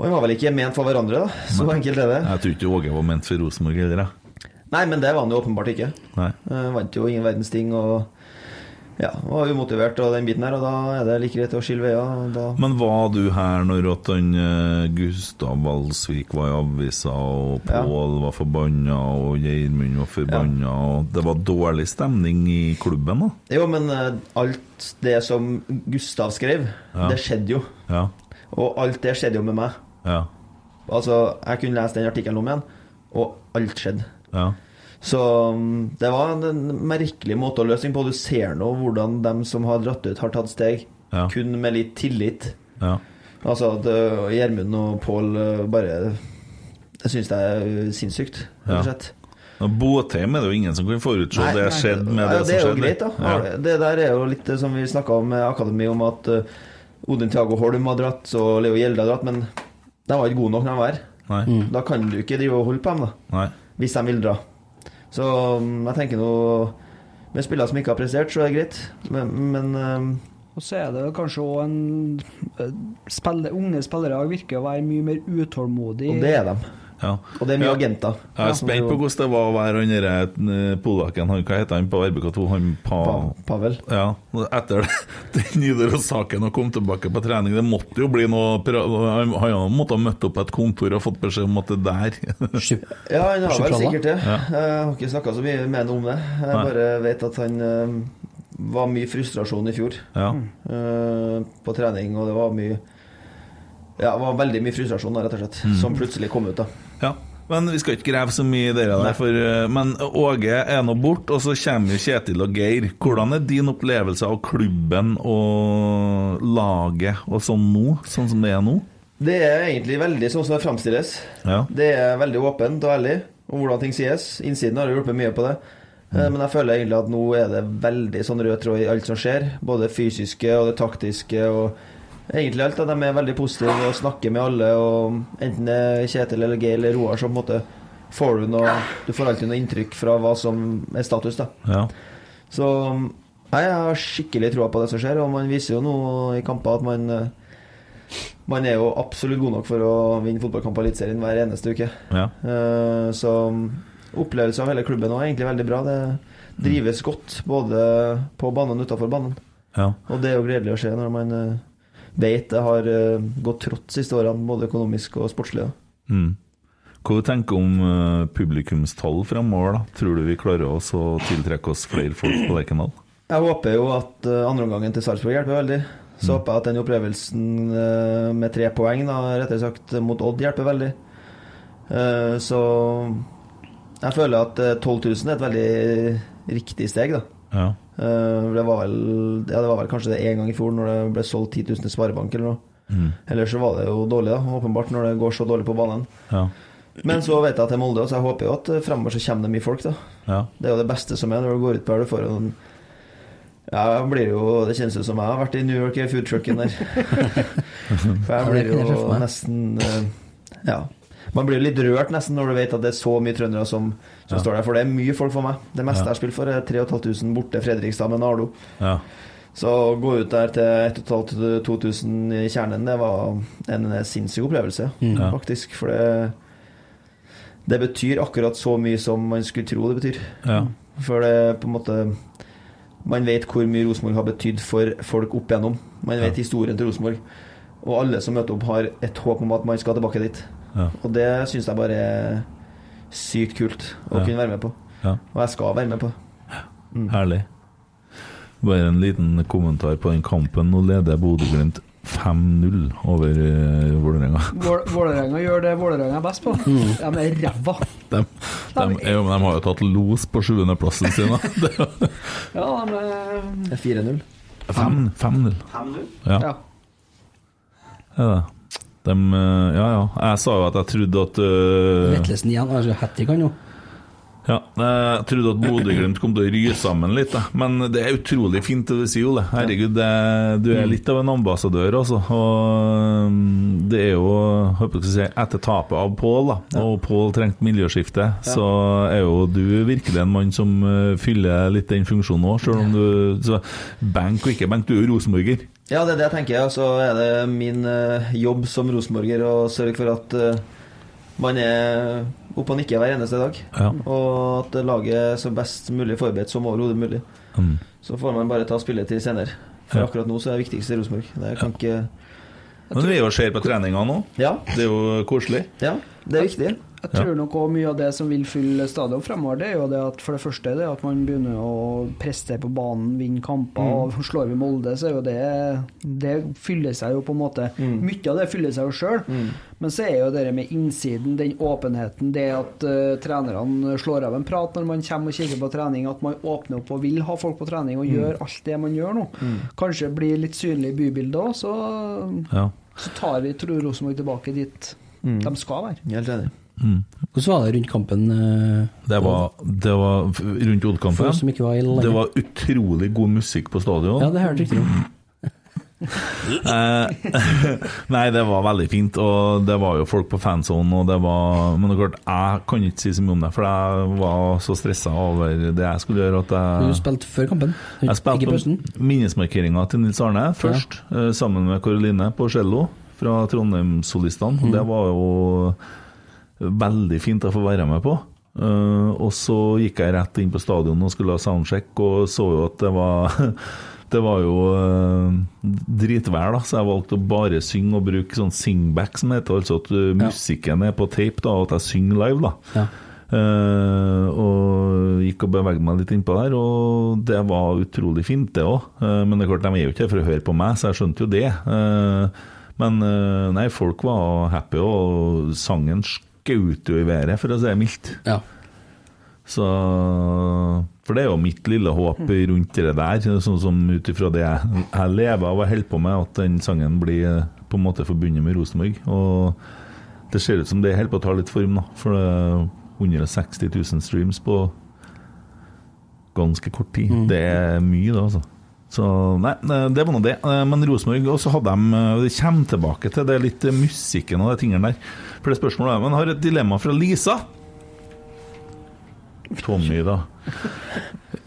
Speaker 5: Man var vel ikke ment for hverandre, da. Så enkelt er det.
Speaker 2: Jeg tror ikke Åge var ment for Rosenborg heller, jeg.
Speaker 5: Nei, men det var han jo åpenbart ikke.
Speaker 2: Nei.
Speaker 5: Eh, Vant jo ingen verdens ting og ja, var umotivert og den biten her, og da er det like greit å skille veier. og Da
Speaker 2: Men var du her når at han eh, Gustav Valsvik var i avisa, og
Speaker 5: Ja.
Speaker 2: Pål var forbanna, og Geirmund var forbanna, og det var dårlig stemning i klubben, da?
Speaker 5: Jo, men eh, alt det som Gustav skrev,
Speaker 2: Ja.
Speaker 5: det skjedde jo.
Speaker 2: Ja.
Speaker 5: Og alt det skjedde jo med meg.
Speaker 2: Ja.
Speaker 5: Altså, jeg kunne lese den artikkelen om igjen, og alt skjedde.
Speaker 2: Ja.
Speaker 5: Så mm, det var en- en merkelig måte å løse ting på. Du ser nå hvordan dem som har dratt ut, har tatt steg.
Speaker 2: Ja.
Speaker 5: Kun med litt tillit.
Speaker 2: ja.
Speaker 5: Altså at eh, Gjermund og Pål eh, bare
Speaker 4: Det syns jeg er uh, sinnssykt, rett og
Speaker 2: Ja.
Speaker 4: slett.
Speaker 2: Og Botheim er det jo ingen som kan forutse
Speaker 4: Nei,
Speaker 2: det
Speaker 4: nei,
Speaker 2: skjedde med
Speaker 4: ja,
Speaker 2: det,
Speaker 4: det er
Speaker 2: som
Speaker 4: jo greit,
Speaker 2: skjedde.
Speaker 4: da. Har
Speaker 2: Ja.
Speaker 4: det- Det der er jo litt eh, som vi snakka om med Akademi, om at eh, Odin Thiago Holm har dratt, og Leo Gjelde har dratt, men de var ikke gode nok når de var her.
Speaker 2: Nei,
Speaker 4: Da kan du ikke drive og holde på dem, da.
Speaker 2: nei.
Speaker 4: Hvis de vil dra. Så mm, jeg tenker nå Med spillere som ikke har prestert, så er det greit. Men, men eh,
Speaker 5: Og så er det jo kanskje òg en eh, spille, Unge spillere virker å være mye mer utålmodige.
Speaker 4: Og det er de.
Speaker 2: Ja.
Speaker 4: Og det er mye
Speaker 2: Ja.
Speaker 4: agenter.
Speaker 2: Jeg er spent på hvordan det var å være han derre polakken han, Hva heter han på RBK2? Han pa,
Speaker 4: Pa Pavel.
Speaker 2: Ja, etter det- den Nidaros-saken og kom tilbake på trening, det måtte jo bli noe pra- Han han måtte ha møtt opp på et kontor og fått beskjed om at det der
Speaker 4: Ja, han har vel
Speaker 3: Sjokolader.
Speaker 4: sikkert det. Jeg har ikke snakka så mye med ham om det. Jeg
Speaker 2: Nei.
Speaker 4: bare vet at han eh, var mye frustrasjon i fjor
Speaker 2: Ja.
Speaker 4: eh, på trening, og det var mye Ja, det var veldig mye frustrasjon, da, rett og slett,
Speaker 2: Mm.
Speaker 4: som plutselig kom ut, da.
Speaker 2: ja. Men vi skal ikke grave så mye i det der, for, eh, men Åge er nå borte, og så kommer jo Kjetil og Geir. Hvordan er din opplevelse av klubben og laget og sånn nå, sånn som det er nå?
Speaker 4: Det er egentlig veldig sånn som det fremstilles.
Speaker 2: Ja.
Speaker 4: Det er veldig åpent og ærlig om hvordan ting sies. Innsiden har jo hjulpet mye på det. Eh, Men jeg føler egentlig at nå er det veldig sånn rød tråd i alt som skjer. Både det fysiske og det taktiske og egentlig alt. At de er veldig positive og snakker med alle. Og enten det er Kjetil eller Geir eller Roar, så på en måte får du noe Du får alltid noe inntrykk fra hva som er status, da.
Speaker 2: Ja.
Speaker 4: Så nei, jeg har skikkelig troa på det som skjer, og man viser jo nå i kamper at man eh, Man er jo absolutt god nok for å vinne fotballkamp på Eliteserien hver eneste uke.
Speaker 2: ja.
Speaker 4: Eh, Så opplevelsen av hele klubben nå er egentlig veldig bra. Det drives godt både på banen og utafor banen.
Speaker 2: ja.
Speaker 4: Og det er jo gledelig å se når man eh, vet det har eh, gått trått siste årene, både økonomisk og sportslig. da.
Speaker 2: Mm. Hva du tenker du om eh, publikumstall fremover? da? Tror du vi klarer oss å tiltrekke oss flere folk på Lerkendal?
Speaker 4: Jeg håper jo at eh, andreomgangen til Sarpsborg hjelper veldig. Så håper jeg at den opplevelsen eh, med tre poeng da, rettere sagt mot Odd hjelper veldig. Eh, Så jeg føler at eh, 12 000 er et veldig riktig steg, da.
Speaker 2: Ja.
Speaker 4: Eh, Det var vel, ja, det var vel kanskje det én gang i fjor, når det ble solgt 10 000 til Sparebank eller noe.
Speaker 2: Mm.
Speaker 4: Ellers så var det jo dårlig, da, åpenbart, når det går så dårlig på banen.
Speaker 2: Ja.
Speaker 4: Men så vet jeg at det er Molde, så jeg håper jo at eh, fremover så kommer det mye folk, da.
Speaker 2: ja.
Speaker 4: Det er jo det beste som er når du går ut på her, du får en ja, jeg blir jo, Det kjennes ut som jeg har vært i New York i foodtrucken der. For jeg blir
Speaker 3: Ja, det kan jeg se for
Speaker 4: jo
Speaker 3: meg.
Speaker 4: nesten eh, Ja. Man blir jo litt rørt nesten når du vet at det er så mye trøndere som, som står der. For det er mye folk for meg. Det meste jeg har spilt for, er 3500 borte Fredrikstad med Nardo.
Speaker 2: ja.
Speaker 4: Så å gå ut der til 1500-2000 i kjernen, det var en sinnssyk opplevelse,
Speaker 2: Ja.
Speaker 4: faktisk. For det, det betyr akkurat så mye som man skulle tro det betyr.
Speaker 2: ja.
Speaker 4: For det er på en måte Man vet hvor mye Rosenborg har betydd for folk opp igjennom. Man vet historien til Rosenborg. Og alle som møter opp, har et håp om at man skal tilbake dit.
Speaker 2: Ja.
Speaker 4: Og det syns jeg bare er sykt kult å
Speaker 2: Ja.
Speaker 4: kunne være med på.
Speaker 2: Ja.
Speaker 4: Og jeg skal være med på.
Speaker 2: Herlig. Bare en liten kommentar på den kampen. Nå leder Bodø-Glimt 5-0 over uh, Vålerenga.
Speaker 5: Vål- Vålerenga gjør det Vålerenga er best på.
Speaker 2: Mm.
Speaker 5: De er ræva.
Speaker 2: De, de, er jo- men de har jo tatt los på sjuendeplassen sin. da. Det er jo-
Speaker 5: Ja, de er
Speaker 4: Det er 4-0.
Speaker 2: Fem- 5-0. Ja.
Speaker 5: Ja.
Speaker 2: Ja, da. De, eh, ja, ja. Jeg sa jo at jeg trodde at eh,
Speaker 3: Vettlesen igjen. Altså, hat trick han jo.
Speaker 2: Ja, Eh, jeg trodde at Bodø-Glimt kom til å ry sammen litt, da. men det er utrolig fint det du sier, Ole. Herregud, det, du er litt av en ambassadør, altså. Og mm, det er jo håper jeg skal si, etter tapet av Pål, da, og Pål trengte miljøskifte, så er jo du virkelig en mann som eh, fyller litt den funksjonen òg, sjøl om du så, Benk og ikke benk, du er jo rosenborger.
Speaker 4: Ja, det er det jeg tenker. Og så er det min eh, jobb som rosenborger å sørge for at eh, man er oppe og nikker hver eneste dag.
Speaker 2: Ja.
Speaker 4: Og at laget er så best mulig forberedt som overhodet mulig.
Speaker 2: Mm.
Speaker 4: Så får man bare ta spillet til senere. For
Speaker 2: Ja.
Speaker 4: akkurat nå så er det viktigste Rosenborg. Det kan ikke
Speaker 2: Men vi er jo ser på treninga nå.
Speaker 4: Ja,
Speaker 2: Det er jo koselig.
Speaker 4: ja, det er viktig.
Speaker 5: Jeg tror nok også mye av det som vil fylle stadion fremover, det er jo det at for det første det er at man begynner å prestere på banen, vinne kamper. og Slår vi Molde, så er jo det Det fyller seg jo på en måte Mye av det fyller seg jo sjøl. Men så er jo det med innsiden, den åpenheten, det at eh, trenerne slår av en prat når man kommer og kikker på trening, at man åpner opp og vil ha folk på trening og gjør alt det man gjør nå. Kanskje blir litt synlig i bybildet òg, så,
Speaker 2: Ja.
Speaker 5: så tar vi, tror Rosenborg tilbake dit de skal være.
Speaker 4: Helt enig.
Speaker 3: Hvordan var det rundt kampen? eh,
Speaker 2: Det var, det var f- rundt
Speaker 3: For oss
Speaker 2: Odkampen.
Speaker 3: som ikke var i landet.
Speaker 2: Det var utrolig god musikk på stadion.
Speaker 3: Ja, det hørte jeg riktig om.
Speaker 2: Eh, Nei, det var veldig fint, og det var jo folk på fansonen, og det var Men det er klart, jeg kan ikke si så mye om det, for jeg var så stressa over det jeg skulle gjøre, at
Speaker 3: Du
Speaker 2: jeg
Speaker 3: spilte før kampen?
Speaker 2: jeg
Speaker 3: Ikke i pausen?
Speaker 2: spilte minnesmarkeringa til Nils Arne først, eh, sammen med Karoline på cello fra Trondheimssolistene.
Speaker 3: Mm.
Speaker 2: og Det var jo veldig fint å få være med på. Eh, og så gikk jeg rett inn på stadion og skulle ha soundcheck, og så jo at det var Det var jo eh, dritvær, da, så jeg valgte å bare synge og bruke sånn singback, som heter altså at eh, musikken er på tape, da, og at jeg synger live, da.
Speaker 3: Ja.
Speaker 2: Eh, og gikk og beveget meg litt innpå der, og det var utrolig fint, det òg. men det er klart, de er jo ikke her for å høre på meg, så jeg skjønte jo det. Eh, men eh, nei, folk var happy, og sangen skjøt jo i været, for å si det mildt.
Speaker 3: Ja.
Speaker 2: Så For det er jo mitt lille håp rundt det der, sånn som ut ifra det jeg, jeg lever av og holder på med, at den sangen blir eh, på en måte forbundet med Rosenborg. Og det ser ut som det holder på å ta litt form, da. For eh, det er 160 000 streams på ganske kort tid. Det er mye, det, altså. Så nei, det var nå det. Eh, Men Rosenborg Og så hadde de eh, Det kommer tilbake til det litt eh, musikken og de tingene der. For det spørsmålet er Men jeg har et dilemma fra Lisa. Tommy, da.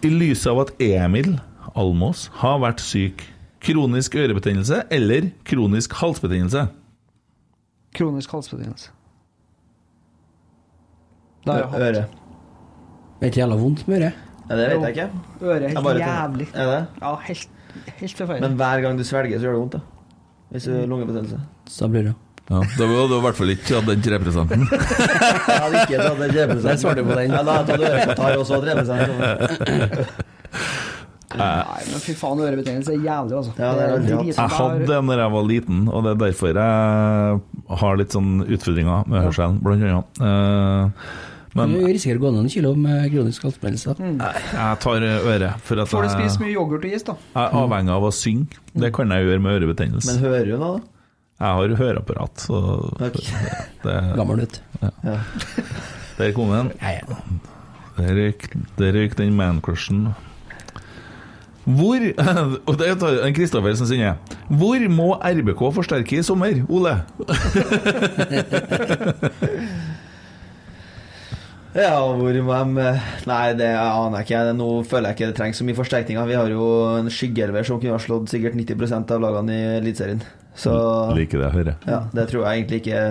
Speaker 2: I lys av at Emil Almås har vært syk. Kronisk ørebetennelse eller kronisk halsbetennelse?
Speaker 5: Kronisk halsbetennelse. Det har jeg hatt.
Speaker 4: Øre.
Speaker 3: Det er ikke jævla vondt med øret.
Speaker 4: Ja, det vet jeg ikke.
Speaker 5: Øret er
Speaker 4: Jeg
Speaker 5: helt
Speaker 4: bare
Speaker 5: jævlig.
Speaker 4: Er det?
Speaker 5: Ja, helt, helt
Speaker 4: Men
Speaker 5: forferdelig.
Speaker 4: hver gang du svelger, så gjør det vondt, da. Hvis du har lungebetennelse.
Speaker 3: Så da blir det
Speaker 6: Ja, da var det i hvert fall ikke hatt den 3
Speaker 4: Jeg hadde ikke tatt den kjempesent.
Speaker 3: Der svarte du på den.
Speaker 4: Ja, da hadde jeg tatt ørekontar og så treningssenter.
Speaker 5: Nei, men fy faen, ørebetennelse er jævlig, altså.
Speaker 4: Ja, det har jeg aldri hatt.
Speaker 5: drit-
Speaker 2: Jeg hadde det da jeg var liten, og det er derfor jeg har litt sånn utfordringer med hørselen, blant annet. Eh, Men
Speaker 3: Du risikerer å gå ned en kilo med kronisk halsbetennelse. da.
Speaker 2: jeg tar øret, for at
Speaker 5: Får du
Speaker 2: jeg
Speaker 5: spise mye yoghurt og is, da?
Speaker 2: jeg er avhengig av å synge. Det kan jeg gjøre med
Speaker 4: Men
Speaker 2: ørebetennelse.
Speaker 4: hører du nå, da?
Speaker 2: Jeg har høreapparat, så
Speaker 4: Takk.
Speaker 2: det,
Speaker 3: Gammel, vet du.
Speaker 2: der kom den.
Speaker 3: Ja, ja.
Speaker 2: Der røyk, der røyk den mancrushen. Hvor Og det er en Kristoffer som sier Hvor må RBK forsterke i sommer, Ole?
Speaker 4: Ja, hvor må de Nei, det aner jeg ikke. Nå føler jeg ikke det trengs så mye forsterkninger. Vi har jo en skyggeelver som kunne ha slått sikkert 90 av lagene i Eliteserien. Så
Speaker 2: Liker det jeg hører.
Speaker 4: ja, det tror jeg egentlig ikke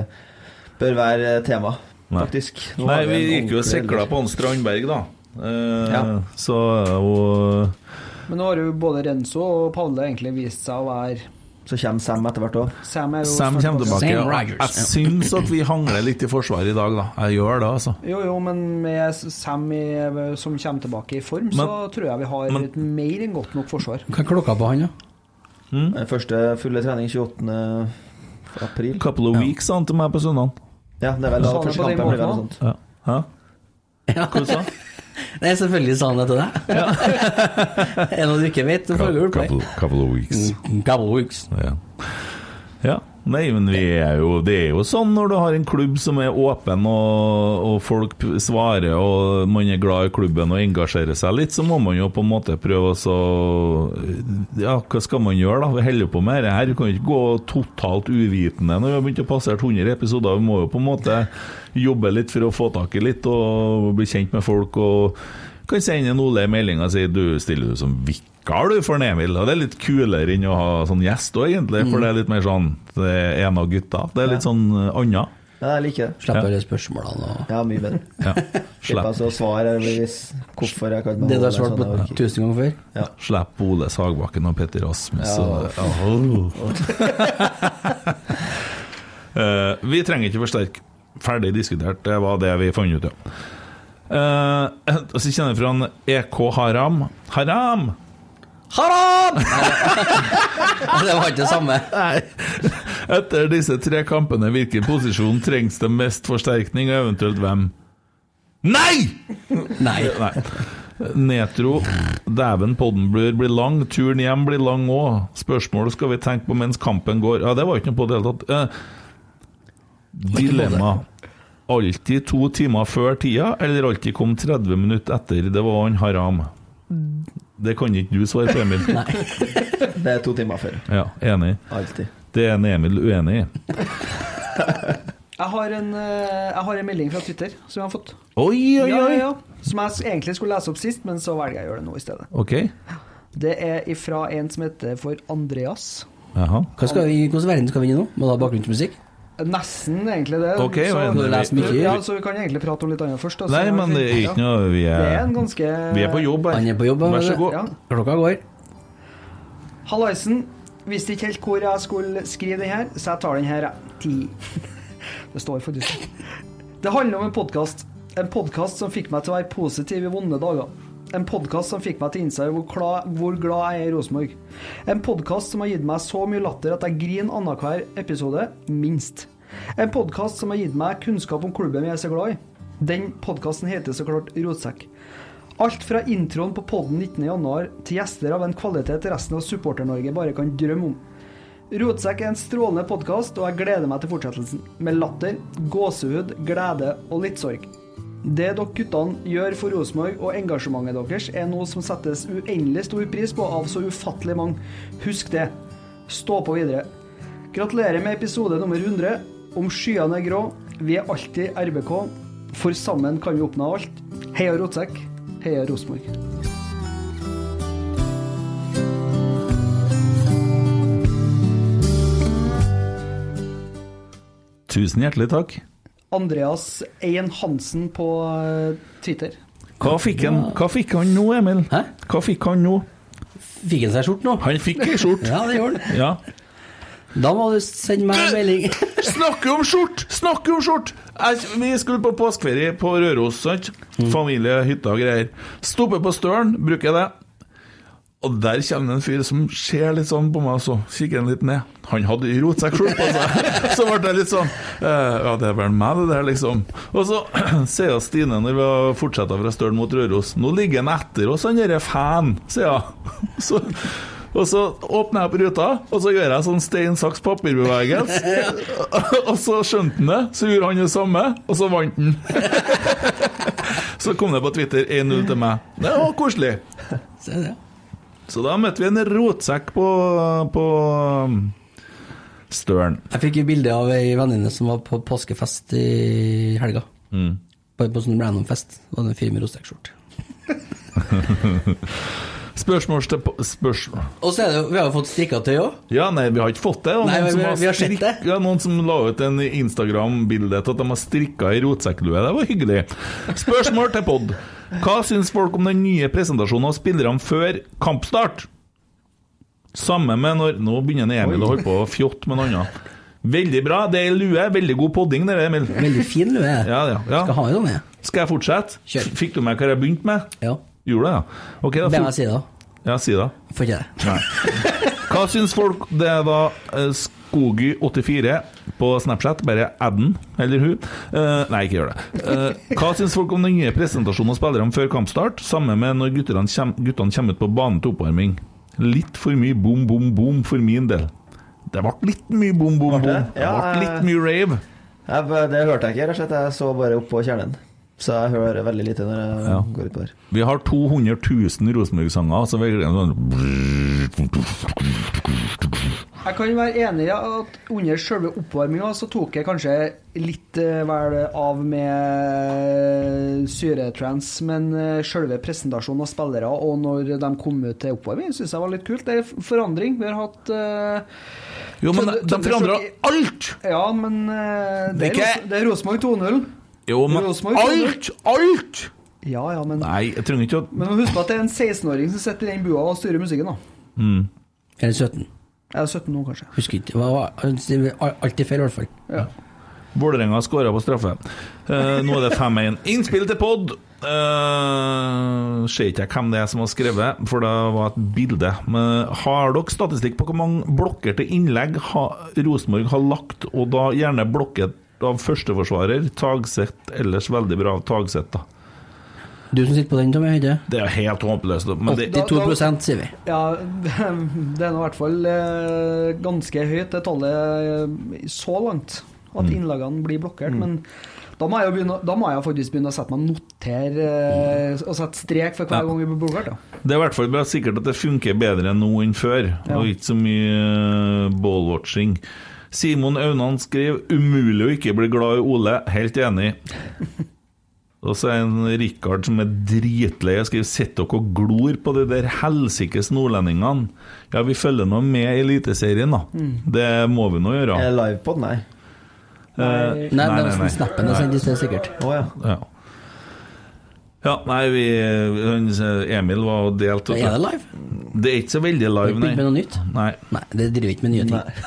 Speaker 4: bør være tema,
Speaker 2: Nei.
Speaker 4: faktisk. Nå
Speaker 2: Nei,
Speaker 4: har
Speaker 2: vi
Speaker 4: en
Speaker 2: gikk jo og
Speaker 4: ordentlig
Speaker 2: sikla
Speaker 4: elver.
Speaker 2: på han Strandberg, da. Eh,
Speaker 4: Ja.
Speaker 2: Så og,
Speaker 5: Men nå har jo både Renzo og Palle egentlig vist seg å være
Speaker 4: Så kommer Sam etter hvert òg.
Speaker 5: Sam er jo
Speaker 2: Sam
Speaker 5: snart
Speaker 2: kommer
Speaker 5: på-
Speaker 2: tilbake.
Speaker 3: Sam
Speaker 2: Jeg,
Speaker 3: Rogers, ja.
Speaker 2: jeg syns at vi hangler litt i forsvaret i dag, da. Jeg gjør det, altså.
Speaker 5: Jo, jo, men med Sam i, som kommer tilbake i form, så
Speaker 2: Men-
Speaker 5: tror jeg vi har
Speaker 2: men-
Speaker 5: et mer enn godt nok forsvar.
Speaker 3: Hva er klokka på han, da?
Speaker 2: Mm.
Speaker 4: Første fulle trening 28. april.
Speaker 2: Couple of weeks sa han til meg på søndag.
Speaker 4: Ja, det er vel da
Speaker 5: Sa han det
Speaker 4: første
Speaker 5: på den
Speaker 4: kampen blir vel
Speaker 5: måten
Speaker 4: noe
Speaker 5: også?
Speaker 4: sånt.
Speaker 2: Ja. Hæ? Hva sa han?
Speaker 3: Nei, selvfølgelig sa han det til deg. er det noe du ikke vet? Så foregår det på deg.
Speaker 6: of weeks.
Speaker 3: Couple weeks.
Speaker 6: Ja.
Speaker 2: Ja. Nei, men vi er jo, det er jo sånn når du har en klubb som er åpen, og, og folk p- svarer, og man er glad i klubben og engasjerer seg litt, så må man jo på en måte prøve å så- Ja, hva skal man gjøre, da? Vi holder på med dette her. Vi kan jo ikke gå totalt uvitende når vi har begynt å passere 100 episoder. Vi må jo på en måte jobbe litt for å få tak i litt, og bli kjent med folk. og kan sende en Ole en melding og si du stiller du som vikar du for en Emil. Og det er litt kulere enn å ha sånn gjest òg, egentlig, for det er litt mer sånn det er en av gutta. Det er litt sånn eh, anna.
Speaker 4: Ja, jeg liker det.
Speaker 3: Slipper alle spørsmålene og
Speaker 4: Ja, mye bedre.
Speaker 2: Ja.
Speaker 4: Slipper
Speaker 2: Slipp-
Speaker 4: altså å svare hvis hvorfor jeg kan
Speaker 3: Det du har
Speaker 4: beholde
Speaker 3: svart
Speaker 4: sånn
Speaker 3: på
Speaker 4: arkiv.
Speaker 3: tusen ganger før?
Speaker 2: Slipp Ole Sagbakken og Petter Rasmus og Eh, Vi trenger ikke forsterke. Ferdig diskutert, det var det vi fant ut, ja. Eh, og så kjenner jeg fra en EK Haram. Haram!
Speaker 3: Haram! det var ikke det samme.
Speaker 2: Etter disse tre kampene, hvilken posisjon trengs det mest forsterkning, og eventuelt hvem? Nei!
Speaker 3: Nei.
Speaker 2: Nei. Netro, dæven podden blir, blir lang, turen hjem blir lang òg. Spørsmål skal vi tenke på mens kampen går. Ja, det var ikke noe på det hele tatt. Eh, dilemma. alltid to timer før tida, eller alltid kom 30 minutter etter? Det var han Haram. Det kan ikke du svare på, Emil.
Speaker 4: Det er to timer før.
Speaker 2: Ja, enig.
Speaker 4: Alltid.
Speaker 2: Det er en Emil uenig i.
Speaker 5: Jeg har, en, eh, jeg har en melding fra Twitter som jeg har fått.
Speaker 2: Oi, oi,
Speaker 5: Ja, ja,
Speaker 2: oi!
Speaker 5: ja. Som jeg s- egentlig skulle lese opp sist, men så velger jeg å gjøre det nå i stedet.
Speaker 2: OK.
Speaker 5: Det er ifra en som heter for Andreas.
Speaker 2: Jaha.
Speaker 3: Hva skal vi, hvordan verden skal vi inn i nå? Må du ha bakgrunnsmusikk?
Speaker 5: Nesten egentlig det.
Speaker 2: Ok,
Speaker 5: så,
Speaker 2: men-
Speaker 3: Du har lest mye.
Speaker 5: ja, så vi kan egentlig prate om litt annet først. da, så
Speaker 2: Nei,
Speaker 5: det var
Speaker 2: men det er
Speaker 5: fint.
Speaker 2: ikke noe Vi
Speaker 5: Ja. Det er
Speaker 2: er,
Speaker 5: en ganske
Speaker 2: vi er på jobb her.
Speaker 3: Han er på jobb.
Speaker 2: Vær så
Speaker 3: vet du.
Speaker 2: god.
Speaker 5: Ja.
Speaker 3: Klokka går.
Speaker 5: Hallaisen. Visste ikke helt hvor jeg skulle skrive den her, så jeg tar den her. jeg. Ti. Det står faktisk Det handler om en podkast. En podkast som fikk meg til å være positiv i vonde dager. En podkast som fikk meg til å innse hvor, kla- hvor glad jeg er i Rosenborg. En podkast som har gitt meg så mye latter at jeg griner annenhver episode, minst. En podkast som har gitt meg kunnskap om klubben jeg er så glad i. Den podkasten heter så klart Rotsekk. Alt fra introen på podden 19.1 til gjester av en kvalitet resten av Supporter-Norge bare kan drømme om. Rotsekk er en strålende podkast, og jeg gleder meg til fortsettelsen. Med latter, gåsehud, glede og litt sorg. Det dere guttene gjør for Rosenborg og engasjementet deres, er noe som settes uendelig stor pris på av så ufattelig mange. Husk det. Stå på videre. Gratulerer med episode nummer 100. Om skyene er grå, vi er alltid RBK. For sammen kan vi oppnå alt. Heia Rotsekk. Heia Rosenborg.
Speaker 2: Tusen hjertelig takk.
Speaker 5: Andreas Ein Hansen på eh, Twitter.
Speaker 2: Hva fikk han, hva fikk han nå, Emil?
Speaker 3: Hæ?
Speaker 2: Hva fikk han nå?
Speaker 3: Fikk han seg skjorte nå?
Speaker 2: Han fikk ei skjorte.
Speaker 3: Ja, det gjorde han.
Speaker 2: Ja.
Speaker 3: Da må du sende meg en melding.
Speaker 2: Snakke om skjort! Snakke om skjort! Jeg- Vi skulle på påskeferie på Røros, sant? Familie, hytte og greier. Stopper på Støren, bruker det. Og der kommer det en fyr som ser litt sånn på meg, og så kikker han litt ned. Han hadde rotsekkskjorte på seg! Så ble jeg litt sånn eh, Ja, det er vel meg, det der, liksom. Og så sier jeg Stine, når vi har fortsatt fra Støren mot Røros Nå ligger han etter oss, han derre fan, sier jeg. Så og så åpner jeg opp ruta, og så gjør jeg sånn stein, saks, papir-bevegelse. og så skjønte han det, så gjorde han det samme, og så vant han. så kom det på Twitter 1-0 til meg. Det var koselig.
Speaker 3: Se det.
Speaker 2: Så da møtte vi en rotsekk på, på um, Støren.
Speaker 3: Jeg fikk et bilde av ei venninne som var på påskefest i helga.
Speaker 2: Mm.
Speaker 3: Bare på sånn random fest. Da hadde hun en fyr med rostekskjorte.
Speaker 2: Spørsmål til på- spørsmål.
Speaker 3: Og så er det jo Vi har jo fått strikka tøy òg.
Speaker 2: Ja, nei, vi har ikke fått det. det var
Speaker 3: Nei,
Speaker 2: noen
Speaker 3: vi-
Speaker 2: som har
Speaker 3: vi har sett det.
Speaker 2: strikket- Ja, noen som la ut en Instagram-bilde til at de har strikka i rotsekklue. Det var hyggelig. Spørsmål til pod. Hva syns folk om den nye presentasjonen av spillerne før kampstart? Samme med når Nå begynner Emil å holde på å fjotte med noe annet. Veldig bra. Det er ei lue. Veldig god podding, det, Emil.
Speaker 3: Veldig fin lue.
Speaker 2: Ja, ja, ja.
Speaker 3: Skal ha en sånn, jeg.
Speaker 2: Skal jeg fortsette?
Speaker 3: Kjør.
Speaker 2: Fikk du med hva jeg begynte med?
Speaker 3: Ja.
Speaker 2: Gjorde du det? ja? Ok, da
Speaker 3: Det må
Speaker 2: for-
Speaker 3: jeg si, da.
Speaker 2: Ja, si det.
Speaker 3: Får ikke det.
Speaker 2: Hva syns folk det var Skogy84 på Snapchat? Bare adden, eller hun? Eh, nei, ikke gjør det. Eh, hva syns folk om den nye presentasjonen av spillerne før kampstart? Samme med når gutterne kjem- guttene kommer ut på banen til oppvarming. Litt for mye bom, bom, bom for min del. Det ble litt mye bom, bom, bom. Det
Speaker 4: det? Ja,
Speaker 2: ble litt mye rave.
Speaker 4: Jeg, bare- det hørte jeg ikke, rett og slett. Jeg så bare opp på kjernen. Så jeg hører veldig lite når jeg
Speaker 2: Ja.
Speaker 4: går ut på der.
Speaker 2: Vi har 200 000 Rosenborg-sanger, så vi er sånn
Speaker 5: Jeg kan være enig i at under selve oppvarminga så tok jeg kanskje litt eh, vel av med syretrans, men eh, selve presentasjonen av spillere og når de kom ut til oppvarming, syns jeg var litt kult. Det er forandring. Vi har hatt eh,
Speaker 2: Jo, men de,
Speaker 5: Tønde-
Speaker 2: de
Speaker 5: Tønde-
Speaker 2: forandra
Speaker 5: Tønde-
Speaker 2: alt!
Speaker 5: Ja, men eh, det er,
Speaker 2: Ikke-
Speaker 5: Ros- det er Rosenborg 2-0.
Speaker 2: Jo, men
Speaker 5: Rosenborg-
Speaker 2: alt! Alt!
Speaker 5: Ja, ja, men
Speaker 2: Nei, jeg trenger ikke å
Speaker 5: Men må huske på at det er en 16-åring som sitter i den bua og styrer musikken, da.
Speaker 3: Eller 17.
Speaker 5: Jeg er 17 nå, kanskje.
Speaker 3: Husker ikke. Det var- Det var alltid feil, i hvert fall.
Speaker 2: Vålerenga skåra på straffe. Eh, nå er det 5-1. Innspill til pod! Uh, Ser ikke jeg hvem det er som har skrevet, for det var et bilde. Men har dere statistikk på hvor mange blokker til innlegg ha- Rosenborg har lagt, og da gjerne blokket av førsteforsvarer? Tagsett ellers veldig bra av Tagsett, da.
Speaker 3: Du som sitter på den, Tommy Høyde.
Speaker 2: Det er helt håpløst. Men det,
Speaker 3: 82 sier vi.
Speaker 5: Ja, det er nå i hvert fall eh,
Speaker 2: Mm.
Speaker 5: ganske høyt, det tallet eh, så langt. At innlagene blir blokkert. Men Da må jeg, jo begynne, da må jeg faktisk begynne å sette meg notere eh, og sette strek for hver
Speaker 2: Ja.
Speaker 5: gang vi blir bokført. da.
Speaker 2: Det er i hvert fall bra sikkert at det funker bedre nå enn før, og ikke så mye eh, ballwatching. Simon Aunan skriver 'Umulig å ikke bli glad i Ole'. Helt enig. Og så er en Rikard som er dritlei og skriver 'Sitter dere og glor på de der helsikes nordlendingene'? Ja, vi følger nå med i Eliteserien, da.
Speaker 3: Mm.
Speaker 2: Det må vi nå gjøre.
Speaker 4: Er det livepod? Nei.
Speaker 2: Eh,
Speaker 3: Nei, det var sånn snappen jeg sendte i sted, sikkert.
Speaker 4: Å ja.
Speaker 2: Ja. ja, nei, vi han, Emil var og delte
Speaker 3: Men Er det live?
Speaker 2: Det er ikke så veldig
Speaker 3: Har
Speaker 2: live,
Speaker 3: vi begynt med noe nytt?
Speaker 2: Nei.
Speaker 3: Nei, det driver vi ikke med nye ting.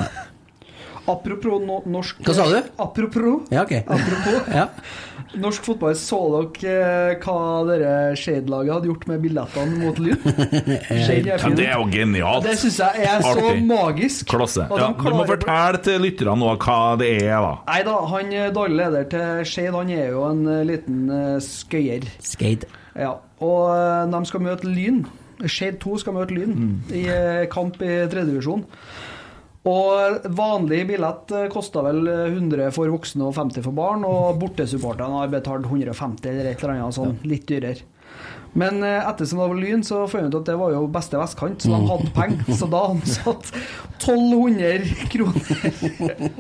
Speaker 5: Apropos no norsk
Speaker 3: Hva sa du?
Speaker 5: Apropos,
Speaker 3: Ja, ok.
Speaker 5: apropos
Speaker 3: Ja.
Speaker 5: norsk fotball. Så dere eh, hva dere Shade-laget hadde gjort med billettene mot Lyn? Shade er
Speaker 2: Ja,
Speaker 5: fint.
Speaker 2: det er jo genialt!
Speaker 5: Det syns jeg er så
Speaker 2: Artig.
Speaker 5: magisk.
Speaker 2: Klasse.
Speaker 5: Og de
Speaker 2: Ja, du må
Speaker 5: klarer-
Speaker 2: fortelle til lytterne nå hva det er, da.
Speaker 5: Nei da, han eh, daglig leder til Skeid, han er jo en eh, liten eh, skøyer.
Speaker 3: Skate.
Speaker 5: Ja. Og eh, de skal møte Lyn. Skeid 2 skal møte Lyn i eh, kamp i tredjedivisjon. Og eh, vanlig billett eh, kosta vel 100 for voksne og 50 for barn, og bortesupporterne har betalt 150 eller et eller annet sånn, litt dyrere. Men eh, ettersom det var Lyn, så fant jeg ut at det var jo beste vestkant, så de hadde penger. Så da ansatt 1200 kroner.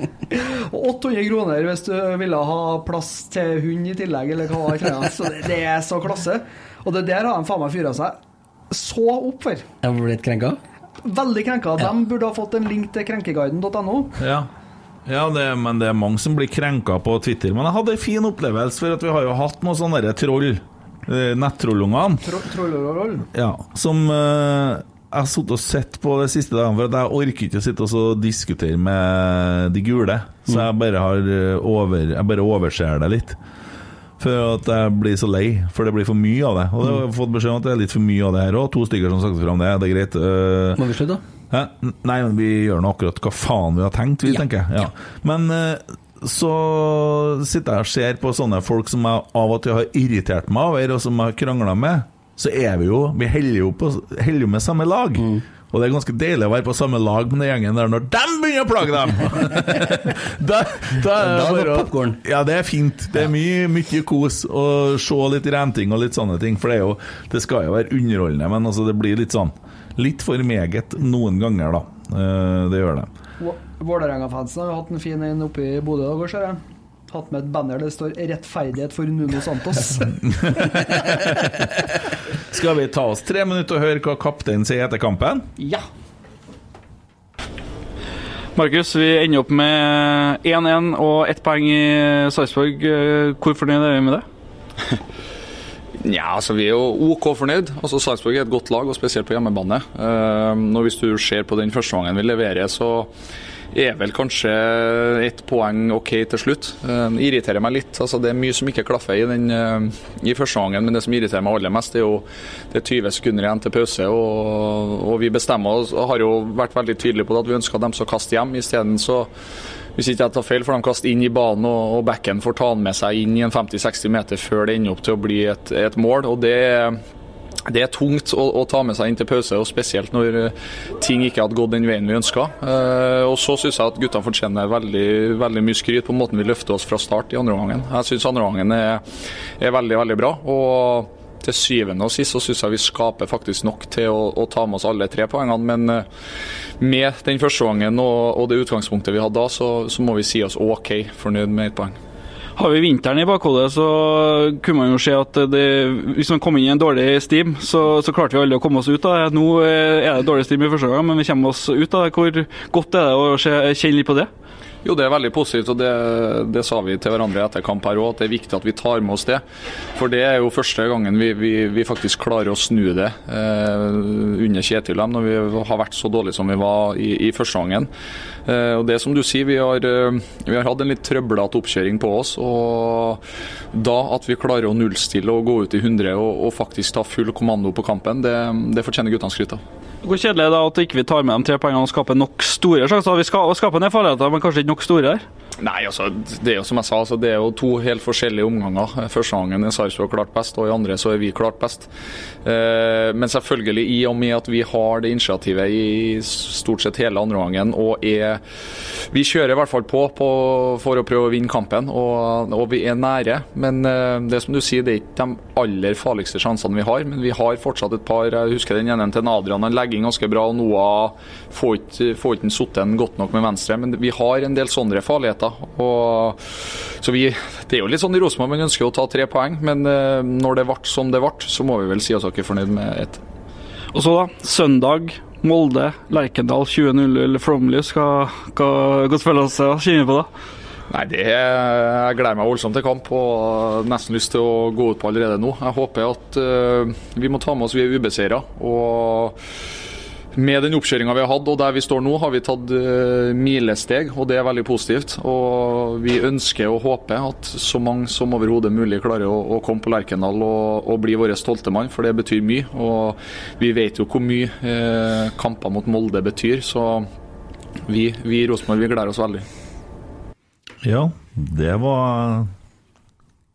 Speaker 5: Og 800 kroner hvis du ville ha plass til hund i tillegg, eller hva det var. Så det, det er så klasse. Og det der har de faen meg fyra seg så opp for.
Speaker 3: Jeg ble litt krenka.
Speaker 5: Veldig krenka. De burde ha fått en link til krenkeguiden.no.
Speaker 2: Ja. Ja, det, men det er mange som blir krenka på Twitter. Men jeg hadde en fin opplevelse, for at vi har jo hatt noen sånne der troll. eh, Nettrollungene.
Speaker 5: Tro- trollololol.
Speaker 2: Ja, som eh, jeg har sittet og sett på det siste dagen, for at jeg orker ikke å sitte og så diskutere med de gule. Så jeg bare, har eh, over, jeg bare overser det litt. For at jeg blir så lei, for det blir for mye av det. Og det har jeg fått beskjed om at det er litt for mye av det her òg. To stykker som snakket fram det, det er greit. Eh,
Speaker 3: Må vi slutte, da?
Speaker 2: Hæ? Nei, men vi gjør nå akkurat hva faen vi har tenkt, vi,
Speaker 3: Ja.
Speaker 2: tenker jeg. Ja. Men eh, så sitter jeg og ser på sånne folk som jeg av og til har irritert meg over, og som jeg har krangla med. Så er vi jo Vi heller jo, på, heller jo med samme lag. Og det er ganske deilig å være på samme lag med den gjengen der når de begynner å plage dem! da, da er
Speaker 3: Da er det
Speaker 2: bare å-
Speaker 3: popcorn.
Speaker 2: ja, det er fint. Det er mye, mye kos å se litt renting og litt sånne ting. For det, er jo, det skal jo være underholdende, men altså det blir litt sånn Litt for meget noen ganger, da. Eh, det gjør det.
Speaker 5: Vå- Vålerenga-fansen har jo hatt en fin en oppe i Bodø i dag òg, ser jeg. Hatt med et banner det står 'Rettferdighet for Nuno Santos'.
Speaker 2: Skal vi ta oss tre minutter og høre hva kapteinen sier etter kampen?
Speaker 5: ja.
Speaker 9: Markus, vi ender opp med 1-1 og ett poeng i Sarpsborg. Eh, Hvor fornøyd er vi med det?
Speaker 10: Ja, altså Vi er jo OK fornøyd. Altså Sarpsborg er et godt lag, og spesielt på hjemmebane. Eh, Nå Hvis du ser på den førsteomgangen vi leverer, så er vel kanskje ett poeng OK til slutt. Eh, Det irriterer meg litt. altså Det er mye som ikke klaffer i, den, eh, i førsteomgangen, men det som irriterer meg aller mest, det er jo det er 20 sekunder igjen til pause. og, og Vi bestemmer oss og har jo vært veldig tydelige på det at vi ønsker dem som kaster hjem. Isteden så hvis ikke jeg tar feil, får de kaste inn i banen, og, og backen får ta han med seg inn i en 50-60 meter før det ender opp til å bli et, et mål. og det er- det er tungt å, å ta med seg inn til pause, og spesielt når eh, ting ikke hadde gått den veien vi ønska. og så syns jeg at guttene fortjener veldig, veldig mye skryt på måten vi løfter oss fra start i andre omgangen. Jeg syns andre omgangen er, er veldig, veldig bra. og til syvende og sist så syns jeg vi skaper faktisk nok til å, å ta med oss alle tre poengene. Men eh, med den første gangen og, og det utgangspunktet vi hadde da, så, så må vi si oss OK fornøyd med ett poeng.
Speaker 9: Har vi vinteren i bakhodet, så kunne man jo se at det, hvis man kom inn i en dårlig stim, så, så klarte vi alle å komme oss ut av det. Nå eh, er det dårlig stim i første gang, men vi kommer oss ut av det. Hvor godt er det å se, kjenne litt på det?
Speaker 10: Jo, det er veldig positivt, og det, det sa vi til hverandre etter kamp her òg, at det er viktig at vi tar med oss det. For det er jo første gangen vi, vi, vi faktisk klarer å snu det eh, under Kjetil og dem, når vi har vært så dårlige som vi var i, i første gangen. Eh, og det er som du sier, vi har, eh, vi har hatt en litt trøblete oppkjøring på oss. Og da at vi klarer å nullstille og gå ut i 100 og, og faktisk ta full kommando på kampen, det, det fortjener guttene skryt av.
Speaker 9: Hvor kjedelig er det at ikke vi ikke tar med de tre poengene og skaper nok store sjanser? Vi ska- skaper ned farligheter, men kanskje ikke nok store her.
Speaker 10: Nei, altså, det er jo som jeg sa, altså, det er jo to helt forskjellige omganger. Første gangen er Sarpsborg klart best, og i andre så er vi klart best. Eh, men selvfølgelig, i og med at vi har det initiativet i stort sett hele andre gangen, og er Vi kjører i hvert fall på, på for å prøve å vinne kampen, og, og vi er nære. Men eh, det er som du sier, det er ikke de aller farligste sjansene vi har. Men vi har fortsatt et par. Jeg husker den ene til Adrian. Han legger inn ganske bra. og Noah får ikke får ikke satt den godt nok med venstre. Men vi har en del sånne farligheter. Og, så vi, det er jo litt sånn i Rosenborg, man ønsker jo å ta tre poeng. Men eh, når det ble som det ble, så må vi vel si oss ikke fornøyd med ett.
Speaker 9: Og så, da. Søndag, Molde, Lerkendal 20-0 eller Flomlys. Hva, hva, hva spiller oss da? Kjenner vi på det?
Speaker 10: Nei, det er, Jeg gleder meg voldsomt til kamp og nesten lyst til å gå ut på allerede nå. Jeg håper at eh, vi må ta med oss vi er ubeseira. Og med den oppkjøringa vi har hatt og der vi står nå, har vi tatt eh, milesteg, og det er veldig positivt. Og vi ønsker og håper at så mange som overhodet mulig klarer å, å komme på Lerkendal og, og bli vår stolte mann, for det betyr mye. Og vi vet jo hvor mye eh, kamper mot Molde betyr, så vi, vi i Rosenborg vi gleder oss veldig.
Speaker 2: Ja, det var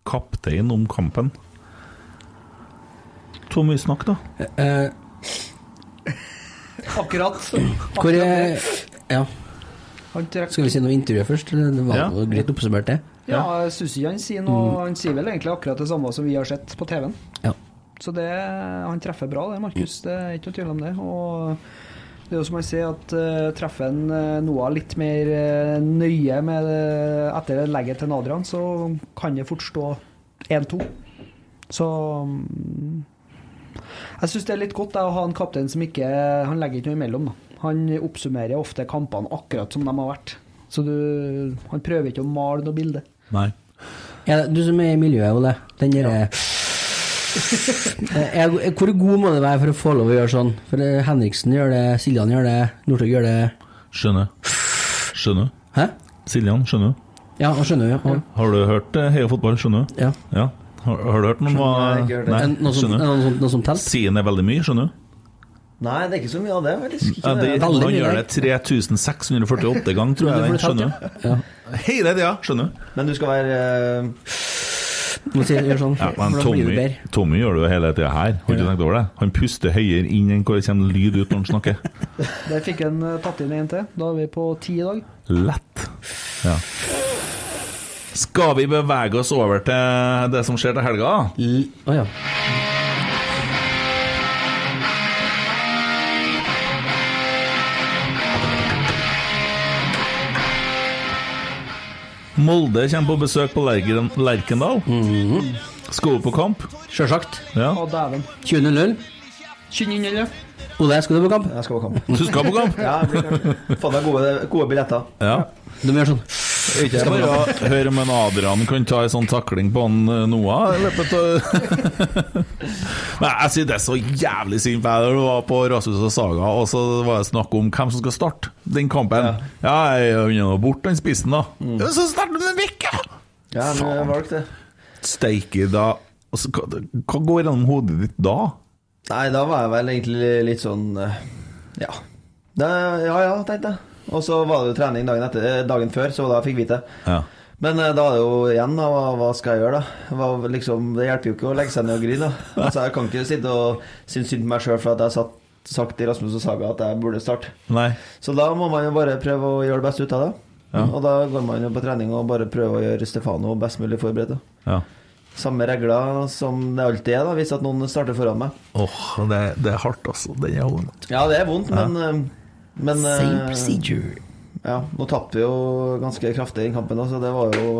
Speaker 2: kaptein om kampen. Så mye snakk, da.
Speaker 3: Eh,
Speaker 5: Akkurat.
Speaker 3: hvor er Ja,
Speaker 5: Han trakk
Speaker 3: skal vi si noe intervju først? eller? Det var
Speaker 2: Ja.
Speaker 3: jo greit oppsummert, det.
Speaker 5: Ja, jeg synes ikke han sier noe Han sier vel egentlig akkurat det samme som vi har sett på TV-en.
Speaker 3: Ja.
Speaker 5: Så det, han treffer bra, det, Markus. Det er ikke noe tvil om det. Og det er jo som han sier, at eh, treffer han eh, Noah litt mer eh, nøye med, det- etter legget til Adrian, så kan det fort stå 1-2. Så mm, Jeg syns det er litt godt det, å ha en kaptein som ikke Han legger ikke noe imellom. Da. Han oppsummerer ofte kampene akkurat som de har vært. Så du, han prøver ikke å male noe bilde.
Speaker 2: Nei.
Speaker 3: Ja, du som er i miljøet, Ole. Den derre Eh, jeg- Hvor god må det være for å få lov å gjøre sånn? For eh, Henriksen gjør det, Siljan gjør det, Northug gjør det.
Speaker 2: Skjønner. Skjønner.
Speaker 3: Hæ?
Speaker 2: Siljan, skjønner.
Speaker 3: Ja, han skjønner jo. Ja.
Speaker 2: Har du hørt eh, Heia Fotball? Skjønner.
Speaker 3: Ja.
Speaker 2: Ja. Har, har du hørt noen hva
Speaker 4: Skjønner, jeg har ikke hørt det.
Speaker 2: Nei,
Speaker 3: En- Noe som,
Speaker 2: skjønner.
Speaker 3: noe som, noe som telt?
Speaker 2: Siden er veldig mye, skjønner du?
Speaker 4: Nei, det er ikke så mye av det. faktisk. Ikke
Speaker 2: Ja, det,
Speaker 4: det.
Speaker 3: veldig
Speaker 2: han
Speaker 3: mye,
Speaker 2: gjør
Speaker 3: nei.
Speaker 2: det 3648 ganger, tror jeg.
Speaker 3: Men
Speaker 2: den,
Speaker 3: du får det
Speaker 2: Skjønner du? Hele tida, skjønner du?
Speaker 4: Men du skal være eh,
Speaker 3: Må si, gjør sånn,
Speaker 2: Ja, men
Speaker 3: for da blir det
Speaker 2: Tommy,
Speaker 3: bedre.
Speaker 2: Tommy gjør det jo hele tida her. Har du tenkt over det? Han puster høyere inn enn hvor det kommer lyd ut når han snakker.
Speaker 5: Der fikk han eh, tatt inn en til. Da er vi på ti i dag.
Speaker 2: Lett. Ja. Skal vi bevege oss over til det som skjer til helga? da?
Speaker 3: L- Å ja.
Speaker 2: Molde kommer på besøk på Lerken, Lerkendal.
Speaker 3: Mhm.
Speaker 2: Skal du på kamp?
Speaker 3: Sjølsagt.
Speaker 2: Ja.
Speaker 5: Å, dæven.
Speaker 3: 20.00.
Speaker 5: Kynn inn, eller?
Speaker 3: Ole, skal du på kamp?
Speaker 4: Jeg skal på kamp.
Speaker 2: Du skal på kamp?
Speaker 4: Ja, jeg blir kanskje- Få deg gode, gode billetter.
Speaker 2: Ja.
Speaker 3: Du må gjøre sånn.
Speaker 2: Ikke bare høre om en Adrian kan ta en sånn takling på han eh, Noah i løpet av Men jeg synes det er så jævlig synd, for jeg var på Rasmus og Saga, og så var det snakk om hvem som skal starte den kampen. Ja, jeg er jo borte, den spissen, da. Ja, Så starter den vekk, ja!
Speaker 4: Ja, men jeg valgte det.
Speaker 2: Steike, da. Altså, hva, hva går gjennom hodet ditt da?
Speaker 4: Nei, da var jeg vel egentlig litt sånn eh, Ja. Da, ja ja, tenkte jeg. Og så var det jo trening dagen, etter, eh, dagen før, så da fikk vi vite.
Speaker 2: Ja.
Speaker 4: Men eh, da er det jo igjen, da. Hva, hva skal jeg gjøre, da? Hva, liksom, det hjelper jo ikke å legge seg ned og grine. da. Altså, Jeg kan ikke sitte og synes synd på meg sjøl for at jeg satt, sagt til Rasmus og Saga at jeg burde starte.
Speaker 2: Nei.
Speaker 4: Så da må man jo bare prøve å gjøre det beste ut av det. Og da går man jo på trening og bare prøver å gjøre Stefano best mulig forberedt. da.
Speaker 2: Ja.
Speaker 4: Samme regler som det alltid er, da, hvis at noen starter foran meg.
Speaker 2: Åh, det, det er hardt, altså. Den er vond.
Speaker 4: Ja, det er vondt, men, eh, men eh,
Speaker 3: Same procedure.
Speaker 4: Ja, nå tapte vi jo ganske kraftig i den kampen, da, så det var jo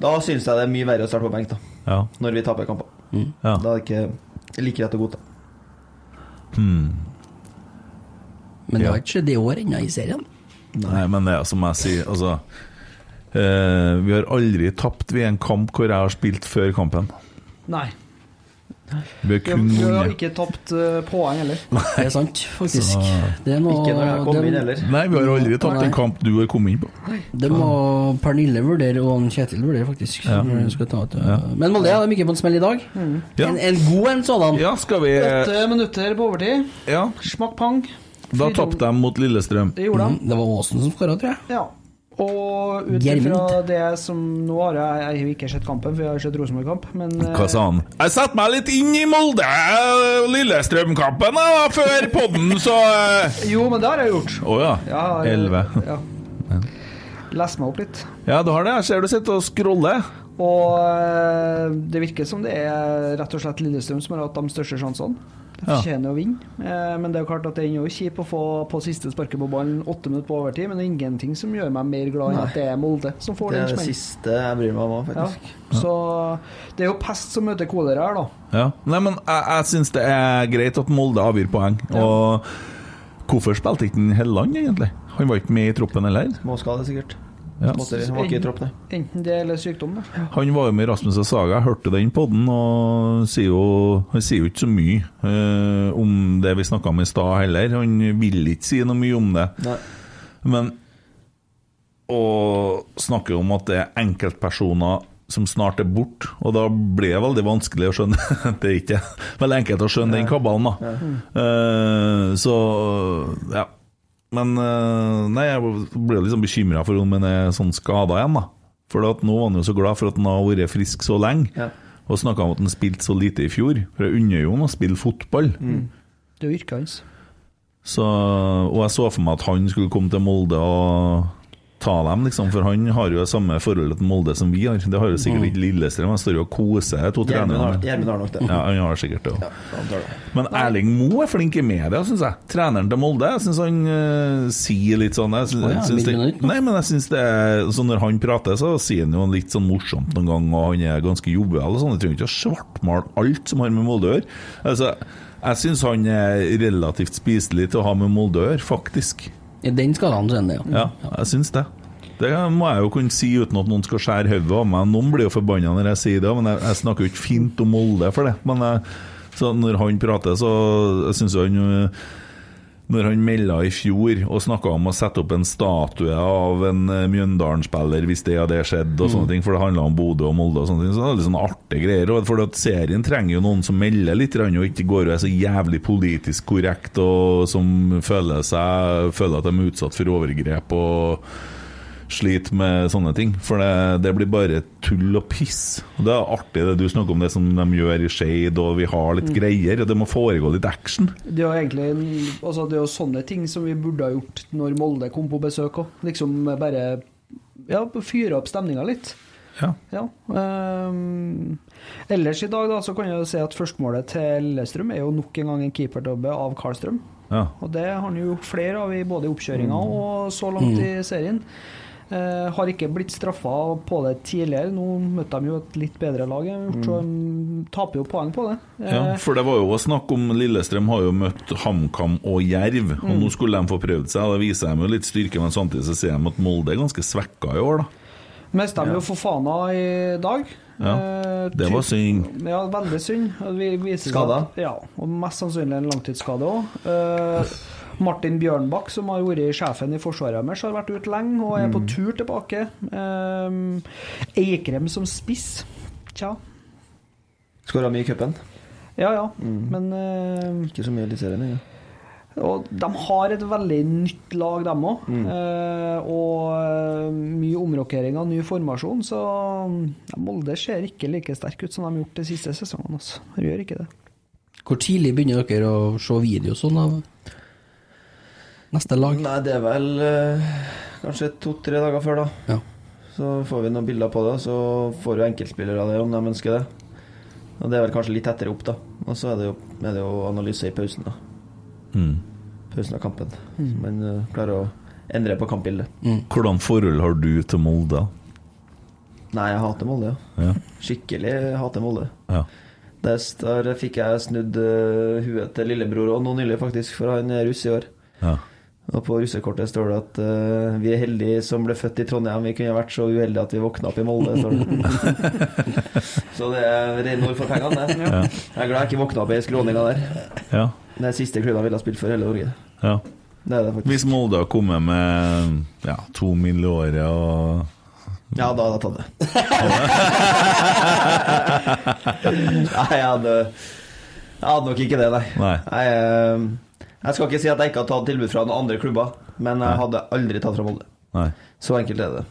Speaker 4: Da syns jeg det er mye verre å starte på benk, da.
Speaker 2: Ja.
Speaker 4: Når vi taper kamper.
Speaker 2: ja.
Speaker 4: Da er det ikke like rett å godta.
Speaker 3: Men det har ikke skjedd i år ennå i serien.
Speaker 2: Nei, men det er som jeg sier, altså eh, Vi har aldri tapt ved en kamp hvor jeg har spilt før kampen.
Speaker 5: Nei.
Speaker 2: Vi har kun
Speaker 5: Vi har
Speaker 2: vunnet.
Speaker 5: ikke tapt eh, poeng heller.
Speaker 3: Det er sant, faktisk. Det må,
Speaker 4: Ikke når jeg kom
Speaker 3: det-
Speaker 4: inn heller.
Speaker 2: Nei, vi har aldri tapt
Speaker 3: Nei.
Speaker 2: en kamp du har kommet inn på.
Speaker 3: Det må Pernille vurdere, og han Kjetil vurdere, faktisk. når hun Skal ta ut, ja. Men Molde ja, de gikk på en smell i dag.
Speaker 2: Ja.
Speaker 3: En, en god en sådan.
Speaker 2: Ja, skal vi eh,
Speaker 5: Åtte minutter på overtid.
Speaker 2: Ja,
Speaker 5: Smakk pang.
Speaker 2: da tapte de mot Lillestrøm.
Speaker 5: Det gjorde de.
Speaker 3: Mm, Det var Aasen som skåra, tror jeg.
Speaker 5: Ja. Og ut ifra
Speaker 3: Gjermund.
Speaker 5: det som Nå har jeg, jeg har ikke sett kampen, for jeg har sett Rosenborg-kamp, men eh,
Speaker 2: Hva sa han? Jeg satte meg litt inn i Molde eh, Lillestrøm-kampen da, før podden, så eh.
Speaker 5: Jo, men det har jeg gjort.
Speaker 2: Å ja.
Speaker 5: Ja, jeg-
Speaker 2: Elleve.
Speaker 5: Ja. Les meg opp litt.
Speaker 2: Ja, du har det. Jeg ser du sitter og scroller.
Speaker 5: Og eh, det virker som det er rett og slett Lillestrøm som har hatt de største sjansene. De
Speaker 2: Ja.
Speaker 5: fortjener å vinne, eh, men det er jo klart at det er jo kjipt å få på siste sparket på ballen åtte minutter på overtid, men det er ingenting som gjør meg mer glad enn at det er Molde som får
Speaker 4: Det
Speaker 5: den
Speaker 4: er det
Speaker 5: smellen.
Speaker 4: siste jeg bryr meg om, også,
Speaker 5: Ja.
Speaker 4: faktisk.
Speaker 5: Så det er jo pest som møter kolera her, da.
Speaker 2: Ja. Nei, men jeg, jeg syns det er greit at Molde avgir poeng. Og hvorfor spilte ikke den Helland, egentlig? Han var ikke med i troppen heller.
Speaker 4: Småskade, sikkert.
Speaker 2: Ja.
Speaker 4: Måtte, han var ikke i tropp, nei.
Speaker 5: Enten det eller sykdom. Da.
Speaker 2: Han var jo med i Rasmus og Saga, jeg hørte den podden, og sier jo, han sier jo ikke så mye eh, om det vi snakka om i stad heller. Han vil ikke si noe mye om det.
Speaker 4: Nei.
Speaker 2: Men å snakke om at det er enkeltpersoner som snart er borte, og da blir det veldig vanskelig å skjønne Det er ikke veldig enkelt å skjønne den kabalen, da. Eh, så ja. Men eh, nei, jeg ble liksom bekymra for om han er sånn skada igjen, da. For at nå var han jo så glad for at han har vært frisk så lenge,
Speaker 4: Ja.
Speaker 2: og snakka om at han spilte så lite i fjor. For jeg unner jo han å spille fotball.
Speaker 4: Mm.
Speaker 5: Det er jo yrket hans.
Speaker 2: Så, og jeg så for meg at han skulle komme til Molde og ta dem, liksom. For han har jo det samme forholdet til Molde som vi har. Det har jo sikkert ikke Lillestrøm. Han står jo og koser de to
Speaker 4: Gjermund Mm. har-
Speaker 2: trenerne.
Speaker 4: Gjermund har nok det.
Speaker 2: Ja, han har sikkert det også.
Speaker 4: Han tar det.
Speaker 2: Men Erling Moe er flink i media, syns jeg. Treneren til Molde. Jeg syns han eh, sier litt sånn jeg syns,
Speaker 3: Å ja,
Speaker 2: jeg syns det,
Speaker 3: vil du noe nytt nå?
Speaker 2: Nei, men jeg syns det er Så når han prater, så sier han jo litt sånn morsomt noen gang, og han er ganske jovial og sånn. Jeg trenger ikke å svartmale alt som har med Molde å gjøre. Altså, jeg syns han er relativt spiselig til å ha med Molde å gjøre, faktisk.
Speaker 3: I den skalaen så er det, ja.
Speaker 2: Ja, jeg syns det. Det må jeg jo kunne si uten at noen skal skjære hodet av meg. Noen blir jo forbanna når jeg sier det, men jeg, jeg snakker jo ikke fint om Molde for det. Men jeg, så når han prater, så jeg syns jo han øh, Når han melda i fjor og snakka om å sette opp en statue av en øh, Mjøndalen-spiller hvis det hadde skjedd, og sånne ting, for det handla om Bodø og Molde og sånne ting, så det er litt sånn artige greier. og For at serien trenger jo noen som melder litt, grann, og ikke går og er så jævlig politisk korrekt, og som føler, seg, føler at de er utsatt for overgrep. og sliter med sånne ting. For det, det blir bare tull og piss. Og Det er artig det du snakker om, det som de gjør i Shade, og vi har litt greier. Og det må foregå litt action.
Speaker 5: Det er jo egentlig en- altså det er jo sånne ting som vi burde ha gjort når Molde kom på besøk òg. Liksom bare ja, fyre opp stemninga litt.
Speaker 2: Ja.
Speaker 5: Ja. ehm, ellers i dag da, så kan jeg jo si at førstemålet til Lillestrøm er jo nok en gang en keeperdobbe av Karlstrøm.
Speaker 2: ja.
Speaker 5: Og det har han jo gjort flere av i både i oppkjøringa
Speaker 2: Mm.
Speaker 5: og så langt i serien. Eh, har ikke blitt straffa på det tidligere. Nå møtte de jo et litt bedre lag, så de taper jo poeng på det. Eh,
Speaker 2: Mm. Ja, for det var jo også snakk om Lillestrøm har jo møtt HamKam og Jerv, og
Speaker 5: Mm.
Speaker 2: nå skulle de få prøvd seg. og Da viser de jo litt styrke, men samtidig så ser de at Molde er ganske svekka i år, da.
Speaker 5: Mista jo for Fofana i dag.
Speaker 2: Ja,
Speaker 5: Eh,
Speaker 2: det var
Speaker 5: typ-
Speaker 2: synd.
Speaker 5: Ja, veldig synd. Og vi- viser seg
Speaker 4: Skada?
Speaker 5: at- Ja, og mest sannsynlig en langtidsskade òg. Martin Bjørnbakk, som har vært sjefen i forsvaret deres, har vært ute lenge og er på tur tilbake. Eh, Eikrem som spiss. Tja.
Speaker 4: Skåra mye i cupen.
Speaker 5: Ja ja, men eh,
Speaker 4: Ikke så mye i Eliteserien. egentlig.
Speaker 5: Og de har et veldig nytt lag, dem òg. Eh, og eh, mye omrokeringer, ny formasjon. Så ja, Molde ser ikke like sterk ut som de har gjort de siste sesongene. Altså. De gjør ikke det.
Speaker 3: Hvor tidlig begynner dere å se video sånn av neste lag?
Speaker 4: Nei, det er vel eh, kanskje to-tre dager før, da.
Speaker 3: Ja.
Speaker 4: Så får vi noen bilder på det, og så får jo enkeltspillere det om de ønsker det. Og det er vel kanskje litt tettere opp, da. Og så er det jo, er det jo analyse i pausen, da.
Speaker 2: Mm.
Speaker 4: Pausen av kampen. Så man eh, klarer å endre på kampbildet.
Speaker 5: Mm.
Speaker 2: Hvordan forhold har du til Molde?
Speaker 4: Nei, jeg hater Molde, ja.
Speaker 2: Ja.
Speaker 4: Skikkelig hater Molde.
Speaker 2: ja.
Speaker 4: Der, der fikk jeg snudd eh, huet til lillebror òg nå nylig, faktisk, for han er russ i år.
Speaker 2: ja.
Speaker 4: Og på russekortet står det at eh, vi er heldige som ble født i Trondheim. Vi kunne vært så uheldige at vi våkna opp i Molde. Står det. så det er rene ord for pengene, det. Jeg er glad jeg ikke våkna opp i skråninga der.
Speaker 2: Ja.
Speaker 4: Det er siste klubben jeg ville ha spilt for hele Norge.
Speaker 2: ja.
Speaker 4: Det er det faktisk.
Speaker 2: Hvis Molde har kommet med ja, to mill. i året og
Speaker 4: Ja, da hadde jeg tatt det. nei, jeg hadde, jeg hadde nok ikke det, nei.
Speaker 2: Nei.
Speaker 4: Jeg, eh, jeg skal ikke si at jeg ikke har tatt tilbud fra noen andre klubber, men
Speaker 2: Nei.
Speaker 4: jeg hadde aldri tatt fra Molde.
Speaker 2: Nei.
Speaker 4: Så enkelt er det.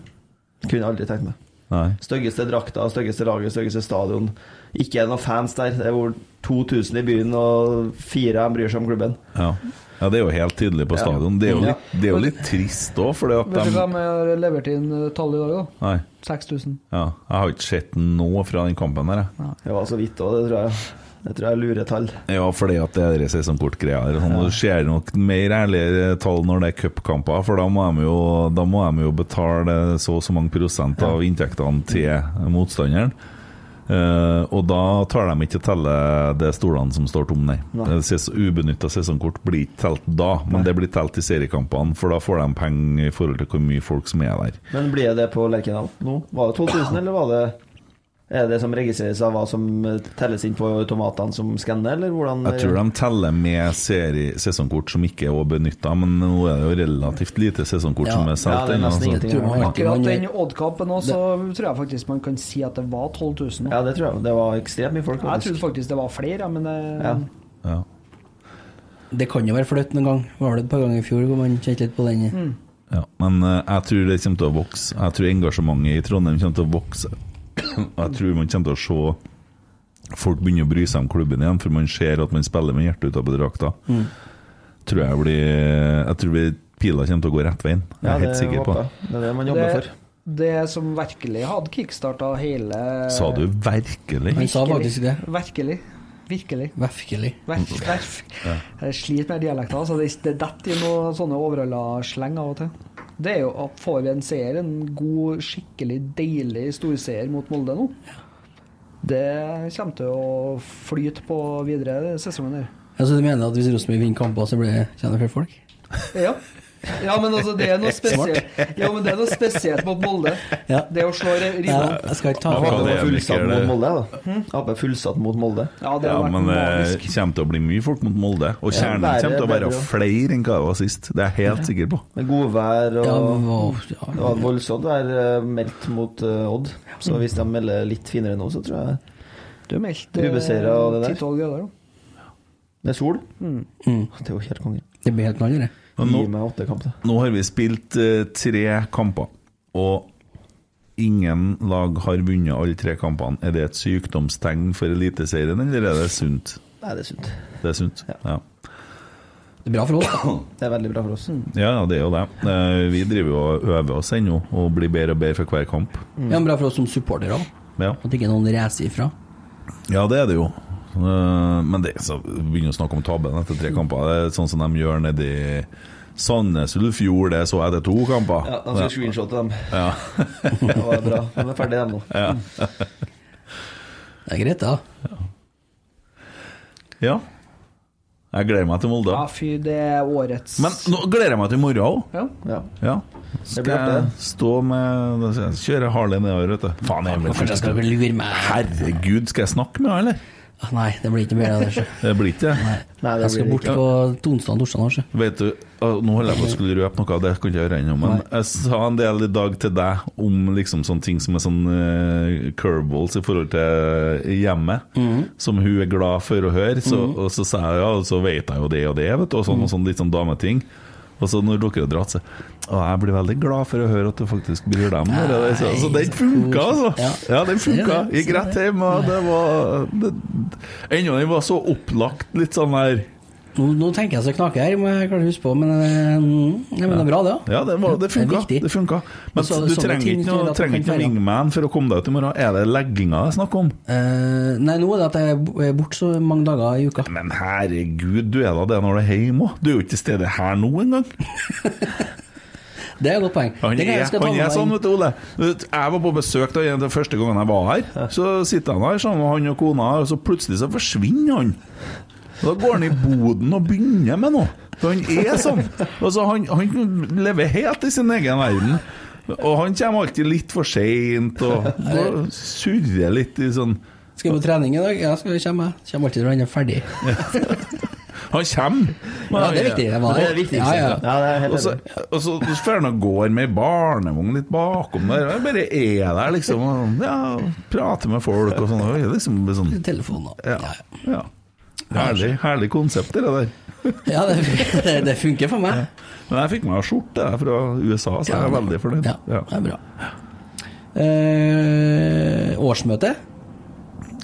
Speaker 4: Kunne jeg aldri tenkt meg.
Speaker 2: Nei.
Speaker 4: Styggeste drakta, styggeste laget, styggeste stadion. Ikke er det noen fans der. Det er hvor 2000 i byen, og fire av dem bryr seg om klubben.
Speaker 2: Ja. ja, det er jo helt tydelig på stadion. Det er jo
Speaker 4: Ja.
Speaker 2: litt, det er jo litt trist òg, fordi at
Speaker 5: Vet du
Speaker 2: de
Speaker 5: hva de har levert inn eh, tall i dag, da?
Speaker 2: Nei.
Speaker 5: 6000.
Speaker 2: Ja. Jeg har ikke sett noe fra den kampen der, jeg.
Speaker 4: Det var så vidt òg, det tror jeg. Det tror jeg er luretall.
Speaker 2: Ja, fordi at det er sesongkortgreier. og Sånn, Du ser nok mer ærlige tall når det er cupkamper, for da må, de jo, da må de jo betale så og så mange prosent av inntektene til motstanderen. Eh, og da tar de ikke telle de stolene som står tomme, nei.
Speaker 4: Nei.
Speaker 2: nei. Ubenytta sesongkort blir ikke telt da, men det blir telt i seriekampene, for da får de penger i forhold til hvor mye folk som er der.
Speaker 4: Men blir det på Lerkendal nå? Var det 2000, eller var det Er det det som registreres av hva som eh, telles inn på automatene som skanner, eller hvordan
Speaker 2: Jeg tror de teller med seri sesongkort som ikke er benytta, men nå er det jo relativt lite sesongkort
Speaker 3: Ja.
Speaker 2: som er
Speaker 4: Ja,
Speaker 2: solgt
Speaker 4: det er
Speaker 2: ennå,
Speaker 4: nesten
Speaker 2: så-
Speaker 4: ingenting.
Speaker 3: Tror man-
Speaker 5: Akkurat den oddkampen òg, så tror jeg faktisk man kan si at det var 12 000.
Speaker 4: Ja, det tror jeg. Det var ekstremt mye folk.
Speaker 5: Jeg
Speaker 4: faktisk.
Speaker 5: trodde faktisk det var flere, men eh,
Speaker 4: Ja.
Speaker 2: Ja.
Speaker 3: Det kan jo være fløtt noen gang. Var det et par ganger i fjor hvor man kjente litt på den?
Speaker 4: Mm.
Speaker 2: Ja, men eh, jeg tror det kommer til å vokse. Jeg tror engasjementet i Trondheim kommer til å vokse. Og jeg tror man kommer til å se folk begynne å bry seg om klubben igjen, for man ser at man spiller med hjertet utapå drakta.
Speaker 4: Mm.
Speaker 2: Tror jeg blir Jeg tror vi- pila kommer til å gå rett veien. Jeg
Speaker 4: Ja,
Speaker 2: er helt
Speaker 4: det
Speaker 2: sikker på
Speaker 4: håper
Speaker 2: det.
Speaker 4: jeg. Det er det man jobber
Speaker 5: det,
Speaker 4: for.
Speaker 5: det som virkelig hadde kickstarta hele
Speaker 2: Sa du virkelig?
Speaker 3: Han sa
Speaker 5: Virkelig.
Speaker 3: faktisk det.
Speaker 5: Virkelig. Virkelig.
Speaker 3: Vefkelig.
Speaker 5: Verf, verf. Jeg sliter med dialekter, altså det, det detter i noen sånne overhalla-sleng av og til. Det er jo at får vi en seier, en god, skikkelig deilig storseier mot Molde nå, det kommer til å flyte på videre sesongen her.
Speaker 3: Altså, du mener at hvis Rosenborg vinner kamper, så blir det kjenner flere folk?
Speaker 5: Ja. ja, men altså, det er noe spesielt Ja, men det er noe spesielt mot Molde.
Speaker 3: Ja.
Speaker 5: Det å slå
Speaker 3: Nei,
Speaker 5: Rina.
Speaker 3: jeg skal ikke ta
Speaker 2: Ja,
Speaker 4: Håper
Speaker 2: det
Speaker 4: det
Speaker 2: er
Speaker 4: var fullsatt
Speaker 2: vel ikke det.
Speaker 4: mot Molde, da.
Speaker 5: Hm?
Speaker 4: Håper fullsatt mot Molde.
Speaker 5: Ja, det har
Speaker 2: Ja,
Speaker 5: vært
Speaker 2: men eh, det
Speaker 5: magisk.
Speaker 2: kommer til å bli mye folk mot Molde. Og
Speaker 4: Ja,
Speaker 2: kjernen
Speaker 4: bedre-
Speaker 2: kommer til å være
Speaker 4: bedre, ja.
Speaker 2: flere enn hva det var sist. Det er jeg helt sikker på.
Speaker 4: Med godvær og
Speaker 3: Ja, wow,
Speaker 4: Det
Speaker 3: ja.
Speaker 4: var voldsomt vær eh, meldt mot eh, Odd,
Speaker 3: Mm.
Speaker 4: så hvis de melder litt finere nå, så tror jeg
Speaker 5: Du meldte
Speaker 4: Ubeseiret og det der.
Speaker 5: 10-12 eh, grader, da.
Speaker 4: Det er sol.
Speaker 3: Mm.
Speaker 4: Det er jo helt konge.
Speaker 3: Det blir helt annerledes.
Speaker 2: Men nå-
Speaker 4: Gi meg åtte kamper.
Speaker 2: Nå har vi spilt eh, tre kamper, og ingen lag har vunnet alle tre kampene. Er det et sykdomstegn for Eliteserien, eller er det sunt?
Speaker 4: Nei, det er sunt.
Speaker 2: Det er sunt. Ja.
Speaker 3: Det er bra for oss. da.
Speaker 4: Det er veldig bra for oss.
Speaker 3: Mm.
Speaker 2: Ja, ja, det er jo det. Eh, Vi driver jo og øver oss ennå, og blir bedre og bedre for hver kamp.
Speaker 3: Ja, men bra for oss som supportere òg.
Speaker 2: Ja,
Speaker 3: At ikke noen reiser ifra.
Speaker 2: ja det er det jo. Eh, Men det så begynner å snakke om tabben etter tre kamper. Det er sånn som de gjør nedi Sandnes Ulf gjorde det, så jeg etter to kamper.
Speaker 4: Ja, altså, de skal screenshotte dem.
Speaker 2: Ja.
Speaker 4: Det var bra. De er ferdige, dem nå.
Speaker 3: Det er greit, da.
Speaker 2: ja. Jeg gleder meg til Molde.
Speaker 5: Ja, fy, det er årets
Speaker 2: Men nå gleder jeg meg til i morgen òg.
Speaker 5: ja.
Speaker 4: Ja.
Speaker 2: Ja.
Speaker 4: Det
Speaker 2: Skal
Speaker 4: blir
Speaker 2: jeg
Speaker 4: artig.
Speaker 2: stå med Kjøre Harley nedover, vet du. Faen, jeg blir
Speaker 3: Kanskje jeg skal lure meg
Speaker 2: Herregud, skal jeg snakke med henne, eller?
Speaker 3: Ah, Nei, det blir ikke bedre av det. sjø.
Speaker 2: Det blir ikke det.
Speaker 4: Nei, det
Speaker 3: Jeg skal
Speaker 4: blir
Speaker 3: bort
Speaker 4: ikke.
Speaker 3: på onsdag og torsdag. nå, sjø.
Speaker 2: Vet du, å, Nå holder jeg på å skulle røpe noe, det kan ikke jeg regne om, men jeg sa en del i dag til deg om liksom sånne ting som er sånn eh, curveballs i forhold til hjemmet,
Speaker 3: Mhm.
Speaker 2: som hun er glad for å høre. Så, Og så sa jeg ja, og så vet jeg jo det og det, vet du, og
Speaker 3: Mhm.
Speaker 2: sånn, og sånn litt sånn dameting. Og så når dere har dratt seg Å, jeg blir veldig glad for å høre at du faktisk bryr deg om det. der». Så, så den funka, altså!
Speaker 3: Ja.
Speaker 2: Ja, den funka.
Speaker 3: Det Sånn er det.
Speaker 2: Gikk rett hjem, og det var det, Ennå den var så opplagt, litt sånn der
Speaker 3: Nå, nå tenker jeg så knaker her, må jeg klart huske på, men, eh, mm, ja, men det er bra, det. da.
Speaker 2: Ja, det, var, det funka.
Speaker 3: Det er viktig.
Speaker 2: Det funka. Men
Speaker 3: Og så-
Speaker 2: du
Speaker 3: sånne
Speaker 2: trenger
Speaker 3: ting
Speaker 2: ikke noe,
Speaker 3: gjør at du
Speaker 2: trenger
Speaker 3: kan
Speaker 2: ikke noe
Speaker 3: feire.
Speaker 2: wingman for å komme deg ut i morgen. Er det legginga det er snakk om?
Speaker 3: Eh, nei, nå er det at jeg er bo- er borte så mange dager i uka.
Speaker 2: Men herregud, du er da det når du er hjemme òg. Du er jo ikke til stede her nå engang.
Speaker 3: Det er et godt poeng.
Speaker 2: Han
Speaker 3: Det kan
Speaker 2: er,
Speaker 3: jeg- skal ta
Speaker 2: han
Speaker 3: med
Speaker 2: er
Speaker 3: meg
Speaker 2: sånn,
Speaker 3: inn.
Speaker 2: vet du, Ole. Du vet, Jeg var på besøk da den første gangen jeg var her. Så sitter han her sammen med han og kona, og så plutselig så forsvinner han. Da går han i boden og begynner med noe. For han er sånn. Altså, han, han lever helt i sin egen verden. Og han kommer alltid litt for seint og og surrer litt i sånn
Speaker 3: Skal jeg på trening i dag? Ja, skal jeg komme. jeg. Kommer alltid når han er ferdig.
Speaker 2: Han kommer! men
Speaker 3: Ja,
Speaker 2: han
Speaker 3: det er viktig. Jeg var
Speaker 4: Det er
Speaker 3: der.
Speaker 4: det viktigste.
Speaker 3: Ja, ja.
Speaker 4: Ja, det er helt
Speaker 2: Og så,
Speaker 4: enig.
Speaker 2: og så drar han og går med ei barnevogn litt bakom der. og Han bare er der, liksom. Og, ja, prater med folk og sånn. Og er liksom sånn
Speaker 3: Telefonen og
Speaker 2: ja, ja. Herlig, herlig konsept, det der.
Speaker 3: Ja, det, det, det funker for meg.
Speaker 2: Men jeg fikk meg skjorte jeg, fra USA, så jeg er veldig fornøyd.
Speaker 3: Ja, det er bra. Eh, årsmøte.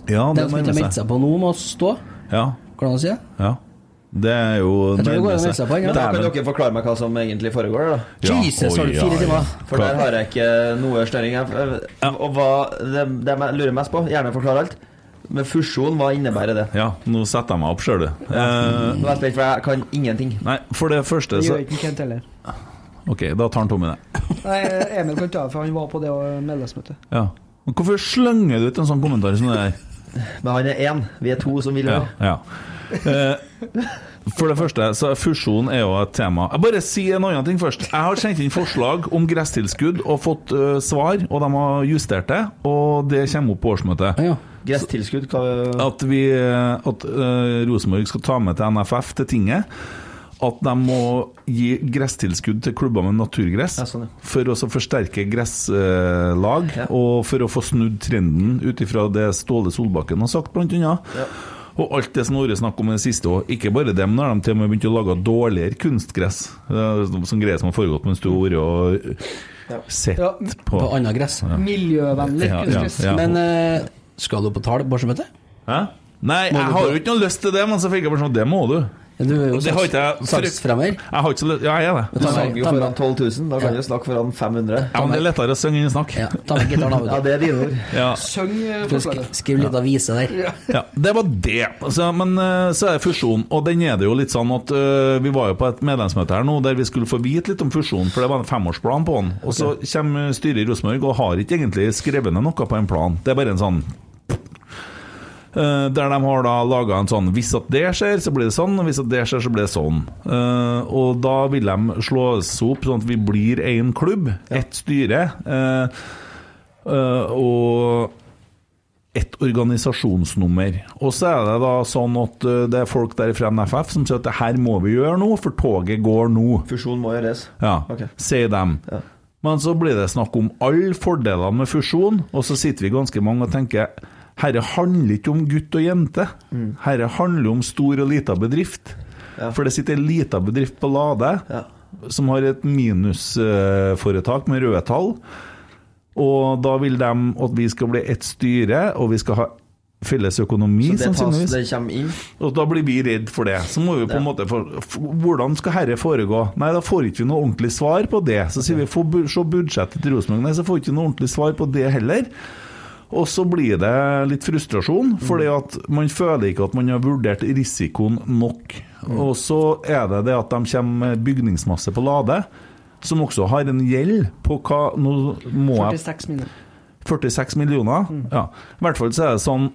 Speaker 2: ja
Speaker 3: Den
Speaker 2: det
Speaker 3: som ikke har
Speaker 2: nærmer
Speaker 3: meldt
Speaker 2: seg.
Speaker 3: seg på nå, må stå.
Speaker 2: Ja,
Speaker 3: Hvordan sier jeg?
Speaker 2: ja. Det er jo
Speaker 3: Jeg tror det går an å melde seg på, ja.
Speaker 4: Da kan
Speaker 2: Dæven.
Speaker 4: dere forklare meg hva som egentlig foregår, da.
Speaker 2: Ja,
Speaker 3: Jesus, har du
Speaker 2: oi,
Speaker 3: fire
Speaker 2: ja,
Speaker 3: timer?
Speaker 2: ja.
Speaker 4: For der har jeg ikke noe snøring. Jeg- Og hva det, det jeg lurer mest på, gjerne forklar alt, men fusjon, hva innebærer det?
Speaker 2: Ja, nå setter jeg meg opp sjøl, du. Eh,
Speaker 4: Nå er jeg spent, for jeg kan ingenting.
Speaker 2: nei, for det første
Speaker 5: Det
Speaker 2: så
Speaker 5: gjør ikke Kent heller.
Speaker 2: OK, da tar han Tommy det.
Speaker 5: Nei, Emil kan ta det, for han var på det medlemsmøtet.
Speaker 2: Ja. Men Hvorfor slenger du ut en sånn kommentar som det der?
Speaker 4: Men han er én. Vi er to som vil
Speaker 2: Ja,
Speaker 4: ha.
Speaker 2: ja. Eh, For det første, så er fusjon er jo et tema. Jeg bare si en annen ting først. Jeg har sendt inn forslag om gresstilskudd og fått eh, svar, og de har justert det. Og det kommer opp på årsmøtet.
Speaker 3: Ja.
Speaker 4: Gresstilskudd, hva
Speaker 2: At, vi, eh, at eh, Rosenborg skal ta med til NFF, til tinget, at de må gi gresstilskudd til klubber med naturgress.
Speaker 4: Ja, sånn, ja.
Speaker 2: For å så forsterke gresslag, og for å få snudd trenden ut ifra det Ståle Solbakken har sagt, blant annet. Og alt det som det har vært snakk om i det siste òg. Ikke bare dem, nå har de til og med begynt å lage dårligere kunstgress. Det er sånn greier som har foregått mens du har vært og sett
Speaker 5: Ja.
Speaker 2: på
Speaker 3: På annet gress.
Speaker 5: Miljøvennlig
Speaker 2: Ja, ja,
Speaker 5: kunstgress.
Speaker 2: ja.
Speaker 3: Men eh, skal du på tale- årsmøte?
Speaker 2: Hæ? Nei, jeg har jo ikke noe lyst til det, men så fikk jeg bare sånn Det må du.
Speaker 3: Du er jo
Speaker 2: Og det har ikke jeg-
Speaker 3: saksfremmer.
Speaker 2: Jeg har ikke så lyst Ja, jeg er det.
Speaker 4: Du
Speaker 3: Ta
Speaker 4: sang
Speaker 3: med,
Speaker 4: jo
Speaker 3: ta
Speaker 4: foran
Speaker 3: med,
Speaker 4: 12 000, da kan du snakke foran 500.
Speaker 2: Ja, men det er lettere å synge enn å snakke.
Speaker 3: ja, ta med gitaren, da.
Speaker 4: Ja,
Speaker 3: vet du.
Speaker 4: det er dine ord.
Speaker 2: Ja.
Speaker 5: Syng eh,
Speaker 3: Skal vi
Speaker 5: forslaget.
Speaker 3: sk- Skriv litt avise der.
Speaker 2: Ja, det var det. Altså, men eh, så er det fusjon, og den er det jo litt sånn at eh, Vi var jo på et medlemsmøte her nå der vi skulle få vite litt om fusjonen, for det var en femårsplan på den. Og så kommer styret i Rosenborg og har ikke egentlig skrevet ned noe på en plan. Det er bare en sånn Eh, der de har da laga en sånn Hvis at det skjer, så blir det sånn, og hvis at det skjer, så blir det sånn. Eh, og da vil de slå oss opp sånn at vi blir én klubb, ett styre, eh, eh, og ett organisasjonsnummer. Og så er det da sånn at eh, det er folk der fra NFF som sier at det her må vi gjøre nå, for toget går nå.
Speaker 4: Fusjon må gjøres.
Speaker 2: Ja,
Speaker 4: Ok.
Speaker 2: sier dem.
Speaker 4: Ja.
Speaker 2: Men så blir det snakk om alle fordelene med fusjon, og så sitter vi ganske mange og tenker herre handler ikke om gutt og jente,
Speaker 4: Mm.
Speaker 2: herre handler om stor og lita bedrift. For det sitter ei lita bedrift på Lade
Speaker 4: Ja.
Speaker 2: som har et minusforetak med røde tall, og da vil de at vi skal bli ett styre, og vi skal ha felles økonomi,
Speaker 4: Det, tas,
Speaker 2: sannsynligvis.
Speaker 4: det kommer inn.
Speaker 2: Og da blir vi redd for det. Så må vi på en måte for, f- Hvordan skal herre foregå? Nei, da får ikke vi noe ordentlig svar på det. Så sier vi få bu- se budsjettet til Rosenborg. Nei, så får ikke vi noe ordentlig svar på det heller. Og så blir det litt frustrasjon, fordi at man føler ikke at man har vurdert risikoen nok. Og så er det det at de kommer med bygningsmasse på Lade, som også har en gjeld på hva Nå må jeg
Speaker 5: 46 mil.
Speaker 2: 46 millioner. Ja. I hvert fall så er det sånn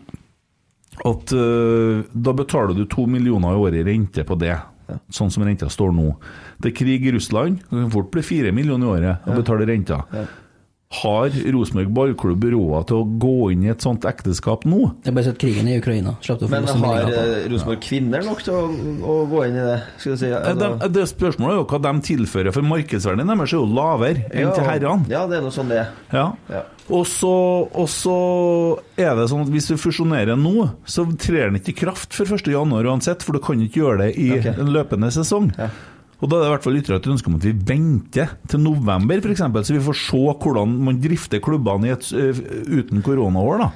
Speaker 2: at øh, da betaler du 2 millioner i året i rente på det. Sånn som renta står nå. Det er krig i Russland, det kan fort bli 4 millioner i året å betale renta. Har Rosenborg ballklubb råd til å gå inn i et sånt ekteskap nå?
Speaker 3: Det er bare sett krigen i Ukraina. Slapp du å få
Speaker 4: Men
Speaker 3: masse
Speaker 4: har
Speaker 3: meldinger på.
Speaker 4: eh, Rosenborg kvinner nok til å, å gå inn i det? Skal du si
Speaker 2: Eh,
Speaker 4: altså,
Speaker 2: dem- det Spørsmålet er jo hva de tilfører, for markedsverdien deres er jo lavere enn til herrene.
Speaker 4: Ja, det er noe sånn det er.
Speaker 2: Ja.
Speaker 4: Ja.
Speaker 2: Og, så, og så er det sånn at hvis du fusjonerer nå, så trer den ikke i kraft før 1. januar uansett, for du kan ikke gjøre det i
Speaker 4: Ok.
Speaker 2: en løpende sesong. Og da er det i hvert fall ytterligere et ønske om at vi venter til november, f.eks., så vi får se hvordan man drifter klubbene i et, ø, uten koronaår, da.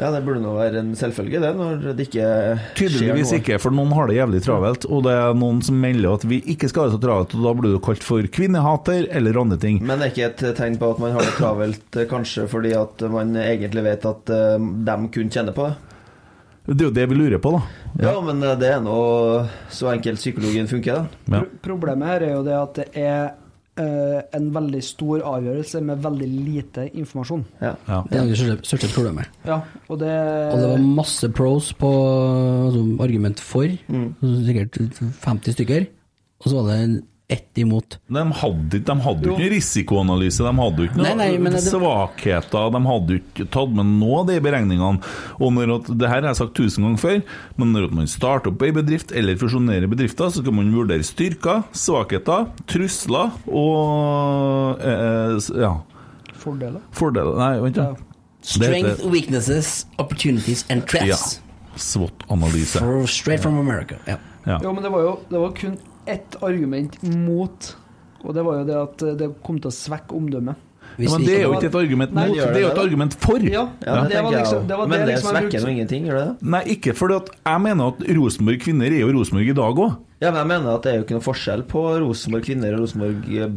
Speaker 4: Ja, det burde nå være en selvfølge, det, når det ikke
Speaker 2: Tydeligvis
Speaker 4: skjer noe.
Speaker 2: ikke, for noen har det jævlig travelt, og det er noen som melder at vi ikke skal ha det så travelt, og da blir du kalt for kvinnehater eller andre ting.
Speaker 4: Men det er ikke et eh, tegn på at man har det travelt, eh, kanskje fordi at man egentlig vet at eh, dem kun kjenner på det?
Speaker 2: Det er jo det vi lurer på, da.
Speaker 4: Ja, men eh, det er nå så enkelt psykologien funker, da.
Speaker 2: Ja.
Speaker 5: Pro- Problemet her er jo det at det er eh, en veldig stor avgjørelse med veldig lite informasjon.
Speaker 4: Ja.
Speaker 3: Det er det største- største problemet.
Speaker 5: Ja, og det,
Speaker 3: Og
Speaker 2: Eh.
Speaker 3: det var masse pros på altså, argument for,
Speaker 2: Mm.
Speaker 3: altså, sikkert 50 stykker. Og så var det en ett imot.
Speaker 2: De hadde, ikke- de hadde jo ikke noe risikoanalyse, de hadde jo ikke noe
Speaker 3: Nei, nei, men det-
Speaker 2: svakheter. De hadde jo ikke tatt med noe av de beregningene. Og når at, det her har jeg sagt tusen ganger før, men når at man starter opp ei bedrift eller fusjonerer bedrifter, så skal man vurdere styrker, svakheter, trusler og eh, s- ja,
Speaker 5: fordeler.
Speaker 2: fordeler Nei, vent, da. Det heter-
Speaker 3: Strength, weaknesses, opportunities and
Speaker 2: Ja.
Speaker 3: threats.
Speaker 2: SWOT-analyse.
Speaker 3: For, straight from America. Ja.
Speaker 2: Ja.
Speaker 5: Jo, men det var jo det var kun ett argument mot, og det var jo det at eh, det kom til å svekke omdømmet.
Speaker 3: Hvis
Speaker 2: men
Speaker 3: vi
Speaker 2: det er jo
Speaker 3: ikke-
Speaker 2: ikke et argument
Speaker 5: Nei,
Speaker 2: mot,
Speaker 4: gjør
Speaker 2: det er jo
Speaker 4: det
Speaker 2: et
Speaker 4: da?
Speaker 2: argument for.
Speaker 4: Ja,
Speaker 5: Ja,
Speaker 4: det
Speaker 5: det var
Speaker 4: tenker jeg
Speaker 5: liksom
Speaker 4: også.
Speaker 5: det var
Speaker 4: Men
Speaker 5: det
Speaker 4: det
Speaker 5: liksom jeg
Speaker 4: svekker nå
Speaker 5: brukte.
Speaker 4: ingenting, gjør det det?
Speaker 2: Nei, ikke fordi at jeg mener at Rosenborg kvinner er jo Rosenborg i dag òg.
Speaker 4: Ja, men jeg mener at det er jo ikke noe forskjell på Rosenborg kvinner og Rosenborg eh,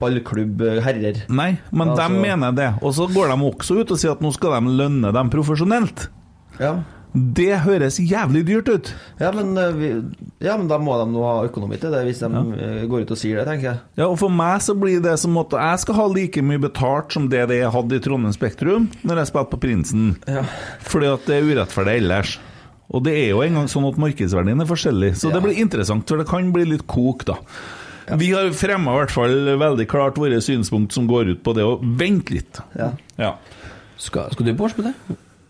Speaker 4: ballklubb eh, herrer.
Speaker 2: Nei, men
Speaker 4: Altså-
Speaker 2: de mener det. Og så går de også ut og sier at nå skal de lønne dem profesjonelt.
Speaker 4: Ja,
Speaker 2: Det høres jævlig dyrt ut.
Speaker 4: ja, men, eh, vi, ja men da må de nå ha økonomi til det, hvis de eh, går ut og sier det, tenker jeg.
Speaker 2: Ja, og For meg så blir det som at jeg skal ha like mye betalt som det det jeg hadde i Trondheim Spektrum når jeg spilte på Prinsen, fordi at det er urettferdig ellers. Og det er jo engang sånn at markedsverdien er forskjellig, så det blir interessant, for det kan bli litt kok, da. Vi har fremma i hvert fall veldig klart våre synspunkt som går ut på det å vente litt.
Speaker 4: Ja.
Speaker 2: Ja.
Speaker 3: Skal, skal du på årsmøte?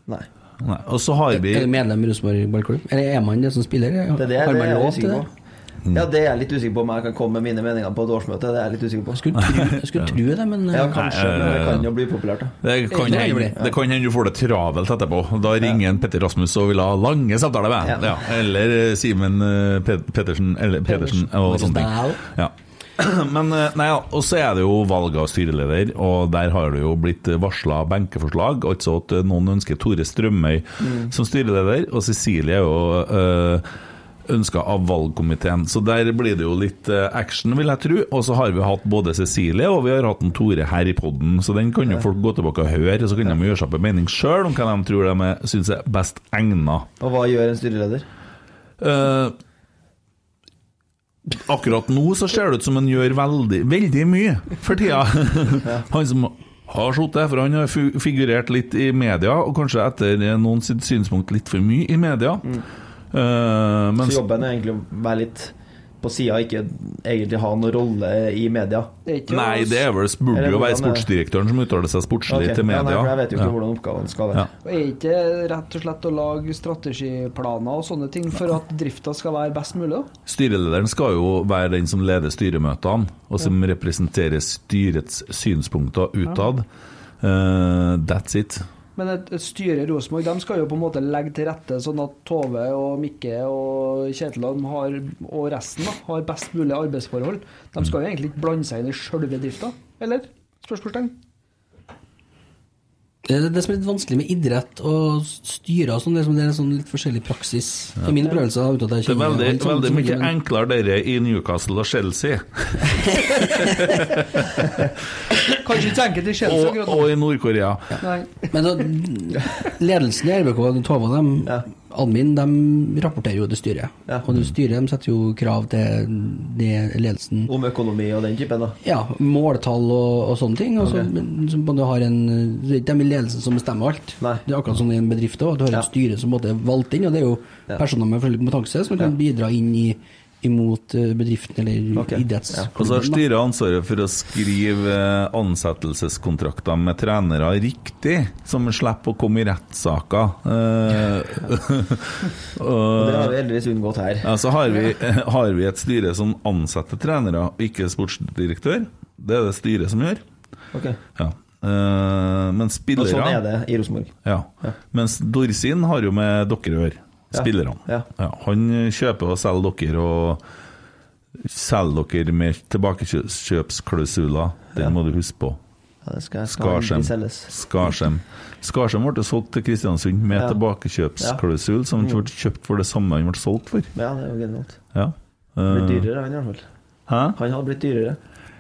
Speaker 4: Nei.
Speaker 2: Nei, og så har vi
Speaker 3: Er du medlem i Rosenborg ballklubb? Eller er man det som spiller?
Speaker 4: Det er det,
Speaker 3: Har
Speaker 4: det
Speaker 3: man
Speaker 4: er jeg
Speaker 3: lov til
Speaker 4: usikker
Speaker 3: det?
Speaker 4: på. Ja, det er jeg litt usikker på om jeg kan komme med mine meninger på et årsmøte. Det er jeg litt usikker
Speaker 3: Jeg
Speaker 4: på.
Speaker 3: skulle tro, jeg skulle tro det, men
Speaker 4: Ja, kanskje,
Speaker 2: Nei,
Speaker 4: men det
Speaker 2: eh,
Speaker 4: kan jo bli populært, da.
Speaker 2: Det kan
Speaker 3: Det er
Speaker 2: hende
Speaker 3: jævlig.
Speaker 2: det kan hende du får det travelt etterpå. Da ringer en Petter Rasmus og vil ha lange samtaler med deg.
Speaker 4: Ja.
Speaker 2: Ja. Eller eh, Simen eh, Pet- Pettersen eller Pedersen og
Speaker 3: Pedersen.
Speaker 2: sånne ting. Ja. Men eh, nei, ja, Og så er det jo valg av styreleder, og der har det jo blitt varsla benkeforslag. Altså at eh, noen ønsker Tore Strømøy som styreleder, og Cecilie er jo øh, ønska av valgkomiteen. Så der blir det jo litt eh, action, vil jeg tro. Og så har vi hatt både Cecilie og vi har hatt en Tore her i poden, så den kan jo folk gå tilbake og høre. Og så kan de gjøre seg opp en mening sjøl om hva de tror de syns er best egna.
Speaker 4: Og hva gjør en styreleder?
Speaker 2: Eh, akkurat nå så ser det ut som han gjør veldig, veldig mye for tida. han som har sittet, for han har fu- figurert litt i media, og kanskje etter eh, noen sitt synspunkt litt for mye i media. Eh,
Speaker 4: Mm. Så
Speaker 2: mens,
Speaker 4: jobben er egentlig å være litt på sida, ikke egentlig ha noen rolle i media.
Speaker 5: Det er ikke
Speaker 2: nei, det er vel burde
Speaker 4: Eller
Speaker 2: jo være
Speaker 4: hvordan er det?
Speaker 2: sportsdirektøren som uttaler seg sportslig
Speaker 4: Ok,
Speaker 2: til
Speaker 4: ja, nei,
Speaker 2: media.
Speaker 4: for jeg vet jo ikke
Speaker 2: Ja.
Speaker 4: hvordan oppgavene skal
Speaker 2: Ja.
Speaker 4: være.
Speaker 5: Og Er ikke rett og slett å lage strategiplaner og sånne ting for at drifta skal være best mulig? da?
Speaker 2: Styrelederen skal jo være den som leder styremøtene, og som representerer styrets synspunkter utad. Eh, that's it.
Speaker 5: Men et, et styre i Rosenborg de skal jo på en måte legge til rette sånn at Tove og Mikke og Kjetil og dem har, og resten da, har best mulig arbeidsforhold. De skal jo egentlig ikke blande seg inn i sjølve drifta, eller? Spørsmålstegn.
Speaker 3: Det er det som er litt vanskelig med idrett og styre og sånn, det er, som det er en sånn litt forskjellig praksis. For min opplevelse av at jeg
Speaker 2: Det er
Speaker 3: kjenner
Speaker 2: veldig,
Speaker 3: alt sammen
Speaker 2: veldig
Speaker 3: som
Speaker 2: mye
Speaker 3: ikke, men-
Speaker 2: enklere dere i Newcastle og Chelsea,
Speaker 5: Kanskje ikke tenke til Kjetil
Speaker 2: og,
Speaker 5: akkurat nå.
Speaker 2: og i Nord-Korea.
Speaker 5: Nei.
Speaker 3: Men da, ledelsen i RBK, den Tove og dem, admin, de rapporterer jo til styret. Og det styret de setter jo krav til det ledelsen
Speaker 4: Om økonomi og den typen, da.
Speaker 3: Ja, måltall og, og sånne ting. Og så, men så på en måte har en, det er ikke dem i ledelsen som bestemmer alt.
Speaker 4: Nei.
Speaker 3: Det er akkurat som i en bedrift òg. Du har
Speaker 4: Ja.
Speaker 3: et styre som på en måte er valgt inn, og det er jo
Speaker 4: Ja.
Speaker 3: personer med forskjellig kompetanse som kan bidra inn i, imot eh, bedriften eller
Speaker 4: Ok. Ja.
Speaker 2: Og så har
Speaker 3: idrettsklubben. da.
Speaker 2: styret ansvaret for å skrive eh, ansettelseskontrakter med trenere riktig, som slipper å komme i rettssaker. Eh,
Speaker 4: Og det
Speaker 2: og-
Speaker 4: har vi heldigvis unngått her.
Speaker 2: Ja, så har vi, har vi et styre som ansetter trenere, og ikke sportsdirektør. Det er det styret som gjør.
Speaker 4: Ok.
Speaker 2: Ja. Eh, men
Speaker 4: Og
Speaker 2: spillere
Speaker 4: sånn er det i Rosenborg.
Speaker 2: Ja. Mens Dorsin har jo med dere å gjøre,
Speaker 4: Ja.
Speaker 2: spillerne.
Speaker 4: Ja.
Speaker 2: han kjøper og selger dere, og selger dere med tilbakekjøpsklausuler. Den må du huske på.
Speaker 4: Ja, det skal, skal
Speaker 2: Skarsheim.
Speaker 4: aldri selges.
Speaker 2: Skarsheim Skarsheim ble solgt til Kristiansund med
Speaker 4: Ja.
Speaker 2: tilbakekjøpsklausul, som han ble kjøpt for det samme han ble solgt for.
Speaker 4: Ja, det er jo genialt.
Speaker 2: Ja.
Speaker 4: Det
Speaker 2: Eh,
Speaker 4: Blir dyrere, han i hvert fall.
Speaker 2: Hæ?
Speaker 4: Han hadde blitt dyrere.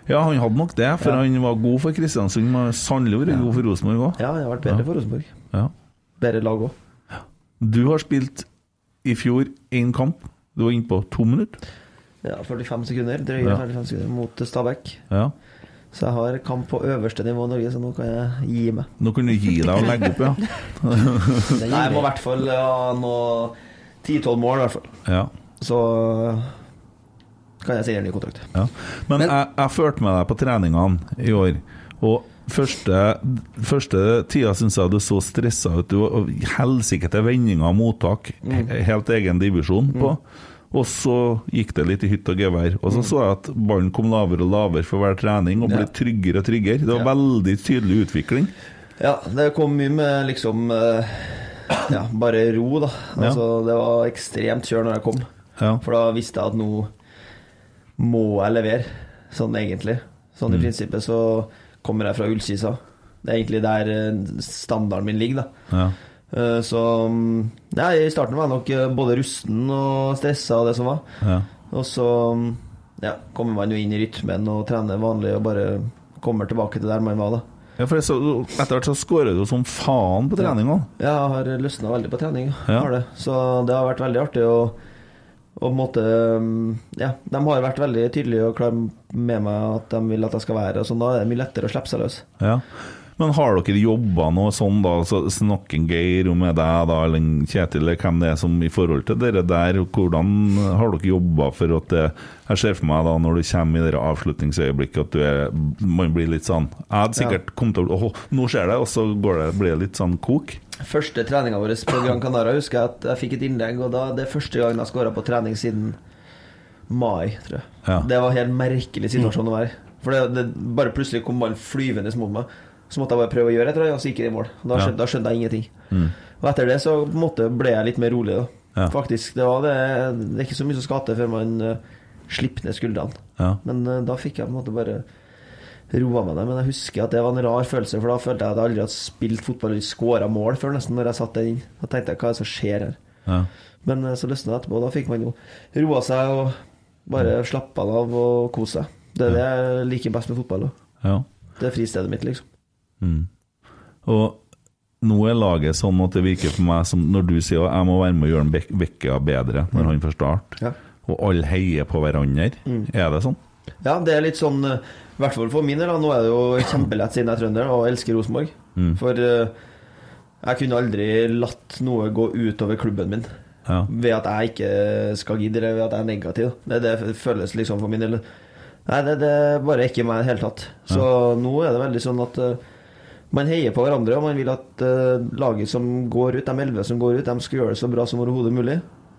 Speaker 2: Ja, han hadde nok det, for han var god for Kristiansund. Men han har sannelig vært god for Rosenborg òg.
Speaker 4: Ja, det har vært bedre for Rosenborg.
Speaker 2: Ja.
Speaker 4: Bedre lag òg.
Speaker 2: Du har spilt i fjor én kamp. Du var innpå to minutter.
Speaker 4: Ja, 45 sekunder, drøye
Speaker 2: Ja.
Speaker 4: 45 sekunder mot Stabæk.
Speaker 2: Ja.
Speaker 4: Så jeg har kamp på øverste nivå i Norge, så nå kan jeg gi meg.
Speaker 2: Nå kunne du gi deg og legge opp, ja.
Speaker 4: Nei, jeg må i hvert fall ha noe 10-12 mål, i hvert fall.
Speaker 2: ja.
Speaker 4: Så kan jeg signere ny kontrakt.
Speaker 2: ja. Men jeg, jeg førte med deg på treningene i år, og første, første tida syns jeg du så stressa ut. Du var helsike til vendinger og mottak, he- helt egen divisjon på. Og så gikk det litt i hytt og gevær. Og så så jeg at ballen kom lavere og lavere for hver trening, og ble
Speaker 4: Ja.
Speaker 2: tryggere og tryggere. Det var veldig tydelig utvikling.
Speaker 4: Ja, det kom mye med liksom eh, Ja, bare ro, da. Altså, Det var ekstremt kjør når jeg kom.
Speaker 2: Ja.
Speaker 4: For da visste jeg at nå må jeg levere, sånn egentlig. Sånn
Speaker 2: Mm.
Speaker 4: i prinsippet så kommer jeg fra Ullkisa. Det er egentlig der eh, standarden min ligger, da.
Speaker 2: Ja.
Speaker 4: Eh, Så mm, Nei, i starten var jeg nok eh, både rusten og stressa og det som var.
Speaker 2: Ja.
Speaker 4: Og så mm, ja, kommer man jo inn i rytmen og trener vanlig og bare kommer tilbake til der man var, da.
Speaker 2: Ja, for jeg så, Etter hvert så skårer du som faen på trening òg.
Speaker 4: Jeg har løsna veldig på trening,
Speaker 2: Ja.
Speaker 4: har det. så det har vært veldig artig. å- å på en måte, mm, ja, De har vært veldig tydelige og klare med meg at de vil at jeg skal være her. og sånn, Da er det mye lettere å slippe seg løs.
Speaker 2: Ja. Men har dere jobba noe sånn, da? Så snakker en Geir om med deg, da, eller en Kjetil, eller hvem det er som i forhold til dere der? og Hvordan har dere jobba for at det Jeg ser for meg da, når du kommer i det avslutningsøyeblikket, at du er Man blir litt sånn Jeg hadde sikkert kommet til å Åh, nå skjer det, og så går det, blir det litt sånn kok.
Speaker 4: Første treninga vår på Gran Canaria husker jeg at jeg fikk et innlegg, og da, det er første gang jeg skåra på trening siden mai, tror jeg.
Speaker 2: Ja.
Speaker 4: Det var en helt
Speaker 2: Mm.
Speaker 4: merkelig situasjon å være i. For det, det, bare plutselig kom ballen flyvende mot meg. Så måtte jeg bare prøve å gjøre et eller annet, og så gikk jeg i mål.
Speaker 2: Ja.
Speaker 4: Da
Speaker 2: Mm.
Speaker 4: skjønte, da skjønte jeg ingenting. Og etter det så på en måte, ble jeg litt mer rolig, da.
Speaker 2: Ja.
Speaker 4: Faktisk. Det, var det, det er ikke så mye som skal til før man eh, slipper ned skuldrene.
Speaker 2: Ja.
Speaker 4: Men eh, da fikk jeg på en måte bare roa meg ned. Men jeg husker at det var en rar følelse, for da følte jeg at jeg aldri hadde spilt fotball eller skåra mål før, nesten, når jeg satt den inn. Da tenkte jeg hva er det som skjer her?
Speaker 2: Ja.
Speaker 4: Men eh, så løsna det etterpå, og da fikk man jo roa seg og bare slappa av og kosa seg. Det er det jeg liker best med fotball. Da.
Speaker 2: ja.
Speaker 4: Det er fristedet mitt, liksom.
Speaker 2: Og nå er laget sånn at det virker for meg som når du sier at jeg må være med og gjøre en Bek- Vekka bedre når han får start,
Speaker 4: Ja.
Speaker 2: og alle heier på hverandre. Er det sånn?
Speaker 4: Ja, det er litt sånn eh, I hvert fall for min del. da. Nå er det jo kjempelett siden jeg er trønder og elsker Rosenborg. For eh, jeg kunne aldri latt noe gå utover klubben min
Speaker 2: Ja.
Speaker 4: ved at jeg ikke skal gidde, eller ved at jeg er negativ. da. Det, det føles liksom for min del Nei, det, det er bare ikke meg i det hele tatt. Så nå er det veldig sånn at eh, man heier på hverandre, og man vil at eh, laget som går ut, de elleve som går ut, de skal gjøre det så bra som overhodet mulig.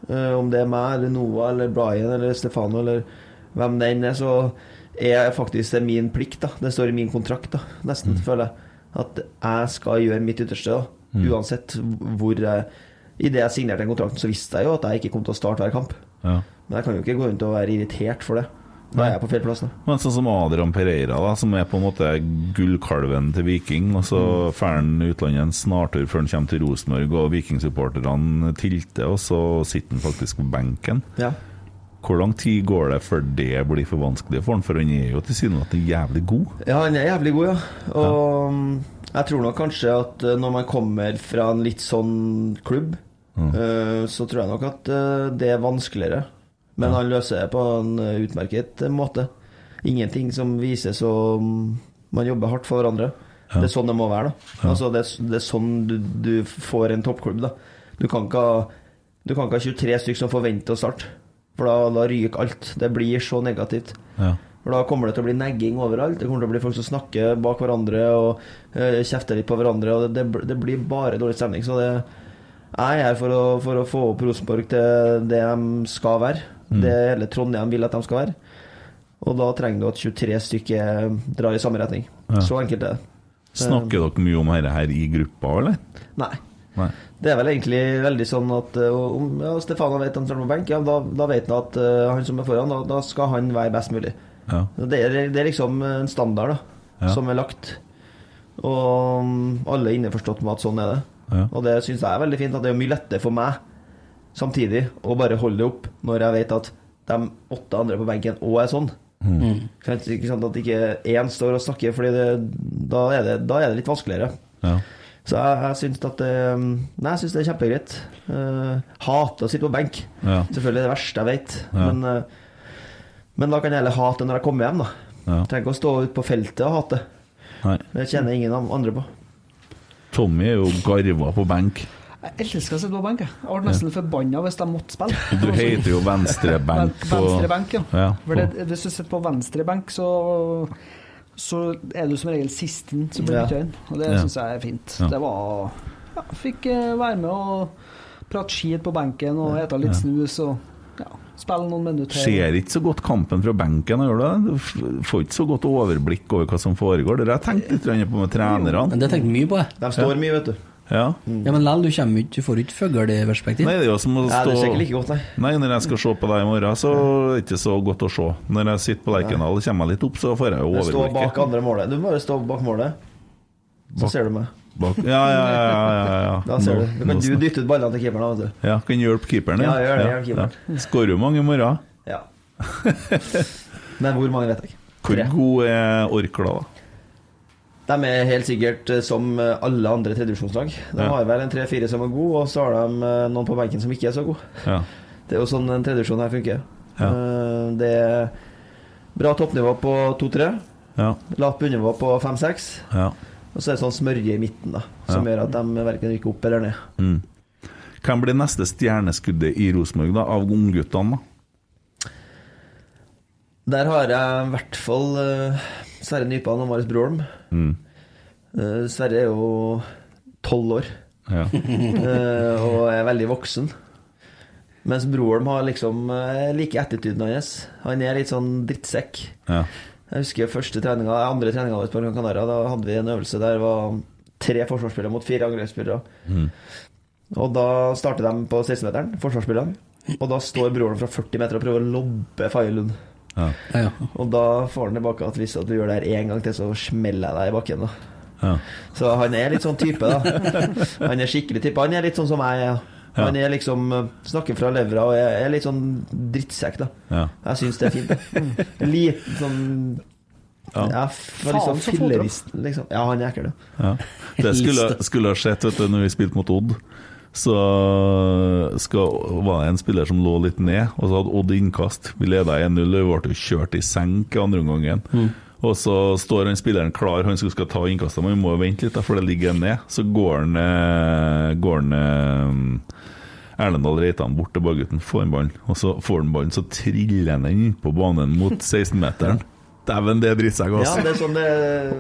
Speaker 4: Eh, om det er meg eller Noah eller Brian eller Stefano eller hvem det enn er, så er faktisk det min plikt. da Det står i min kontrakt, da nesten, føler jeg. At jeg skal gjøre mitt ytterste, da uansett hvor jeg Idet jeg signerte den kontrakten, så visste jeg jo at jeg ikke kom til å starte hver kamp.
Speaker 2: Ja.
Speaker 4: Men jeg kan jo ikke gå rundt og være irritert for det. Da er jeg på feil plass. da
Speaker 2: Men sånn som Adrian Pereira, da, som er på en måte gullkalven til Viking, og så drar han utlandet en snartur før han kommer til Rosenborg, og vikingsupporterne tilter, og så sitter han faktisk på benken.
Speaker 4: Ja.
Speaker 2: Hvor lang tid går det før det blir for vanskelig for han? For han er jo tilsynelatende jævlig god.
Speaker 4: Ja, han er jævlig god, ja. Og mm, jeg tror nok kanskje at eh, når man kommer fra en litt sånn klubb, eh, så tror jeg nok at eh, det er vanskeligere. Men han løser det på en eh, utmerket eh, måte. Ingenting som viser så mm, Man jobber hardt for hverandre. Det er sånn det må være, da. Altså, det, er, s- det er sånn du, du får en toppklubb, da. Du kan ikke ha du kan ikke ha 23 stykker som forventer å starte, for da, da ryker alt. Det blir så negativt.
Speaker 2: Ja.
Speaker 4: For da kommer det til å bli negging overalt. Det kommer til å bli folk som snakker bak hverandre og eh, kjefter litt på hverandre. Og det, det, det blir bare dårlig stemning. Så det, jeg er her for å, for å få opp Rosenborg til det de skal være. Det hele Trondheim vil at de skal være. Og da trenger du at 23 stykker drar i samme retning. Så enkelt er det.
Speaker 2: Snakker dere mye om dette her i gruppa, eller?
Speaker 4: Nei.
Speaker 2: Nei.
Speaker 4: Det er vel egentlig veldig sånn at eh, om ja, Stefano vet han står på benk, ja, da, da vet han at eh, han som er foran, da, da skal han være best mulig.
Speaker 2: Ja.
Speaker 4: Det er, det er liksom en standard da,
Speaker 2: Ja.
Speaker 4: som er lagt. Og mm, alle er innforstått med at sånn er det.
Speaker 2: Ja.
Speaker 4: Og det syns jeg er veldig fint. At det er mye lettere for meg samtidig å bare holde det opp når jeg vet at de åtte andre på benken òg er sånn.
Speaker 2: Mm.
Speaker 4: Kan- Ikke sant, At ikke én står og snakker, for da, er det- da er det litt vanskeligere.
Speaker 2: Ja.
Speaker 4: Så jeg, jeg syns at det um, Nei, jeg syns det er kjempegreit. Uh, hater å sitte på benk.
Speaker 2: Ja.
Speaker 4: Selvfølgelig det verste jeg vet.
Speaker 2: Ja.
Speaker 4: Men eh, Men da kan jeg heller hate det når jeg kommer hjem, da.
Speaker 2: Ja.
Speaker 4: Trenger ikke å stå ute på feltet og hate.
Speaker 2: Nei.
Speaker 4: Det kjenner ingen av andre på.
Speaker 2: Tommy er jo garva på benk.
Speaker 5: Jeg elsker å sitte på benk. jeg. Jeg ble nesten forbanna hvis de måtte spille.
Speaker 2: Du heter jo venstrebenk på
Speaker 5: Venstre benk, ja.
Speaker 2: Ja,
Speaker 5: For det,
Speaker 2: på-
Speaker 5: hvis du sitter på venstre benk, så, så er du som regel sisten som blir
Speaker 4: Ja.
Speaker 5: bytta inn. Og det
Speaker 2: Ja.
Speaker 5: syns jeg er fint.
Speaker 2: Ja.
Speaker 5: Det var ja, Fikk eh, være med og prate skit på benken og ete litt snus og ja, spille noen minutter.
Speaker 2: Ser ikke så godt kampen fra benken, gjør du det? Du f- får ikke så godt overblikk over hva som foregår. Det har jeg tenkt litt grann på med trenerne.
Speaker 3: Men det har jeg tenkt mye på, jeg.
Speaker 4: De står mye, vet du.
Speaker 2: Ja.
Speaker 3: Ja, men likevel, du kommer jo ikke Du får jo ikke fugleperspektiv.
Speaker 2: Nei, det er jo som å
Speaker 4: Mm. Nei, det er
Speaker 2: stå
Speaker 4: sikkert like godt, nei.
Speaker 2: Nei, når jeg skal se på deg i morgen, så er det ikke så godt å se. Når jeg sitter på Lerkendal og kommer meg litt opp, så får jeg jo
Speaker 4: Jeg står bak
Speaker 2: overblikket.
Speaker 4: andre målet. Du må bare stå bak målet, så ser du meg.
Speaker 2: Bak. Ja, ja, ja. ja, ja, ja.
Speaker 4: Da ser
Speaker 2: Nå-
Speaker 4: du. Da kan
Speaker 2: nå
Speaker 4: du
Speaker 2: snak-
Speaker 4: dytte ut ballene til keeperen, da, vet
Speaker 2: Ja, kan hjelpe keeperen din.
Speaker 4: Ja, gjør det, hjelp keeperen.
Speaker 2: ja. Skårer jo mange i morgen.
Speaker 4: du. Ja. Men hvor mange vet jeg ikke.
Speaker 2: Hvor
Speaker 4: Tre.
Speaker 2: god er Orkla, da?
Speaker 4: De er helt sikkert eh, som eh, alle andre tredjevisjonslag. De
Speaker 2: Ja.
Speaker 4: har vel en tre-fire som er gode, og så har de eh, noen på benken som ikke er så gode.
Speaker 2: Ja.
Speaker 4: Det er jo sånn en tredjevisjon her funker.
Speaker 2: Ja.
Speaker 4: Eh, Det er bra toppnivå på 2-3,
Speaker 2: Ja.
Speaker 4: lavt bunnivå på 5-6,
Speaker 2: ja.
Speaker 4: og så er det sånn smørje i midten, da, som gjør at de verken rykker opp eller ned.
Speaker 2: Mm. Hvem blir neste stjerneskuddet i Rosenborg, da? Av ungguttene, da?
Speaker 4: Der har jeg i hvert fall eh, Sverre Nypan og Marius Broholm.
Speaker 2: Mm.
Speaker 4: Eh, Sverre er jo tolv år
Speaker 2: Ja.
Speaker 4: eh, og er veldig voksen. Mens Broholm har liksom eh, like attityden hans. Han er litt sånn drittsekk.
Speaker 2: ja.
Speaker 4: Jeg husker første treninga, andre treninga vår på Gran Canaria. Da hadde vi en øvelse der det var tre forsvarsspillere mot fire angrepsspillere. Og da starter de på 16-meteren, forsvarsspillerne. Og da står broren fra 40 meter og prøver å lobbe Faye Lund.
Speaker 3: Ja, ja.
Speaker 4: Og da får han tilbake at hvis at du gjør det her én gang til, så smeller jeg deg i bakken. da
Speaker 2: Ja.
Speaker 4: Så han er litt sånn type, da. Han er skikkelig type. Han er litt sånn som jeg er.
Speaker 2: Ja.
Speaker 4: Han er liksom eh, snakker fra levra og er er litt sånn drittsekk, da.
Speaker 2: ja.
Speaker 4: Jeg syns det er fint. da. Liten sånn
Speaker 2: Ja.
Speaker 4: ja, faen,
Speaker 5: Faen,
Speaker 4: liksom,
Speaker 5: så fotball.
Speaker 4: filleristen, liksom. Ja, han er ekkel, ja.
Speaker 2: Ja. Det skulle, skulle ha skjedd vet du, når vi spilte mot Odd. Så skal, var det en spiller som lå litt ned, og så hadde Odd innkast. Vi leda 1-0, og vi ble jo kjørt i senk i andre omgangen.
Speaker 4: Mm.
Speaker 2: Og så står han spilleren klar, han som skal ta innkastet, men vi må jo vente litt, da, for det ligger en ned. Så går han, eh, går han eh, Erlendal Reitan bort til ballgutten, får han ballen. Og så får han ballen, så triller han den inn på banen mot 16-meteren. Dæven, det er drittsekk,
Speaker 4: ja.
Speaker 2: altså.
Speaker 4: Det er sånn det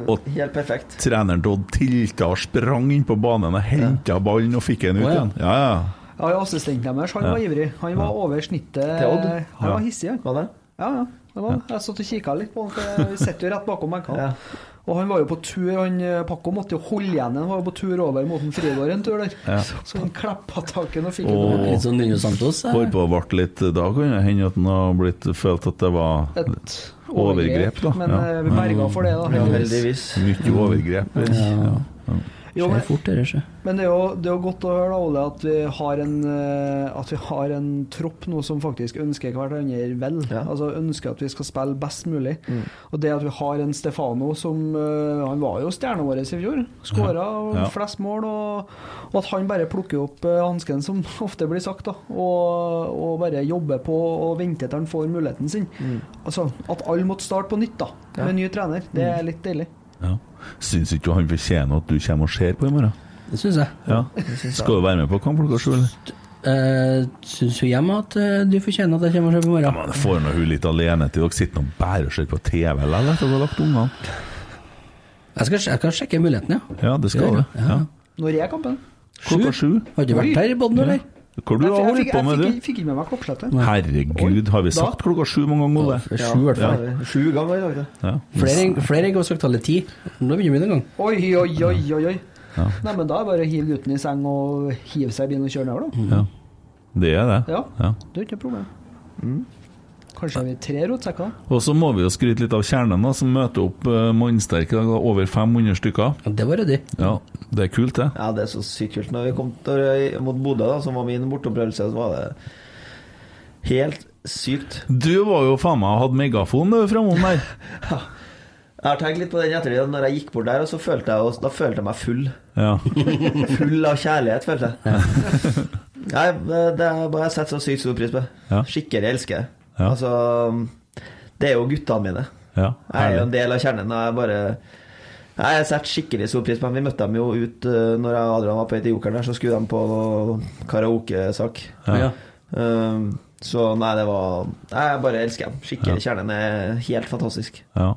Speaker 2: Og-
Speaker 4: er helt perfekt.
Speaker 2: Treneren Dodd tilta og sprang inn på banen og henta ballen og fikk den ut
Speaker 3: Å, ja.
Speaker 2: igjen. Ja, ja.
Speaker 5: Ja, ja, Assistenten deres, han var ivrig. Han var over snittet.
Speaker 4: Til Odd?
Speaker 5: Han var hissig, han.
Speaker 4: Var det?
Speaker 5: Ja, ja. Det var. Jeg satt og kikka litt på han, for vi sitter jo rett bakom benkene.
Speaker 4: Ja.
Speaker 5: Og han var jo på tur, han eh, Paco måtte jo holde igjen, han var jo på tur over mot en Frigård en tur der. Så han kleppa tak i han og fikk
Speaker 2: Åh.
Speaker 5: oh.
Speaker 3: Litt sånn Nuno Santos. eh.
Speaker 2: Håper det ble litt Da kan det hende at han har blitt følt at det var
Speaker 5: et
Speaker 2: Overgrep, da.
Speaker 5: Men
Speaker 2: Ja.
Speaker 5: eh, vi berga for det, da.
Speaker 4: Ja,
Speaker 5: heldigvis.
Speaker 4: heldigvis.
Speaker 2: mye overgrep. Ja.
Speaker 5: Jo,
Speaker 3: Skjer
Speaker 5: men
Speaker 3: fort, det der, sjø.
Speaker 5: men det er, jo, det er jo godt å høre, da, Ole, at vi har en, eh, at vi har en tropp nå som faktisk ønsker hverandre vel.
Speaker 4: Ja.
Speaker 5: Altså ønsker at vi skal spille best mulig. Og det at vi har en Stefano som eh, Han var jo stjerna vår i fjor. Skåra
Speaker 2: Ja.
Speaker 5: flest mål. Og, og at han bare plukker opp eh, hansken, som ofte blir sagt, da. Og, og bare jobber på og venter til han får muligheten sin. Altså at alle måtte starte på nytt, da. Med ny trener. Det er litt deilig.
Speaker 2: Ja. Syns ikke du han fortjener at du kommer og ser på i morgen?
Speaker 3: Det syns jeg.
Speaker 2: Ja. Skal du være med på kamp klokka sju? eller?
Speaker 3: Uh, syns jo hjemme at eh, du fortjener at jeg kommer og ser på i
Speaker 2: Ja,
Speaker 3: morgen.
Speaker 2: men får nå hun litt alene til dere sitter nå bare og ser på TV eller etter at dere har lagt ungene?
Speaker 3: Jeg skal, jeg skal sjekke muligheten, ja.
Speaker 2: Ja, det skal du. Ja.
Speaker 5: Når er kampen?
Speaker 2: Klokka sju.
Speaker 3: Har du vært her i Bodden, eller?
Speaker 2: Hvor du
Speaker 5: Jeg,
Speaker 2: har
Speaker 5: fikk-
Speaker 2: holdt
Speaker 5: jeg, fikk-
Speaker 2: på med,
Speaker 5: jeg
Speaker 2: du?
Speaker 5: fikk, fikk ikke med meg klokkeslettet.
Speaker 2: Herregud, har vi sagt klokka sju mange ganger, Ole?
Speaker 3: Det er Sju, i hvert fall.
Speaker 4: Ja. Sju ganger i dag, det.
Speaker 2: Ja.
Speaker 3: Flere- Flere ganger skal tallet ti. Nå begynner vi en gang.
Speaker 5: Oi, oi, oi, oi. oi. Nei, men da er det bare å hive gutten i seng og hive seg i bilen og kjøre nedover, da.
Speaker 2: Ja. Det er det.
Speaker 5: Ja.
Speaker 2: Mm. Ja.
Speaker 5: Det er ikke noe problem.
Speaker 4: Mm.
Speaker 5: Kanskje vi er tre rotsekker? da?
Speaker 2: Og så må vi jo skryte litt av kjernen, da, som møter opp eh, mannsterke. da, Over 500 stykker.
Speaker 3: Ja, det var ryddig.
Speaker 2: Ja, det er kult, det.
Speaker 4: Ja, det er så sykt kult. Når vi kom til, mot Bodø, da, som var min borteopplevelse, så var det helt sykt.
Speaker 2: Du var jo faen meg hadde megafon du, framom der.
Speaker 4: Jeg har tenkt litt på den i ettertid. at Når jeg gikk bort der, og så følte jeg, oss- da følte jeg meg full.
Speaker 2: Ja.
Speaker 4: Full av kjærlighet, følte jeg. Nei, det det har jeg bare sett så sykt stor pris på.
Speaker 2: Ja.
Speaker 4: Skikkelig elsker jeg.
Speaker 2: Ja.
Speaker 4: Altså Det er jo guttene mine.
Speaker 2: Ja,
Speaker 4: Jeg er
Speaker 2: herlig.
Speaker 4: jo en del av kjernen. og Jeg bare Nei, Jeg setter skikkelig stor pris på dem. Vi møtte dem jo ut eh, Når jeg og Adrian var på vei til Jokeren, her, så skulle de på noe karaokesak.
Speaker 3: Ja.
Speaker 4: Um, så nei, det var nei, Jeg bare elsker dem. Skikkelig. Kjernen er helt fantastisk.
Speaker 2: Ja.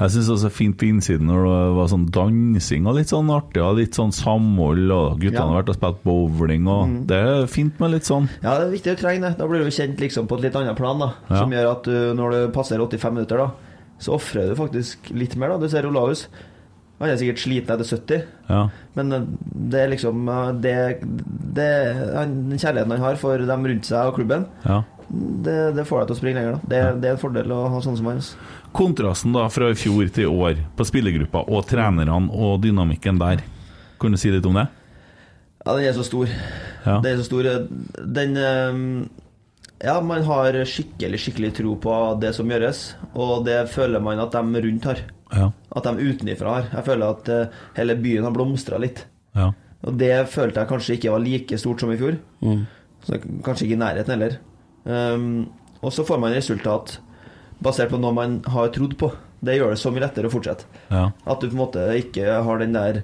Speaker 2: Jeg syns også fint på innsiden når det var sånn dansing og litt sånn artig, og litt sånn samhold, og guttene
Speaker 4: Ja.
Speaker 2: har vært og spilt bowling, og det er fint med litt sånn.
Speaker 4: Ja, det er viktig å trenge det. Da blir du kjent liksom på et litt annet plan, da.
Speaker 2: Ja.
Speaker 4: Som gjør at du, når du passerer 85 minutter, da, så ofrer du faktisk litt mer, da. Du ser Olaus. Han er sikkert sliten etter 70,
Speaker 2: Ja.
Speaker 4: men eh, det er liksom eh, det, det, han, Den kjærligheten han har for dem rundt seg og klubben,
Speaker 2: ja.
Speaker 4: det, det får deg til å springe lenger, da. Det, det er en fordel å ha sånne som han. altså.
Speaker 2: Kontrasten da fra i fjor til i år på spillergruppa og trenerne og dynamikken der. Kan du si litt om det?
Speaker 4: Ja, den er så stor.
Speaker 2: Ja.
Speaker 4: Den er så stor. Den ehm, Ja, man har skikkelig, skikkelig tro på det som gjøres, og det føler man at de rundt har.
Speaker 2: Ja.
Speaker 4: At de utenifra har. Jeg føler at eh, hele byen har blomstra litt.
Speaker 2: Ja.
Speaker 4: Og det følte jeg kanskje ikke var like stort som i fjor.
Speaker 2: Mm.
Speaker 4: Så det er kanskje ikke i nærheten heller. Ehm, og så får man resultat basert på noe man har trodd på. Det gjør det så mye lettere å fortsette.
Speaker 2: Ja.
Speaker 4: At du på en måte ikke har den der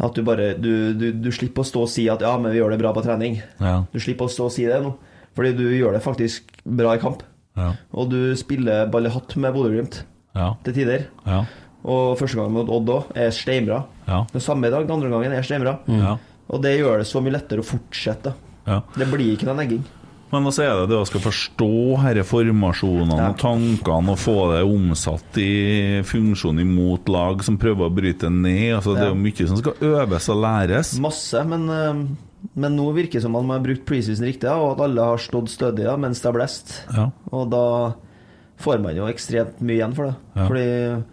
Speaker 4: At du bare Du, du, du slipper å stå og si at 'ja, men vi gjør det bra på trening'.
Speaker 2: Ja.
Speaker 4: Du slipper å stå og si det nå, fordi du gjør det faktisk bra i kamp.
Speaker 2: Ja.
Speaker 4: Og du spiller ball i hatt med Bodø-Glimt
Speaker 2: Ja.
Speaker 4: til tider.
Speaker 2: Ja.
Speaker 4: Og første gang mot Odd òg er steinbra.
Speaker 2: Ja.
Speaker 4: Det samme i dag, den andre gangen er steinbra.
Speaker 2: Ja.
Speaker 4: Og det gjør det så mye lettere å fortsette.
Speaker 2: ja.
Speaker 4: Det blir ikke noen egging.
Speaker 2: Men også er det det å skal forstå disse formasjonene og tankene og få det omsatt i funksjon imot lag som prøver å bryte ned. Altså, Det er jo mye som skal øves og læres.
Speaker 4: Masse, men, eh, men nå virker det som om man har brukt preseason riktig, ja, og at alle har stått stødig ja, mens det har blåst.
Speaker 2: Ja.
Speaker 4: Og da får man jo ekstremt mye igjen for det.
Speaker 2: Ja.
Speaker 4: Fordi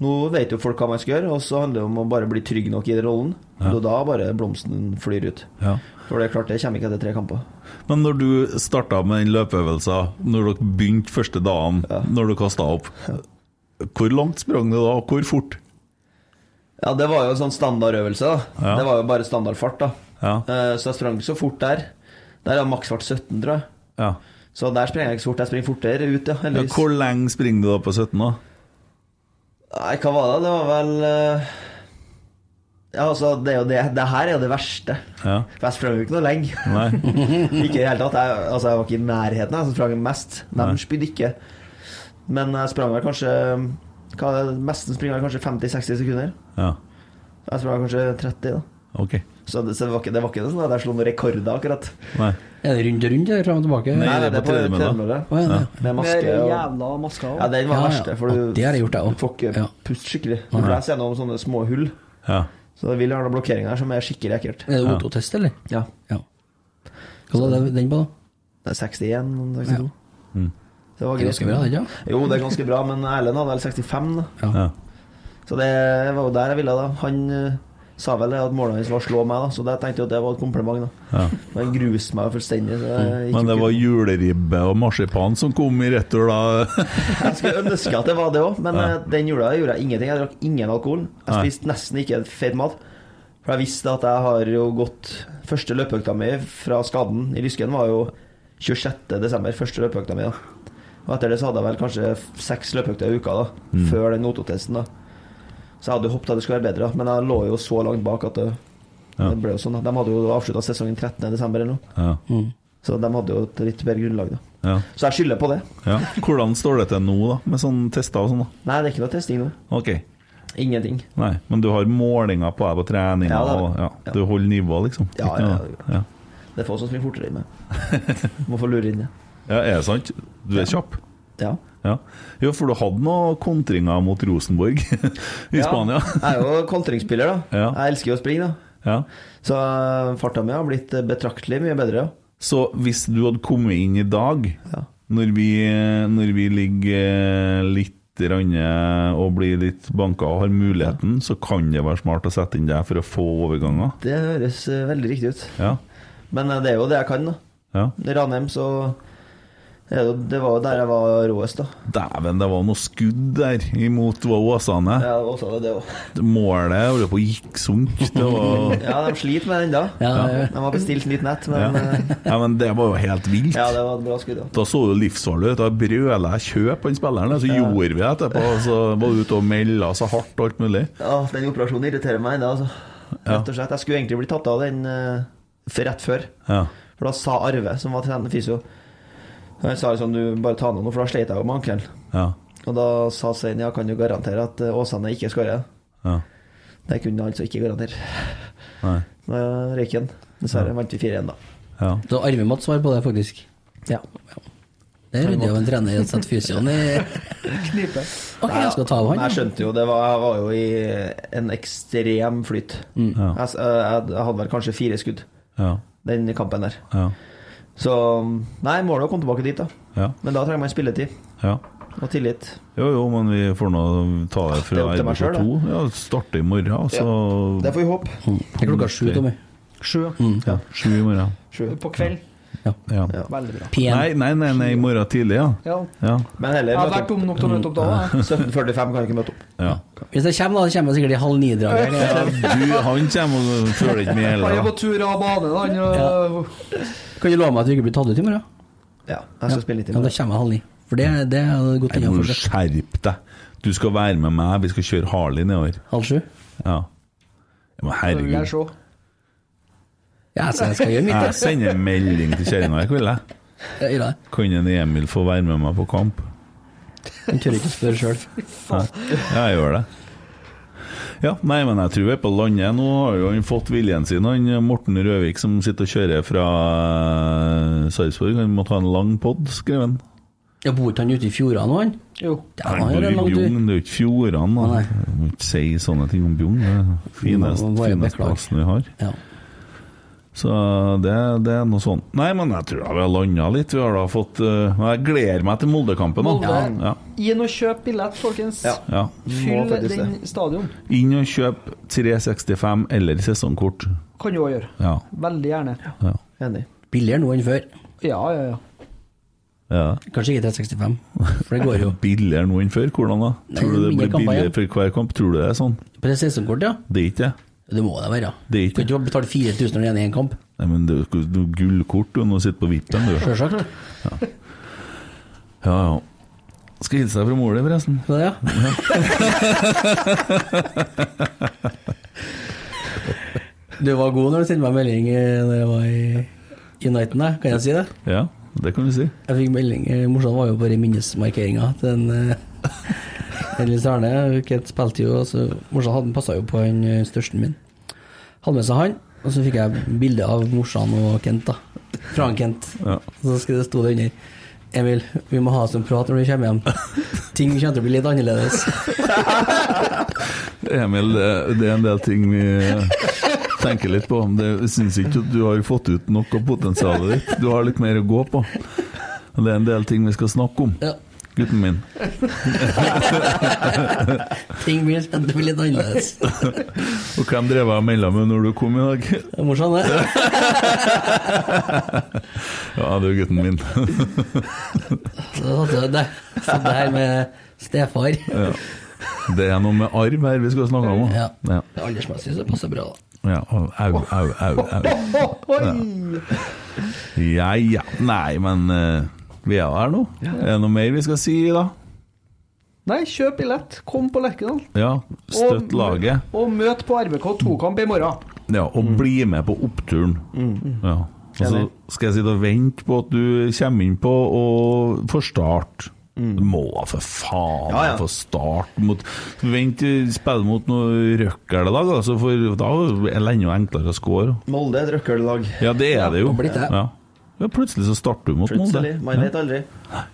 Speaker 4: nå vet jo folk hva man skal gjøre, og så handler det om å bare bli trygg nok i den rollen. Og da bare blomsten flyr ut.
Speaker 2: Ja.
Speaker 4: For det er klart, det kommer ikke etter tre kamper.
Speaker 2: Men når du starta med den løpeøvelsen, når dere begynte første dagen, når du kasta opp, hvor langt sprang du da, og hvor fort?
Speaker 4: Ja, det var jo en sånn standardøvelse, da.
Speaker 2: Ja.
Speaker 4: Det var jo bare standardfart, da.
Speaker 2: Ja.
Speaker 4: Eh, Så jeg sprang ikke så fort der. Der har maksfart 17, tror jeg.
Speaker 2: Ja.
Speaker 4: Så der springer jeg ikke så fort. Jeg springer fortere ut, ja.
Speaker 2: Ja,
Speaker 4: Heldigvis.
Speaker 2: hvor lenge springer du da på 17, da?
Speaker 4: Nei, hva var det? Det var vel eh, Ja, altså, det er jo det Det her er jo det verste.
Speaker 2: Ja.
Speaker 4: For jeg sprang jo ikke noe lenge.
Speaker 2: Nei.
Speaker 4: Ikke i det hele tatt. Jeg, altså, jeg var ikke i nærheten jeg som sprang mest. De spydde ikke. Men jeg sprang vel kanskje hva er det, Mesten springer jeg kanskje 50-60 sekunder.
Speaker 2: Ja.
Speaker 4: Jeg sprang kanskje 30, da.
Speaker 2: OK.
Speaker 4: Så det, så det var ikke, det var ikke sånn at jeg slo noen rekorder, akkurat.
Speaker 2: Nei.
Speaker 3: Er det rundt og rundt, eller fram og tilbake?
Speaker 2: Nei. det er på
Speaker 4: en
Speaker 2: tredemølle.
Speaker 3: Å, ja, det.
Speaker 4: Med
Speaker 5: Med
Speaker 4: maske og
Speaker 5: jævla masker
Speaker 4: Ja,
Speaker 5: òg.
Speaker 4: den var
Speaker 3: Ja, ja.
Speaker 4: verst, for
Speaker 3: Ja,
Speaker 4: du
Speaker 3: det har jeg gjort, jeg også.
Speaker 4: får ikke
Speaker 3: Ja.
Speaker 4: puste skikkelig. Du blåser gjennom sånne små hull,
Speaker 2: Ja.
Speaker 4: så det vil gjerne ha blokkeringer her som er skikkelig ekkelt.
Speaker 3: Er det O2-test, eller?
Speaker 4: Ja.
Speaker 3: Ja. Hva var det den på, da?
Speaker 4: Det er 61, 62.
Speaker 2: Mm.
Speaker 4: Det var
Speaker 3: Det er ganske bra, det, ikke?
Speaker 4: Jo, det er ganske bra, men Erlend hadde vel 65, da.
Speaker 2: Ja.
Speaker 4: Så det var jo der jeg ville da Han eh, sa vel det at målet hans var å slå meg da Så da tenkte jeg at det var et kompliment da
Speaker 2: Ja. Mm.
Speaker 4: Men han gruste meg fullstendig så jeg gikk
Speaker 2: Men det
Speaker 4: jo
Speaker 2: var
Speaker 4: ikke-
Speaker 2: juleribbe og marsipan som kom i retur da.
Speaker 4: Jeg skulle ønske at det var det også Men eh, den jula gjorde jeg ingenting Jeg drakk ingen alkohol Jeg
Speaker 2: Nei.
Speaker 4: spiste nesten ikke feit mat For jeg visste at jeg har jo gått Første løpeøkta mi fra skaden i lysken Var jo 26. desember Første løpeøkta mi da Og etter det så hadde jeg vel kanskje f- seks løpeøkter i uka da
Speaker 2: Mm.
Speaker 4: Før den ototesten da Så jeg hadde jo håpet at det skulle være bedre da Men jeg lå jo så langt bak at det
Speaker 2: Ja.
Speaker 4: Det ble jo sånn, da. De hadde jo avslutta sesongen 13. desember eller noe,
Speaker 2: Ja.
Speaker 4: så de hadde jo et litt bedre grunnlag. da
Speaker 2: Ja.
Speaker 4: Så jeg skylder på det.
Speaker 2: ja. Hvordan står det til nå, da, med sånne tester og sånn? da?
Speaker 4: Nei, det er ikke noe testing nå.
Speaker 2: OK.
Speaker 4: Ingenting.
Speaker 2: Nei, men du har målinger på deg på trening
Speaker 4: Ja, det har jeg.
Speaker 2: og ja. Du holder nivået, liksom?
Speaker 4: Ja, ja, ja.
Speaker 2: ja.
Speaker 4: Det er få som springer fortere enn meg. Må få lure inn det.
Speaker 2: Ja, er det sant? Du er kjapp?
Speaker 4: Ja.
Speaker 2: Ja. Jo, for du hadde noen kontringer mot Rosenborg i
Speaker 4: Ja,
Speaker 2: Spania.
Speaker 4: Jeg er jo kontringsspiller, da.
Speaker 2: Ja.
Speaker 4: Jeg elsker jo å springe, da.
Speaker 2: Ja.
Speaker 4: Så øh, farta mi har blitt øh, betraktelig mye bedre. Ja.
Speaker 2: Så hvis du hadde kommet inn i dag,
Speaker 4: Ja.
Speaker 2: når, vi, når vi ligger litt ranne og blir litt banka og har muligheten, så kan det være smart å sette inn deg for å få overganger.
Speaker 4: Det høres øh, veldig riktig ut.
Speaker 2: Ja.
Speaker 4: Men øh, det er jo det jeg kan, da.
Speaker 2: Ja.
Speaker 4: I Ranheim så Det er jo- Det var jo der jeg var råest, da.
Speaker 2: Dæven, det var noe skudd der imot var Åsane.
Speaker 4: Ja, også det, det også.
Speaker 2: Målet holdt på å gikk sunk. Det var
Speaker 4: ja, de sliter med den da.
Speaker 3: Ja, det-
Speaker 4: De har bestilt nytt nett,
Speaker 2: ja.
Speaker 4: men eh,
Speaker 2: ja, men det var jo helt vilt.
Speaker 4: ja, det var et bra skudd. da.
Speaker 2: Da så du livsfarlig ut. Da brøla jeg 'kjøp han spilleren', så gjorde vi det etterpå. og Så var du ute og melda så hardt og alt mulig.
Speaker 4: Ja, den operasjonen irriterer meg ennå, altså. Rett og slett. Jeg skulle egentlig bli tatt av den eh, f- rett før.
Speaker 2: Ja.
Speaker 4: For da sa Arve, som var trener fysio Han sa liksom du bare ta noe nå, for da slet jeg jo med ankelen.
Speaker 2: Ja.
Speaker 4: Og da sa Svein ja, kan du garantere at eh, Åsane ikke skårer?
Speaker 2: Ja.
Speaker 4: Det kunne han altså ikke garantere.
Speaker 2: Nei.
Speaker 4: Da røyk han. Dessverre vant vi 4-1, da.
Speaker 2: Ja.
Speaker 3: Så Arve Mats var på det, faktisk. Ja. ja. Det rydder jo en trener i å sette fysioen i
Speaker 5: Knipe.
Speaker 3: Ok, jeg skal ta av
Speaker 4: Men
Speaker 3: han.
Speaker 4: Jeg skjønte jo det var, Jeg var jo i en ekstrem flyt.
Speaker 3: Mm.
Speaker 2: Ja.
Speaker 4: Jeg, s- eh, jeg hadde vel kanskje fire skudd
Speaker 2: Ja.
Speaker 4: den kampen der.
Speaker 2: Ja.
Speaker 4: Så Nei, målet er å komme tilbake dit, da.
Speaker 2: Ja.
Speaker 4: Men da trenger man spilletid
Speaker 2: ja.
Speaker 4: og tillit.
Speaker 2: Jo, jo, men vi får nå ta det
Speaker 4: Det
Speaker 2: fra
Speaker 4: er opp til meg selv,
Speaker 2: RBK2. Ja, starte i morgen, altså. og så
Speaker 4: Det får vi håpe.
Speaker 3: Det er klokka sju, Tommy.
Speaker 5: Sjø
Speaker 2: ja, sju i morgen.
Speaker 5: på kveld.
Speaker 2: Ja.
Speaker 5: Veldig bra.
Speaker 3: Pen.
Speaker 2: Nei, nei, nei, nei, i morgen tidlig, ja.
Speaker 5: Ja.
Speaker 2: Ja.
Speaker 4: Men heller
Speaker 5: Jeg har
Speaker 4: møte
Speaker 5: vært
Speaker 4: opp.
Speaker 5: dum nok til å møte opp da. da.
Speaker 4: 17.45 kan jeg ikke møte opp.
Speaker 2: ja.
Speaker 3: Hvis det kommer, da, så kommer det sikkert i halv ni-draget.
Speaker 2: Ja, du, han kommer og følger ikke med
Speaker 5: Han er
Speaker 2: heller.
Speaker 5: på tur av bane, da. Han, øh,
Speaker 3: Kan du love meg at du ikke blir tatt ut i morgen?
Speaker 4: Ja, jeg skal spille litt i
Speaker 3: Ja, da
Speaker 4: morgen.
Speaker 3: kommer jeg halv ni. For det, det er godt
Speaker 2: Nei, må
Speaker 3: innenfor
Speaker 2: du
Speaker 3: seg.
Speaker 2: skjerpe deg. Du skal være med meg, vi skal kjøre Harley nedover.
Speaker 3: Halv sju.
Speaker 2: Ja. Ja, Men
Speaker 5: det vil jeg
Speaker 2: herregud.
Speaker 5: se.
Speaker 3: Ja, så jeg skal gjøre mitt.
Speaker 2: Jeg sender melding til kjerringa i kveld, jeg.
Speaker 3: jeg. Jeg gjør det.
Speaker 2: Kan en Emil få være med meg på kamp?
Speaker 3: Han tør ikke å spørre sjøl.
Speaker 2: Ja, jeg gjør det. Ja, nei, men jeg tror vi er på landet. Nå har jo han fått viljen sin, han Morten Røvik som sitter og kjører fra eh, Sarpsborg. Han må ta en lang pod, skrev han.
Speaker 3: Bor ikke han ute i fjordene nå, han?
Speaker 5: Jo.
Speaker 3: Ja,
Speaker 2: Han
Speaker 3: han
Speaker 2: bor i
Speaker 3: gjør en lang tur.
Speaker 2: Bjugn, det er jo ikke fjordene.
Speaker 3: Nei.
Speaker 2: da. Jeg Må ikke si sånne ting om Bjugn. Det er den fineste,
Speaker 3: Må bare
Speaker 2: fineste
Speaker 3: beklage.
Speaker 2: plassen vi har.
Speaker 3: Ja.
Speaker 2: Så det, det er noe sånt. Nei, men jeg tror da vi har landa litt. Vi har da fått eh, Jeg gleder meg til Moldekampen, da.
Speaker 5: Molde.
Speaker 2: Ja.
Speaker 5: Inn og kjøp billett, folkens.
Speaker 4: Ja.
Speaker 2: Ja.
Speaker 5: Fyll
Speaker 4: Må faktisk
Speaker 5: den stadion.
Speaker 2: Inn og kjøp 365 eller sesongkort.
Speaker 5: Kan du òg gjøre.
Speaker 2: Ja.
Speaker 5: Veldig gjerne.
Speaker 2: ja.
Speaker 4: Enig.
Speaker 3: Billigere nå enn før.
Speaker 5: Ja, ja, ja.
Speaker 2: ja.
Speaker 3: Kanskje ikke 365, for det går jo.
Speaker 2: Billigere nå enn før? Hvordan da?
Speaker 3: Nei,
Speaker 2: Tror du det
Speaker 3: mindre
Speaker 2: blir
Speaker 3: kamper
Speaker 2: billigere
Speaker 3: igjen.
Speaker 2: for hver kamp? Tror du det er sånn?
Speaker 3: På det sesongkortet, ja.
Speaker 2: Det er ikke det.
Speaker 3: Det må det være.
Speaker 2: Det er ikke-
Speaker 3: Du kan ikke betale 4000 når du er i én kamp.
Speaker 2: Nei, men det er jo noe gullkort du nå sitter på vippen, du.
Speaker 3: Sjølsagt.
Speaker 2: Ja, ja. Skal hilse deg fra mor di, forresten.
Speaker 3: Så det, ja. du var god når du sendte meg melding eh, Når jeg var i Uniten, da. Kan jeg si det?
Speaker 2: Ja, det kan du si.
Speaker 3: Jeg fikk melding eh, Morsan var jo bare i minnesmarkeringa til en eh, en Nils Arne. Kent spilte jo, og så morsan hadde- passa jo på han eh, størsten min. Hadde med seg han, og så fikk jeg bilde av morsan og Kent, da. Fra han Kent.
Speaker 2: Ja.
Speaker 3: Og så skrev det sto det under Emil, vi må ha oss en prat når vi kommer hjem. Ting kommer til å bli litt annerledes.
Speaker 2: Emil, det det er en del ting vi eh, tenker litt på. men Det syns ikke at du har fått ut nok av potensialet ditt. Du har litt mer å gå på. Og Det er en del ting vi skal snakke om.
Speaker 3: Ja,
Speaker 2: Gutten min.
Speaker 3: ting blir, det blir litt annerledes.
Speaker 2: Og hvem drev jeg og melda med når du kom i dag?
Speaker 3: Det er morsomt, det.
Speaker 2: Ja, det er gutten min.
Speaker 3: Så satt jeg der, satt jeg her med stefar.
Speaker 2: Ja. Det er noe med arv her vi skal snakke om. også.
Speaker 3: Ja.
Speaker 2: Ja.
Speaker 3: Aldersmessig så det passer bra, da.
Speaker 2: ja. Au, au, au. au.
Speaker 5: Oi!
Speaker 2: Ja ja. Nei, men eh, vi er jo her nå. Er det noe mer vi skal si, da?
Speaker 5: Nei, kjøp billett. Kom på Lerkendal.
Speaker 2: Ja, støtt laget.
Speaker 5: Og møt på RBK 2-kamp i morgen.
Speaker 2: Ja, og bli med på oppturen. Ja. Og så skal jeg sitte og vente på at du kommer inn på og får start. Du må da for faen
Speaker 4: Ja, ja.
Speaker 2: få start mot Vent til spille mot noe røkkeldag, altså, for da er det enda enklere å score.
Speaker 4: Molde er et røkkellag.
Speaker 2: Ja, det er det jo.
Speaker 3: det har blitt det.
Speaker 2: Ja. Ja, plutselig så starter du mot noen.
Speaker 4: Plutselig.
Speaker 2: det.
Speaker 4: Man vet aldri.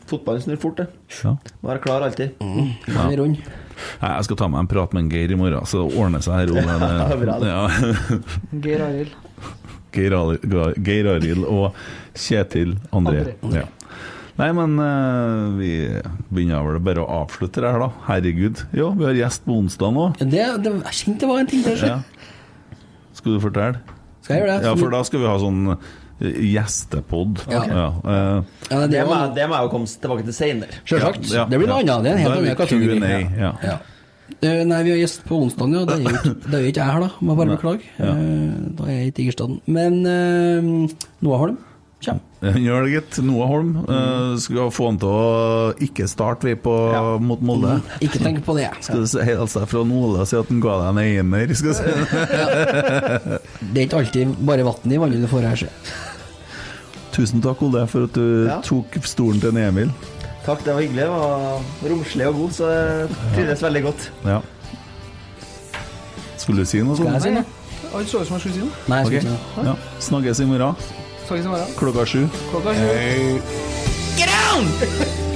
Speaker 4: Fotballen snur fort, det.
Speaker 2: Ja.
Speaker 4: Være klar alltid.
Speaker 3: Den er rund.
Speaker 2: Nei, Jeg skal ta meg en prat med en Geir i morgen, så det ordner seg her. Ole.
Speaker 4: bra, det.
Speaker 2: Ja.
Speaker 5: Geir Arild.
Speaker 2: Geir Ali- Geir Arild og Kjetil André. Ja. Nei, men eh, vi begynner vel bare å avslutte det her, da. Herregud. Jo, vi har gjest på onsdag nå.
Speaker 3: Ja, Det, det, jeg kjente det var en ting der. så.
Speaker 2: Ja. Skal du fortelle?
Speaker 3: Skal jeg gjøre det?
Speaker 2: Ja, for da skal vi ha sånn Gjestepod.
Speaker 3: Ja.
Speaker 2: Ja, eh,
Speaker 3: Ja,
Speaker 4: Det
Speaker 3: det
Speaker 4: må,
Speaker 3: var
Speaker 4: jeg- det må jeg jo komme tilbake til seinere.
Speaker 3: Selvsagt.
Speaker 2: Ja, ja,
Speaker 3: det blir noe
Speaker 2: ja.
Speaker 3: annet. Det er en helt
Speaker 2: Da er
Speaker 3: annen
Speaker 2: vi
Speaker 3: kategori.
Speaker 2: Q&A, ja.
Speaker 3: Eh, Nei, vi har gjest på onsdag, ja. Det er jo ikke, det er jo ikke jeg her, da. Må bare beklage. Eh, Da er jeg i Tigerstaden. Men eh, Noah Holm kommer.
Speaker 2: Han gjør det, gitt. Noah Holm. eh, skal få han til å ikke starte, vi, på, mot Molde.
Speaker 3: Ikke tenk på det.
Speaker 2: Skal du si- hilse deg fra Ole og si at han ga deg en einer? Skal du si.
Speaker 3: Det er ikke alltid bare vann i vannet du får her, se.
Speaker 2: Tusen takk, Ole, for at du
Speaker 4: Ja.
Speaker 2: tok stolen til en Emil.
Speaker 4: Takk, det var hyggelig. Det var romslig og god, så jeg trivdes veldig godt.
Speaker 2: Ja. Skulle du si noe
Speaker 3: Skal jeg
Speaker 2: sånt?
Speaker 3: si noe?
Speaker 5: Han så ut som han skulle si noe.
Speaker 3: Nei, jeg skal
Speaker 2: Ok.
Speaker 3: ikke si noe.
Speaker 2: Ja. Snakkes i morgen
Speaker 5: Snakkes i morgen.
Speaker 2: klokka sju.
Speaker 5: Klokka sju.
Speaker 2: Hei.
Speaker 3: Get down!